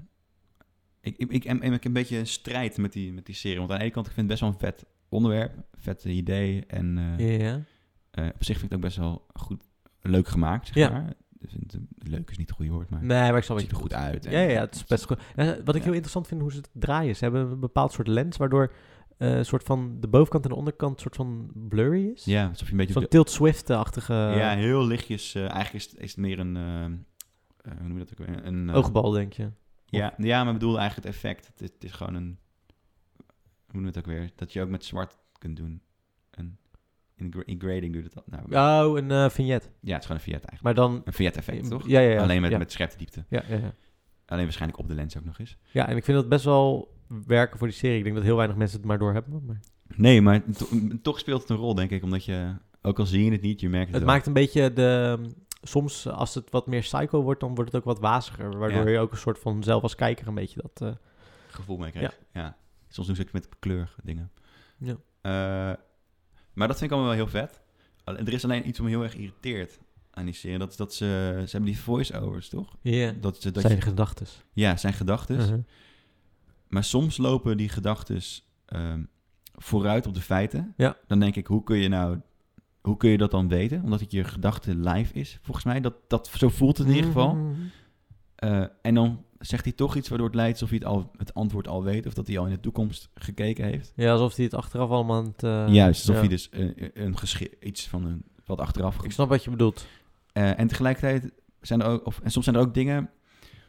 A: ik, ik, ik, ik, ik een beetje een strijd met die, met die serie. Want aan de ene kant, ik vind het best wel een vet onderwerp. Vet idee. En eh,
B: Ja.
A: eh, op zich vind ik het ook best wel goed, leuk gemaakt. Zeg
B: Ja.
A: maar. Ik vind het- leuk is niet het goede woord, maar.
B: Nee, maar ik zal
A: Het
B: wat
A: ziet
B: je
A: er goed uit.
B: Ja,
A: en-
B: ja, ja, het is best goed. Eh, wat
A: Ja.
B: ik heel interessant vind, hoe ze het draaien. Ze hebben een bepaald soort lens, waardoor eh, soort van de bovenkant en de onderkant soort van blurry is. eh,
A: Ja, alsof je een beetje. op
B: Zo'n
A: de-
B: Tilt Swift-achtige
A: ja, heel lichtjes. eh, eigenlijk is het, is het meer een. eh, eh, hoe noem je dat ook? weer? Een, eh,
B: oogbal, denk je.
A: Ja, ja, maar ik bedoel eigenlijk het effect. Het, is- het is gewoon een... Hoe noem je het ook weer? Dat je ook met zwart kunt doen. Een, in, gra- in grading doet het dat. Nou, ja.
B: Oh, een eh, vignet.
A: het is gewoon een vignette eigenlijk.
B: Maar dan...
A: Een vignette effect, toch?
B: Ja, ja, ja.
A: Alleen met,
B: ja.
A: met scherpte diepte.
B: Ja, ja, ja.
A: Alleen waarschijnlijk op de lens ook nog eens.
B: ja, en ik vind dat best wel werken voor die serie. Ik denk dat heel weinig mensen het maar doorhebben. Maar
A: Nee, maar to- m- toch speelt het een rol, denk ik. Omdat je, ook al zie je het niet, je merkt het,
B: het
A: wel.
B: maakt een beetje de... Soms, eh, als het wat meer psycho wordt, dan wordt het ook wat waziger. Waardoor
A: Ja.
B: je ook een soort van zelf als kijker een beetje dat... eh,
A: gevoel mee krijgt. Ja. Soms doen ze ook met kleur dingen.
B: Ja.
A: Ja. Eh, maar dat vind ik allemaal wel heel vet. Alleen- Er is alleen iets wat me heel erg irriteert aan die serie. Dat, is dat ze, ze hebben die voice-overs, toch?
B: Ja.
A: Dat, ze- dat
B: Zijn Mhm.
A: je- Dus,
B: gedachten. Uh-huh.
A: ja, zijn gedachten. Maar soms lopen die gedachten vooruit op de feiten.
B: Ja.
A: Dan denk ik, hoe kun je nou... Hoe kun je dat dan weten? Omdat het je gedachte live is, volgens mij. Dat, dat, zo voelt het in ieder
B: Mhm.
A: geval.
B: Mm-hmm.
A: Eh, en dan zegt hij toch iets waardoor het lijkt alsof hij het, al, het antwoord al weet... of dat hij al in de toekomst gekeken heeft.
B: Ja, alsof hij het achteraf allemaal aan het... eh,
A: Juist, alsof
B: ja.
A: hij dus een, een gesche- iets van een, wat achteraf...
B: Ik snap wat je bedoelt.
A: Eh, en tegelijkertijd zijn er ook... Of, en soms zijn er ook dingen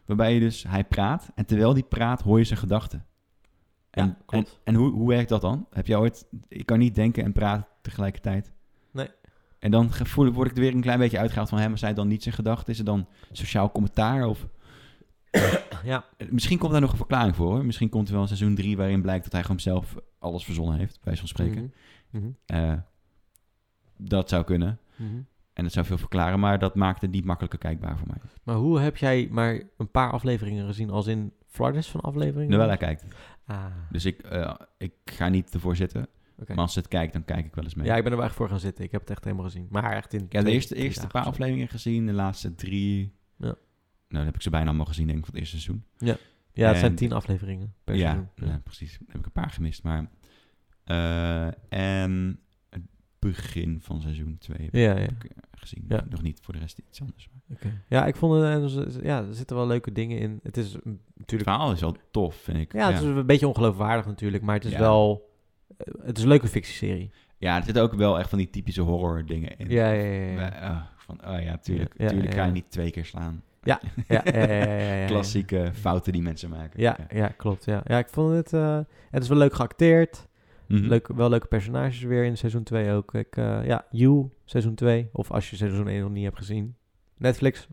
A: waarbij je dus... Hij praat en terwijl hij praat hoor je zijn gedachten. En,
B: Ja, klopt.
A: En, en hoe, hoe werkt dat dan? Heb jij ooit... Ik kan niet denken en praten tegelijkertijd.
B: Nee.
A: En dan ge- voel, word ik er weer een klein beetje uitgehaald van... Hè, maar zijn het dan niet zijn gedachten? Is het dan sociaal commentaar of... Eh,
B: Ja,
A: Misschien komt daar nog een verklaring voor. Hoor. Misschien komt er wel een seizoen 3 waarin blijkt dat hij gewoon zelf alles verzonnen heeft, bij zo'n spreken.
B: Mhm. Mhm.
A: Eh, dat zou kunnen.
B: Mhm.
A: En dat zou veel verklaren, maar dat maakt het niet makkelijker kijkbaar voor mij.
B: Maar hoe heb jij maar een paar afleveringen gezien? Als in Flardis van afleveringen?
A: Terwijl hij kijkt.
B: Ah,
A: Dus ik, eh, ik ga niet ervoor zitten.
B: oké.
A: Maar als ze het kijkt, dan kijk ik wel eens mee.
B: Ja, ik ben er wel echt voor gaan zitten. Ik heb het echt helemaal gezien. Maar echt in...
A: Ik heb de
B: twee-
A: eerste,
B: drie
A: eerste
B: dagen
A: paar
B: of zo.
A: afleveringen gezien, de laatste drie.
B: Ja.
A: Nou, dan heb ik ze bijna allemaal gezien, denk ik, van het eerste seizoen.
B: Ja, het zijn
A: en-
B: tien afleveringen per
A: ja,
B: seizoen.
A: ja, precies. Dan heb ik een paar gemist. Maar, eh, en het begin van seizoen 2
B: Ja, ja.
A: gezien.
B: Ja.
A: Nog niet voor de rest iets anders. Maar.
B: Ja, ik vond het... en er z- Ja, er zitten wel leuke dingen in. Het is een-
A: Het
B: natuurlijk...
A: verhaal is wel tof, vind ik.
B: Ja, het is een beetje ongeloofwaardig natuurlijk. Maar het is
A: Ja.
B: wel... eh, Het is een leuke fictieserie.
A: Ja, er zitten ook wel echt van die typische horror dingen in.
B: Ja, ja, ja.
A: Wij-
B: ja.
A: oh, van, oh ja, tuurlijk,
B: Ja, ja,
A: tuurlijk
B: ja.
A: ga je niet twee keer slaan.
B: Ja, ja, ja, ja, ja, ja, ja.
A: Klassieke fouten die mensen maken.
B: Ja, ja, klopt. Ja. ja, ik vond het... eh, het is wel leuk geacteerd.
A: Mhm.
B: Leuk, wel leuke personages weer in seizoen 2 ook. Ik, eh, ja, You, seizoen 2. Of als je seizoen 1 nog niet hebt gezien. Netflix,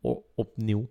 B: o- opnieuw.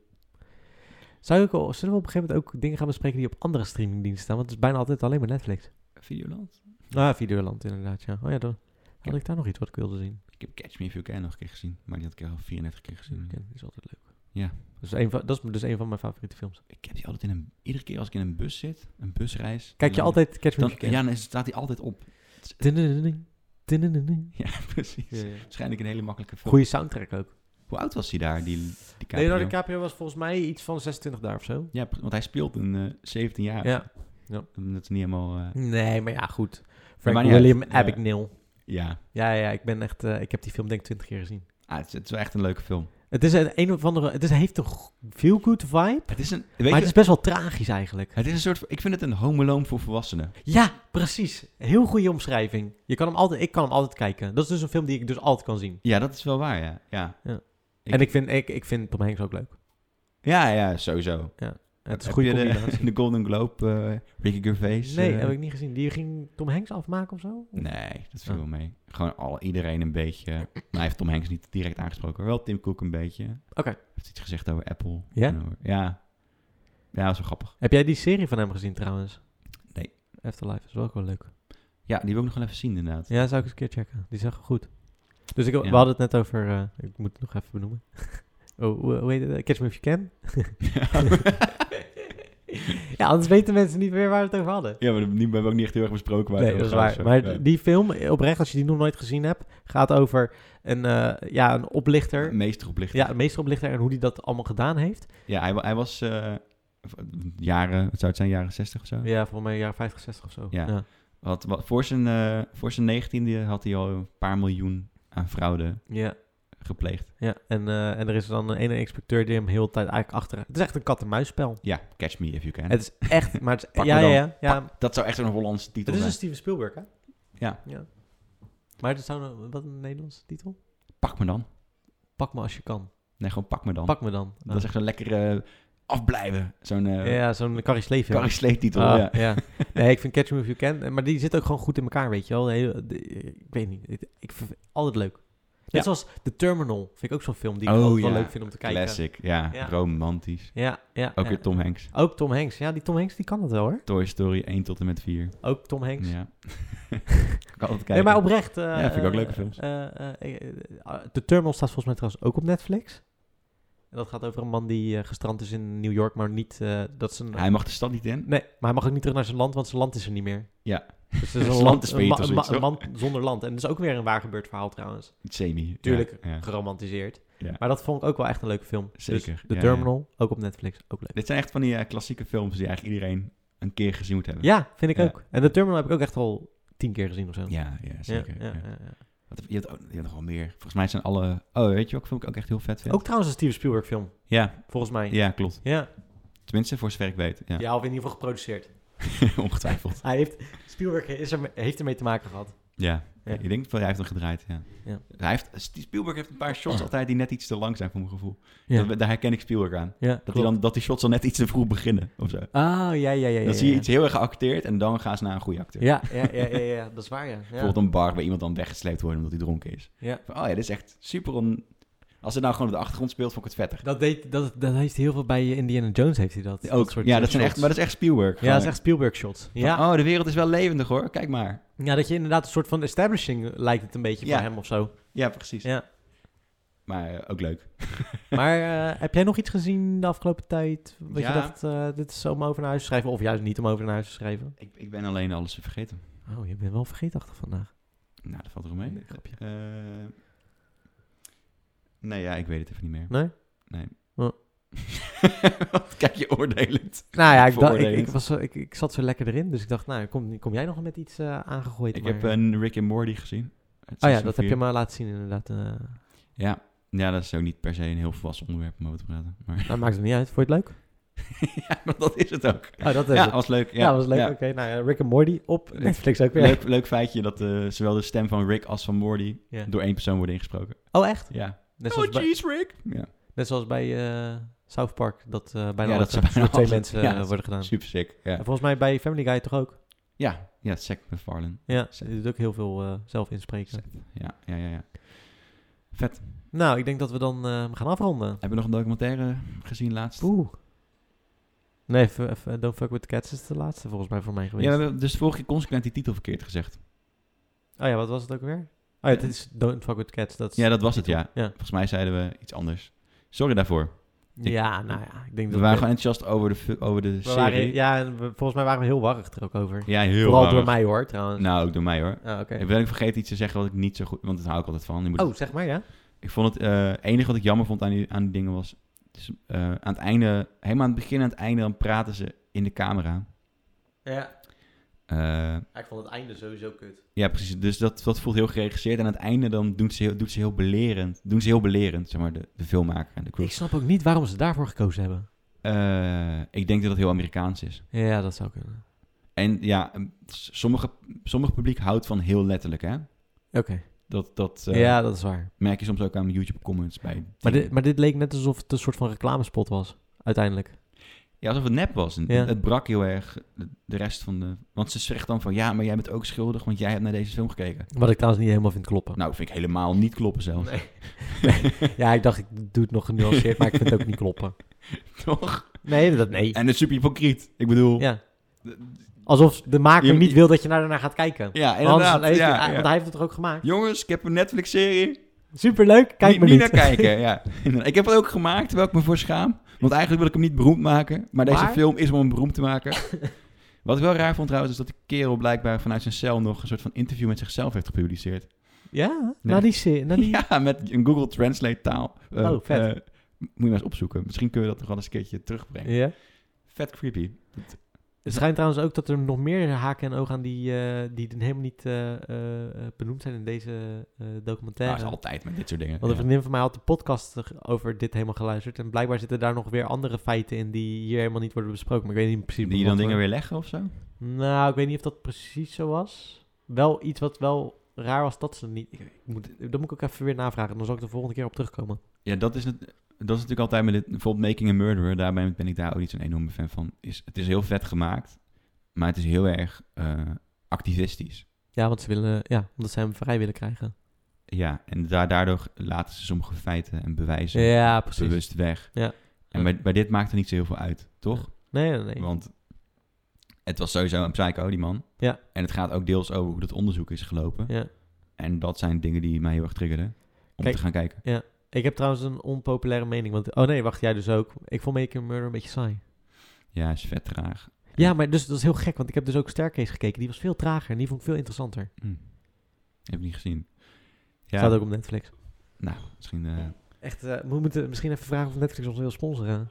B: Zou ik, al- zullen we op een gegeven moment ook dingen gaan bespreken die op andere streamingdiensten staan? Want het is bijna altijd alleen maar Netflix.
A: Videoland.
B: Ah, Videoland inderdaad, ja. Oh ja, dan had ik daar nog iets wat ik wilde zien.
A: Ik heb Catch Me If You Can nog een keer gezien, maar die had ik al 34 keer gezien.
B: Ja, die is altijd leuk.
A: Ja.
B: Dat is, een van, dat is dus een van mijn favoriete films.
A: Ik heb die altijd in een... Iedere keer als ik in een bus zit, een busreis...
B: Kijk je
A: dan-
B: altijd Catch Me
A: Dan,
B: If You Can?
A: ja, dan staat die altijd op.
B: Dun-dun-dun-dun. Dun-dun-dun-dun.
A: Ja, precies.
B: Ja, ja.
A: Waarschijnlijk een hele makkelijke film.
B: Goeie soundtrack ook.
A: Hoe oud was hij daar, die, die
B: Leonardo
A: DiCaprio?
B: DiCaprio nou, was volgens mij iets van 26 daar of zo.
A: Ja, pre- want hij speelt een eh 17 jaar.
B: ja.
A: Dat is niet helemaal... eh,
B: Nee, maar ja, goed. Frank
A: maakt niet
B: William
A: uit. Ja.
B: Abagnale.
A: ja,
B: Ja, ja, ik ben echt... eh, ik heb die film denk ik twintig keer gezien.
A: Ah, het, is, het is wel echt een leuke film.
B: Het is een, een of andere... Het is, heeft een go- feel-good vibe,
A: Het is een... Weet
B: maar
A: je,
B: het is best wel tragisch eigenlijk.
A: Het is een soort. Ik vind het een home alone voor volwassenen.
B: Ja, precies. Heel goede omschrijving. Je kan hem altijd, ik kan hem altijd kijken. Dat is dus een film die ik dus altijd kan zien.
A: Ja, dat is wel waar, ja. Ja, Ik-
B: en ik vind, ik, ik vind Tom Hanks ook leuk.
A: ja, ja sowieso.
B: Het is een
A: Heb
B: goede
A: je de-
B: combinatie.
A: De Golden Globe, eh Ricky Gervais.
B: Nee,
A: eh,
B: heb ik niet gezien. Die ging Tom Hanks afmaken of zo?
A: Nee, dat viel
B: Oh.
A: wel mee. Gewoon al, iedereen een beetje. Maar hij heeft Tom Hanks niet direct aangesproken. Wel Tim Cook een beetje. Hij
B: Oké.
A: heeft iets gezegd over Apple.
B: Ja?
A: En over- ja. Ja, dat is wel grappig.
B: Heb jij die serie van hem gezien trouwens?
A: Nee.
B: Afterlife is wel ook wel leuk.
A: Ja, die wil ik nog wel even zien inderdaad.
B: Ja, zou ik eens een keer checken. Die is echt goed. Dus ik, we
A: Ja.
B: hadden het net over... eh, ik moet het nog even benoemen. oh, hoe, hoe heet het? Catch Me If You Can? ja, anders weten mensen niet meer waar we het over hadden.
A: Ja, maar dat- die hebben we ook niet echt heel erg besproken. waar het
B: Nee, dat is
A: over gaat
B: waar.
A: of zo.
B: Maar
A: Nee.
B: die film, oprecht, als je die nog nooit gezien hebt... gaat over een, eh, ja, een oplichter...
A: Meester oplichter.
B: Ja, een meesteroplichter en hoe die dat allemaal gedaan heeft.
A: Ja, hij, wa- hij was eh, jaren, wat zou het zijn, jaren 60 of zo?
B: Ja, volgens mij jaar 50, 60 of zo.
A: Ja. Wat, wat, voor zijn eh, voor zijn negentiende had hij al een paar miljoen aan fraude
B: ja.
A: gepleegd.
B: Ja, en, eh, en er is dan een ene inspecteur die hem heel de tijd eigenlijk achter... Het is echt een kat-en-muisspel.
A: Ja, Catch Me If You Can.
B: Het is echt... Maar het is,
A: Pak
B: ja,
A: me
B: ja,
A: dan.
B: ja, ja.
A: dat zou echt een Hollandse titel
B: Het is
A: zijn.
B: een Steven Spielberg, hè?
A: Ja.
B: ja. Maar het zou een, wat een Nederlandse titel?
A: Pak me dan.
B: Pak me als je kan.
A: Nee, gewoon pak me dan.
B: Pak me dan.
A: Dat is echt een lekkere eh, afblijven. Zo'n
B: Ah.
A: eh
B: ja, zo'n Carrie Sleef.
A: Carrie Sleef titel.
B: Ah,
A: ja.
B: ja. Nee, ik vind Catch Me If You Can. eh, Maar die zit ook gewoon goed in elkaar, weet je wel. De hele- de- ik weet niet. Ik, ik vind het altijd leuk. Net
A: Ja.
B: zoals The Terminal. Vind ik ook zo'n film die ik
A: Oh,
B: altijd wel
A: ja.
B: leuk vind om te kijken.
A: Classic. Ja,
B: Ja.
A: romantisch.
B: Ja, ja.
A: Ook
B: ja.
A: weer Tom Hanks.
B: Ook Tom Hanks. Ja, die Tom Hanks die kan het wel hoor.
A: Toy Story 1 tot en met 4.
B: Ook Tom Hanks.
A: Ja. ik kan altijd kijken.
B: Nee, maar oprecht. eh,
A: Ja, vind ik ook
B: eh,
A: leuke films.
B: eh, eh, eh, eh, eh, The Terminal staat volgens mij trouwens ook op Netflix. En dat gaat over een man die eh, gestrand is in New York, maar niet eh, dat zijn.
A: Hij mag de stad niet in.
B: Nee, maar hij mag ook niet terug naar zijn land, want zijn land is er niet meer.
A: Ja.
B: Dus het is
A: Zijn
B: een
A: land
B: land,
A: is
B: een,
A: failliet
B: ma-
A: of
B: een ma-
A: zoiets,
B: een man zonder land. En dat is ook weer een waar gebeurd verhaal trouwens.
A: Semi. Ja,
B: Tuurlijk.
A: ja.
B: Geromantiseerd.
A: Ja.
B: Maar dat vond ik ook wel echt een leuke film. Dus
A: Zeker,
B: The
A: ja, ja.
B: Terminal, ook op Netflix, ook leuk.
A: Dit zijn echt van die eh, klassieke films die eigenlijk iedereen een keer gezien moet hebben.
B: Ja, vind ik
A: Ja.
B: ook. En The Terminal heb ik ook echt al tien keer gezien of zo.
A: ja, ja, zeker.
B: Ja, ja,
A: ja.
B: ja, ja.
A: Wat heb- je, hebt ook, je hebt nog wel meer. Volgens mij zijn alle... Oh, weet je wat film ik ook echt heel vet vind?
B: Ook trouwens een Steven Spielberg film,
A: Ja,
B: volgens mij.
A: ja, klopt.
B: Ja.
A: Tenminste, voor zover ik weet. Ja,
B: Ja, of in ieder geval geproduceerd.
A: ongetwijfeld.
B: Hij heeft, Spielberg is er, heeft ermee te maken gehad.
A: Ja.
B: Ja.
A: ik denk dat hij heeft hem gedraaid, ja.
B: Ja.
A: Hij heeft, Spielberg heeft een paar shots altijd die net iets te lang zijn voor mijn gevoel.
B: Ja,
A: Dat- daar herken ik Spielberg aan.
B: ja
A: Dat,
B: klopt.
A: die dan, dat die shots al net iets te vroeg beginnen, of zo. Dan
B: Ah, ja, ja, ja. ja,
A: zie je
B: ja.
A: iets heel erg geacteerd en dan gaan ze naar een goede acteur.
B: Ja, ja, ja, ja, ja, dat is waar, ja. ja.
A: Bijvoorbeeld een bar waar iemand dan weggesleept wordt omdat hij dronken is.
B: Ja.
A: Van, oh ja, dit is echt super on... Als het nou gewoon op de achtergrond speelt, vond ik het vetter.
B: Dat, deed, dat, dat heeft heel veel bij eh, Indiana Jones, heeft hij dat.
A: Ook,
B: soort,
A: ja,
B: eh,
A: dat zijn
B: shots.
A: echt, maar dat is echt Spielberg.
B: Ja, dat is
A: Gewoon
B: echt Spielberg-shots.
A: van,
B: Ja.
A: Oh, de wereld is wel levendig hoor, kijk maar.
B: ja, dat je inderdaad een soort van establishing lijkt het een beetje
A: Ja.
B: voor hem of zo.
A: Ja, precies.
B: Ja.
A: Maar eh, ook leuk.
B: Maar eh, heb jij nog iets gezien de afgelopen tijd? Wat
A: Ja.
B: je dacht, eh, dit is om over naar huis te schrijven. Of juist niet om over naar huis te schrijven.
A: Ik, ik ben alleen alles vergeten.
B: Oh, je bent wel vergeetachtig vandaag.
A: Nou, dat valt er mee.
B: Nee, grapje.
A: Eh, nee, ja, ik weet het even niet meer.
B: Nee?
A: Nee.
B: Oh.
A: Wat kijk je oordelend.
B: Nou ja, ik, dacht, ik,
A: Veroordelend.
B: ik was, zo- ik, ik zat zo lekker erin. Dus ik dacht, nou, kom, kom jij nog met iets eh, aangegooid?
A: Ik
B: maar-
A: heb een Rick en Morty gezien. Het
B: oh ja,
A: seizoen
B: dat
A: vier.
B: heb je me laten zien inderdaad. eh.
A: Ja. ja, dat is ook niet per se een heel volwassen onderwerp om over te praten. Maar
B: nou, maakt het niet uit. Vond je het leuk?
A: ja, maar dat is het ook.
B: Oh, dat is
A: Ja,
B: het.
A: was leuk.
B: Ja,
A: Ja,
B: was leuk.
A: ja.
B: Oké, nou ja, Rick en Morty op
A: Leuk.
B: Netflix ook weer.
A: Leuk, leuk feitje dat eh, zowel de stem van Rick als van Morty
B: Ja.
A: door één persoon worden ingesproken.
B: Oh, echt?
A: Ja.
B: Net zoals, bij,
A: jeez, Rick! Ja,
B: net zoals bij eh, South Park, dat eh, bijna
A: Ja,
B: alles
A: dat ze
B: door
A: bijna
B: twee
A: alles-
B: mensen
A: ja,
B: eh,
A: dat is
B: worden gedaan.
A: super sick. Ja,
B: En volgens mij bij Family Guy toch ook?
A: ja, ja Zack McFarlane.
B: Ja,
A: Zet.
B: die doet ook heel veel eh, zelf inspreken.
A: Zet. Ja, ja, ja, ja. Vet.
B: Nou, ik denk dat we dan eh, gaan afronden.
A: Hebben we nog een documentaire gezien laatst?
B: Oeh. Nee, even, even, Don't Fuck With The Cats is de laatste volgens mij voor mij geweest.
A: Ja, we hebben dus vorige keer consequent die titel verkeerd gezegd.
B: Oh ja, wat was het ook weer? Oh ja, dit is Don't Fuck With The Cats. Dat is-
A: Ja, dat was het, ja.
B: Ja.
A: Volgens mij zeiden we iets anders. Sorry daarvoor. ik-
B: ja, nou ja, ik denk
A: We
B: dat
A: waren gewoon enthousiast over de, fi- over de
B: we
A: serie.
B: waren,
A: ja,
B: Ja, en we- volgens mij waren we heel warrig er ook over.
A: heel
B: Vooral
A: warm.
B: door mij hoor, trouwens.
A: Nou, ook door mij hoor.
B: Ah, oké.
A: Ik ben ook vergeten iets te zeggen wat ik niet zo goed... Want dat hou ik altijd van. Je moet-
B: Oh, zeg maar, ja.
A: Ik vond het eh, enige wat ik jammer vond aan die, aan die dingen was... dus, eh, aan het einde, helemaal aan het begin en aan het einde, dan praten ze in de camera.
B: Ja,
A: Eh,
B: ik vond het einde sowieso kut.
A: ja, precies. Dus dat, dat voelt heel geregisseerd. En aan het einde dan doen ze heel, doet ze heel belerend. Doen ze heel belerend, zeg maar, de, de filmmaker en de crew.
B: Ik snap ook niet waarom ze daarvoor gekozen hebben.
A: Eh, ik denk dat dat heel Amerikaans is.
B: Ja, dat zou kunnen.
A: En ja, ehm, s- sommige, sommige publiek houdt van heel letterlijk, hè?
B: Oké.
A: Dat, dat eh,
B: Ja, dat is waar.
A: merk je soms ook aan YouTube comments bij.
B: Maar dit, maar dit leek net alsof het een soort van reclamespot was, uiteindelijk.
A: Ja, alsof het nep was. En
B: Ja.
A: Het brak heel erg de- de rest van de... Want ze zegt dan van, ja, maar jij bent ook schuldig, want jij hebt naar deze film gekeken.
B: Wat ik trouwens niet helemaal vind kloppen.
A: Nou, vind ik helemaal niet kloppen zelfs.
B: Nee. Ja, ik dacht, ik doe het nog genuanceerd, maar ik vind het ook niet kloppen.
A: Toch?
B: Nee, dat nee.
A: En het is super hypocriet. Ik bedoel...
B: Ja.
A: d-
B: Alsof de maker
A: Je-
B: niet wil dat je naar daarna gaat kijken.
A: Ja,
B: Want anders
A: inderdaad.
B: heeft hij-
A: ja, ja.
B: Want hij heeft het toch ook gemaakt?
A: Jongens, ik heb een Netflix-serie.
B: Superleuk, kijk
A: Niet,
B: maar
A: niet
B: niet.
A: naar kijken, ja. Ik heb het ook gemaakt, terwijl ik me voor schaam. Want eigenlijk wil ik hem niet beroemd maken. Maar deze
B: Maar?
A: film is om hem beroemd te maken. Wat ik wel raar vond trouwens, is dat die kerel blijkbaar vanuit zijn cel nog een soort van interview met zichzelf heeft gepubliceerd.
B: Ja,
A: Nee.
B: naar die serie. naar die-
A: Ja, met een Google Translate taal. Eh,
B: Oh, vet.
A: eh, moet je maar eens opzoeken. Misschien kunnen we dat nog wel eens een keertje terugbrengen.
B: Ja.
A: Vet creepy.
B: Het schijnt trouwens ook dat er nog meer haken en ogen aan die, eh, die dan helemaal niet eh, eh, eh, benoemd zijn in deze eh,
A: Dat
B: documentaire.
A: Ah, is altijd met dit soort dingen.
B: Want een
A: Ja.
B: vriendin van mij had de podcast er- over dit helemaal geluisterd. En blijkbaar zitten daar nog weer andere feiten in die hier helemaal niet worden besproken. Maar ik weet niet precies
A: Die
B: wat eh,
A: dan dingen
B: voor-
A: weer leggen of zo?
B: Nou, ik weet niet of dat precies zo was. Wel iets wat wel raar was dat ze niet... Ik, ik moet, dat moet ik ook even weer navragen. Dan zal ik de volgende keer op terugkomen.
A: Ja, dat is, het, dat is natuurlijk altijd met dit, bijvoorbeeld Making a Murderer. Daarbij ben ik daar ook niet zo'n enorme fan van. Is, het is heel vet gemaakt, maar het is heel erg eh, activistisch.
B: Ja, want ze willen... Ja, omdat ze hem vrij willen krijgen.
A: Ja, en da- daardoor laten ze sommige feiten en bewijzen
B: Ja, precies.
A: bewust weg.
B: Ja.
A: En bij, bij dit maakt er niet zo heel veel uit, toch?
B: Nee, nee, nee.
A: Want het was sowieso een psycho, die man.
B: Ja.
A: En het gaat ook deels over hoe dat onderzoek is gelopen.
B: Ja.
A: En dat zijn dingen die mij heel erg triggerden om
B: Kijk,
A: te gaan kijken.
B: Ik heb trouwens een onpopulaire mening. Want, oh nee, wacht, jij dus ook. Ik vond Making a Murder een beetje saai.
A: Ja, is vet traag.
B: Ja, maar dus, dat is heel gek, want ik heb dus ook Staircase gekeken. Die was veel trager en die vond ik veel interessanter.
A: Hm. Heb ik niet gezien. Ja,
B: Staat ook op Netflix.
A: nou, misschien... eh,
B: Echt, eh, we moeten misschien even vragen of Netflix ons wil sponsoren.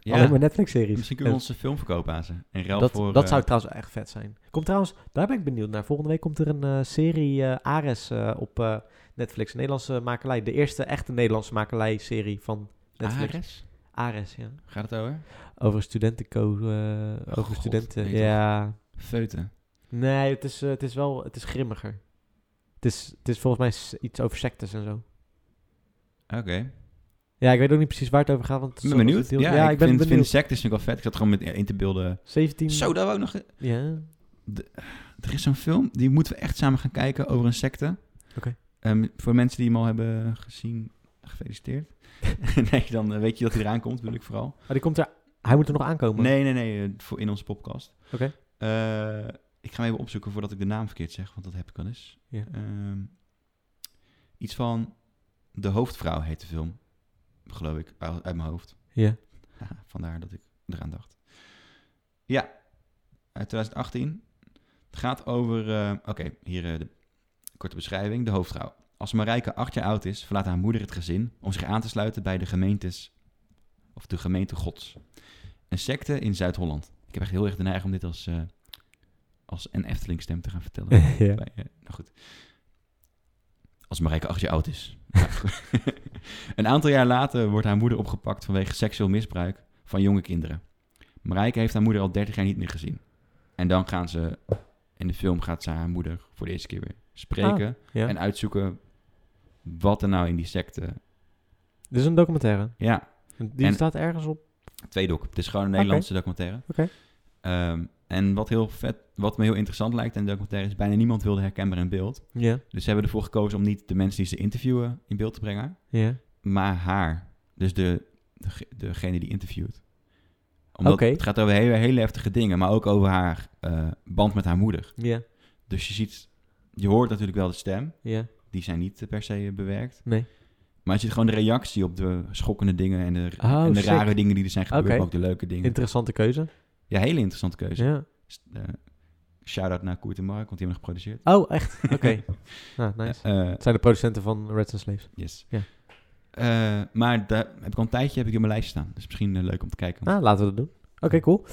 A: ja,
B: Alleen maar Netflix-series.
A: misschien kunnen we onze filmverkoop aan ze. En ruil
B: dat,
A: voor...
B: dat
A: eh,
B: zou trouwens echt vet zijn. Komt trouwens, daar ben ik benieuwd naar. Volgende week komt er een eh, serie eh, Ares eh, op eh, Netflix. Een Nederlandse makelij. De eerste echte Nederlandse makelij-serie van Netflix.
A: Ares?
B: Ares, ja.
A: Gaat het over?
B: Over studentenco... eh,
A: Oh,
B: over
A: God,
B: studenten,
A: nee, toch?
B: ja.
A: Feuten.
B: Nee, het is, eh, het is wel... Het is grimmiger. Het is, het is volgens mij s- iets over sectes en zo.
A: Oké.
B: Ja, ik weet ook niet precies waar het over gaat, want... het
A: Ik
B: is
A: ben
B: zo'n
A: benieuwd.
B: deel-
A: Ja, ik
B: ben
A: vind,
B: benieuwd.
A: vind sectes natuurlijk wel vet. Ik zat gewoon met in te beelden.
B: 17...
A: Zo, daar wou ik nog...
B: Ja.
A: Er is zo'n film, die moeten we echt samen gaan kijken over een secte.
B: Oké.
A: Ehm, voor mensen die hem al hebben gezien, gefeliciteerd. nee, dan eh, weet je dat hij eraan komt, wil ik vooral.
B: Maar die komt er... Hij moet er nog aankomen.
A: Nee, nee, nee, eh, voor in onze podcast.
B: Oké.
A: Eh, ik ga hem even opzoeken voordat ik de naam verkeerd zeg, want dat heb ik wel eens.
B: Ja.
A: Ehm, iets van De Hoofdvrouw heet de film, geloof ik, uit uit mijn hoofd.
B: Ja.
A: Haha, Vandaar dat ik eraan dacht. Ja, uit 2018. Het gaat over... eh, Oké, hier eh, de korte beschrijving. De hoofdvrouw. Als Marijke acht jaar oud is, verlaat haar moeder het gezin... om zich aan te sluiten bij de gemeentes... of de gemeente Gods. Een secte in Zuid-Holland. Ik heb echt heel erg de neiging om dit als... eh, als een Efteling-stem te gaan vertellen.
B: ja.
A: Bij, eh, nou goed. Als Marijke acht jaar oud is. Nou, goed. een aantal jaar later wordt haar moeder opgepakt vanwege seksueel misbruik van jonge kinderen. Marijke heeft haar moeder al 30 jaar niet meer gezien. En dan gaan ze, in de film gaat ze haar moeder voor de eerste keer weer spreken.
B: Ah, ja.
A: En uitzoeken wat er nou in die secte...
B: Dit is een documentaire.
A: Ja,
B: Die
A: En-
B: staat ergens op.
A: Twee doc. Het is gewoon een Nederlandse documentaire.
B: Oké.
A: Ehm, en wat heel vet, wat me heel interessant lijkt aan de documentaire is bijna niemand wilde herkenbaar in beeld.
B: Ja.
A: Dus ze hebben ervoor gekozen om niet de mensen die ze interviewen in beeld te brengen,
B: Ja.
A: maar haar. Dus de, de, degene die interviewt. Omdat
B: Oké.
A: het gaat over hele, hele heftige dingen, maar ook over haar eh, band met haar moeder.
B: Ja.
A: Dus je ziet, je hoort natuurlijk wel de stem,
B: Ja.
A: die zijn niet eh, per se bewerkt.
B: Nee.
A: Maar je ziet gewoon de reactie op de schokkende dingen en de,
B: Oh,
A: en de
B: sick.
A: rare dingen die er zijn gebeurd,
B: Oké.
A: maar ook de leuke dingen.
B: Interessante keuze.
A: Ja, hele interessante keuze.
B: Ja.
A: Eh, Shout-out naar Koert en Mark, want die hebben hem geproduceerd.
B: Oh, echt? Oké. nou, nice.
A: Eh,
B: Het zijn de producenten van Reds and Slaves.
A: yes.
B: Ja.
A: Eh, maar daar heb ik al een tijdje heb ik in mijn lijst staan. Dus misschien eh, leuk om te kijken.
B: Nou, laten we dat doen. Oké, cool.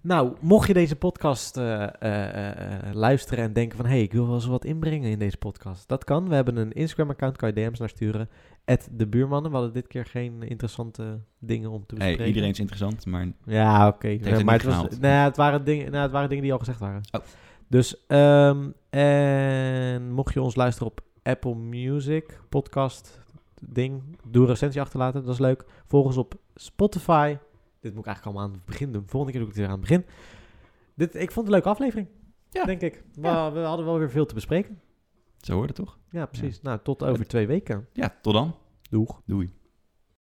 B: Nou, mocht je deze podcast eh, eh, eh, eh, luisteren en denken van... hé, hey, ik wil wel eens wat inbrengen in deze podcast. Dat kan. We hebben een Instagram-account, kan je DM's naar sturen. At de buurmannen. We hadden dit keer geen interessante dingen om te
A: hey,
B: bespreken.
A: iedereen is interessant, maar
B: Ja, oké.
A: heeft het
B: maar
A: niet
B: het, was,
A: gehaald.
B: nou, ja, het, waren dingen, nou, het waren dingen die al gezegd waren.
A: Oh.
B: Dus, ehm, en mocht je ons luisteren op Apple Music, podcast, ding, doe een recensie achterlaten, dat is leuk. Volg ons op Spotify. Dit moet ik eigenlijk allemaal aan het begin doen. Volgende keer doe ik het weer aan het begin. Dit, ik vond het een leuke aflevering,
A: Ja.
B: denk ik. We,
A: Ja.
B: we hadden wel weer veel te bespreken.
A: zo hoort het toch?
B: Ja, precies. Nou, tot over twee weken.
A: Ja, tot dan.
B: Doeg.
A: Doei.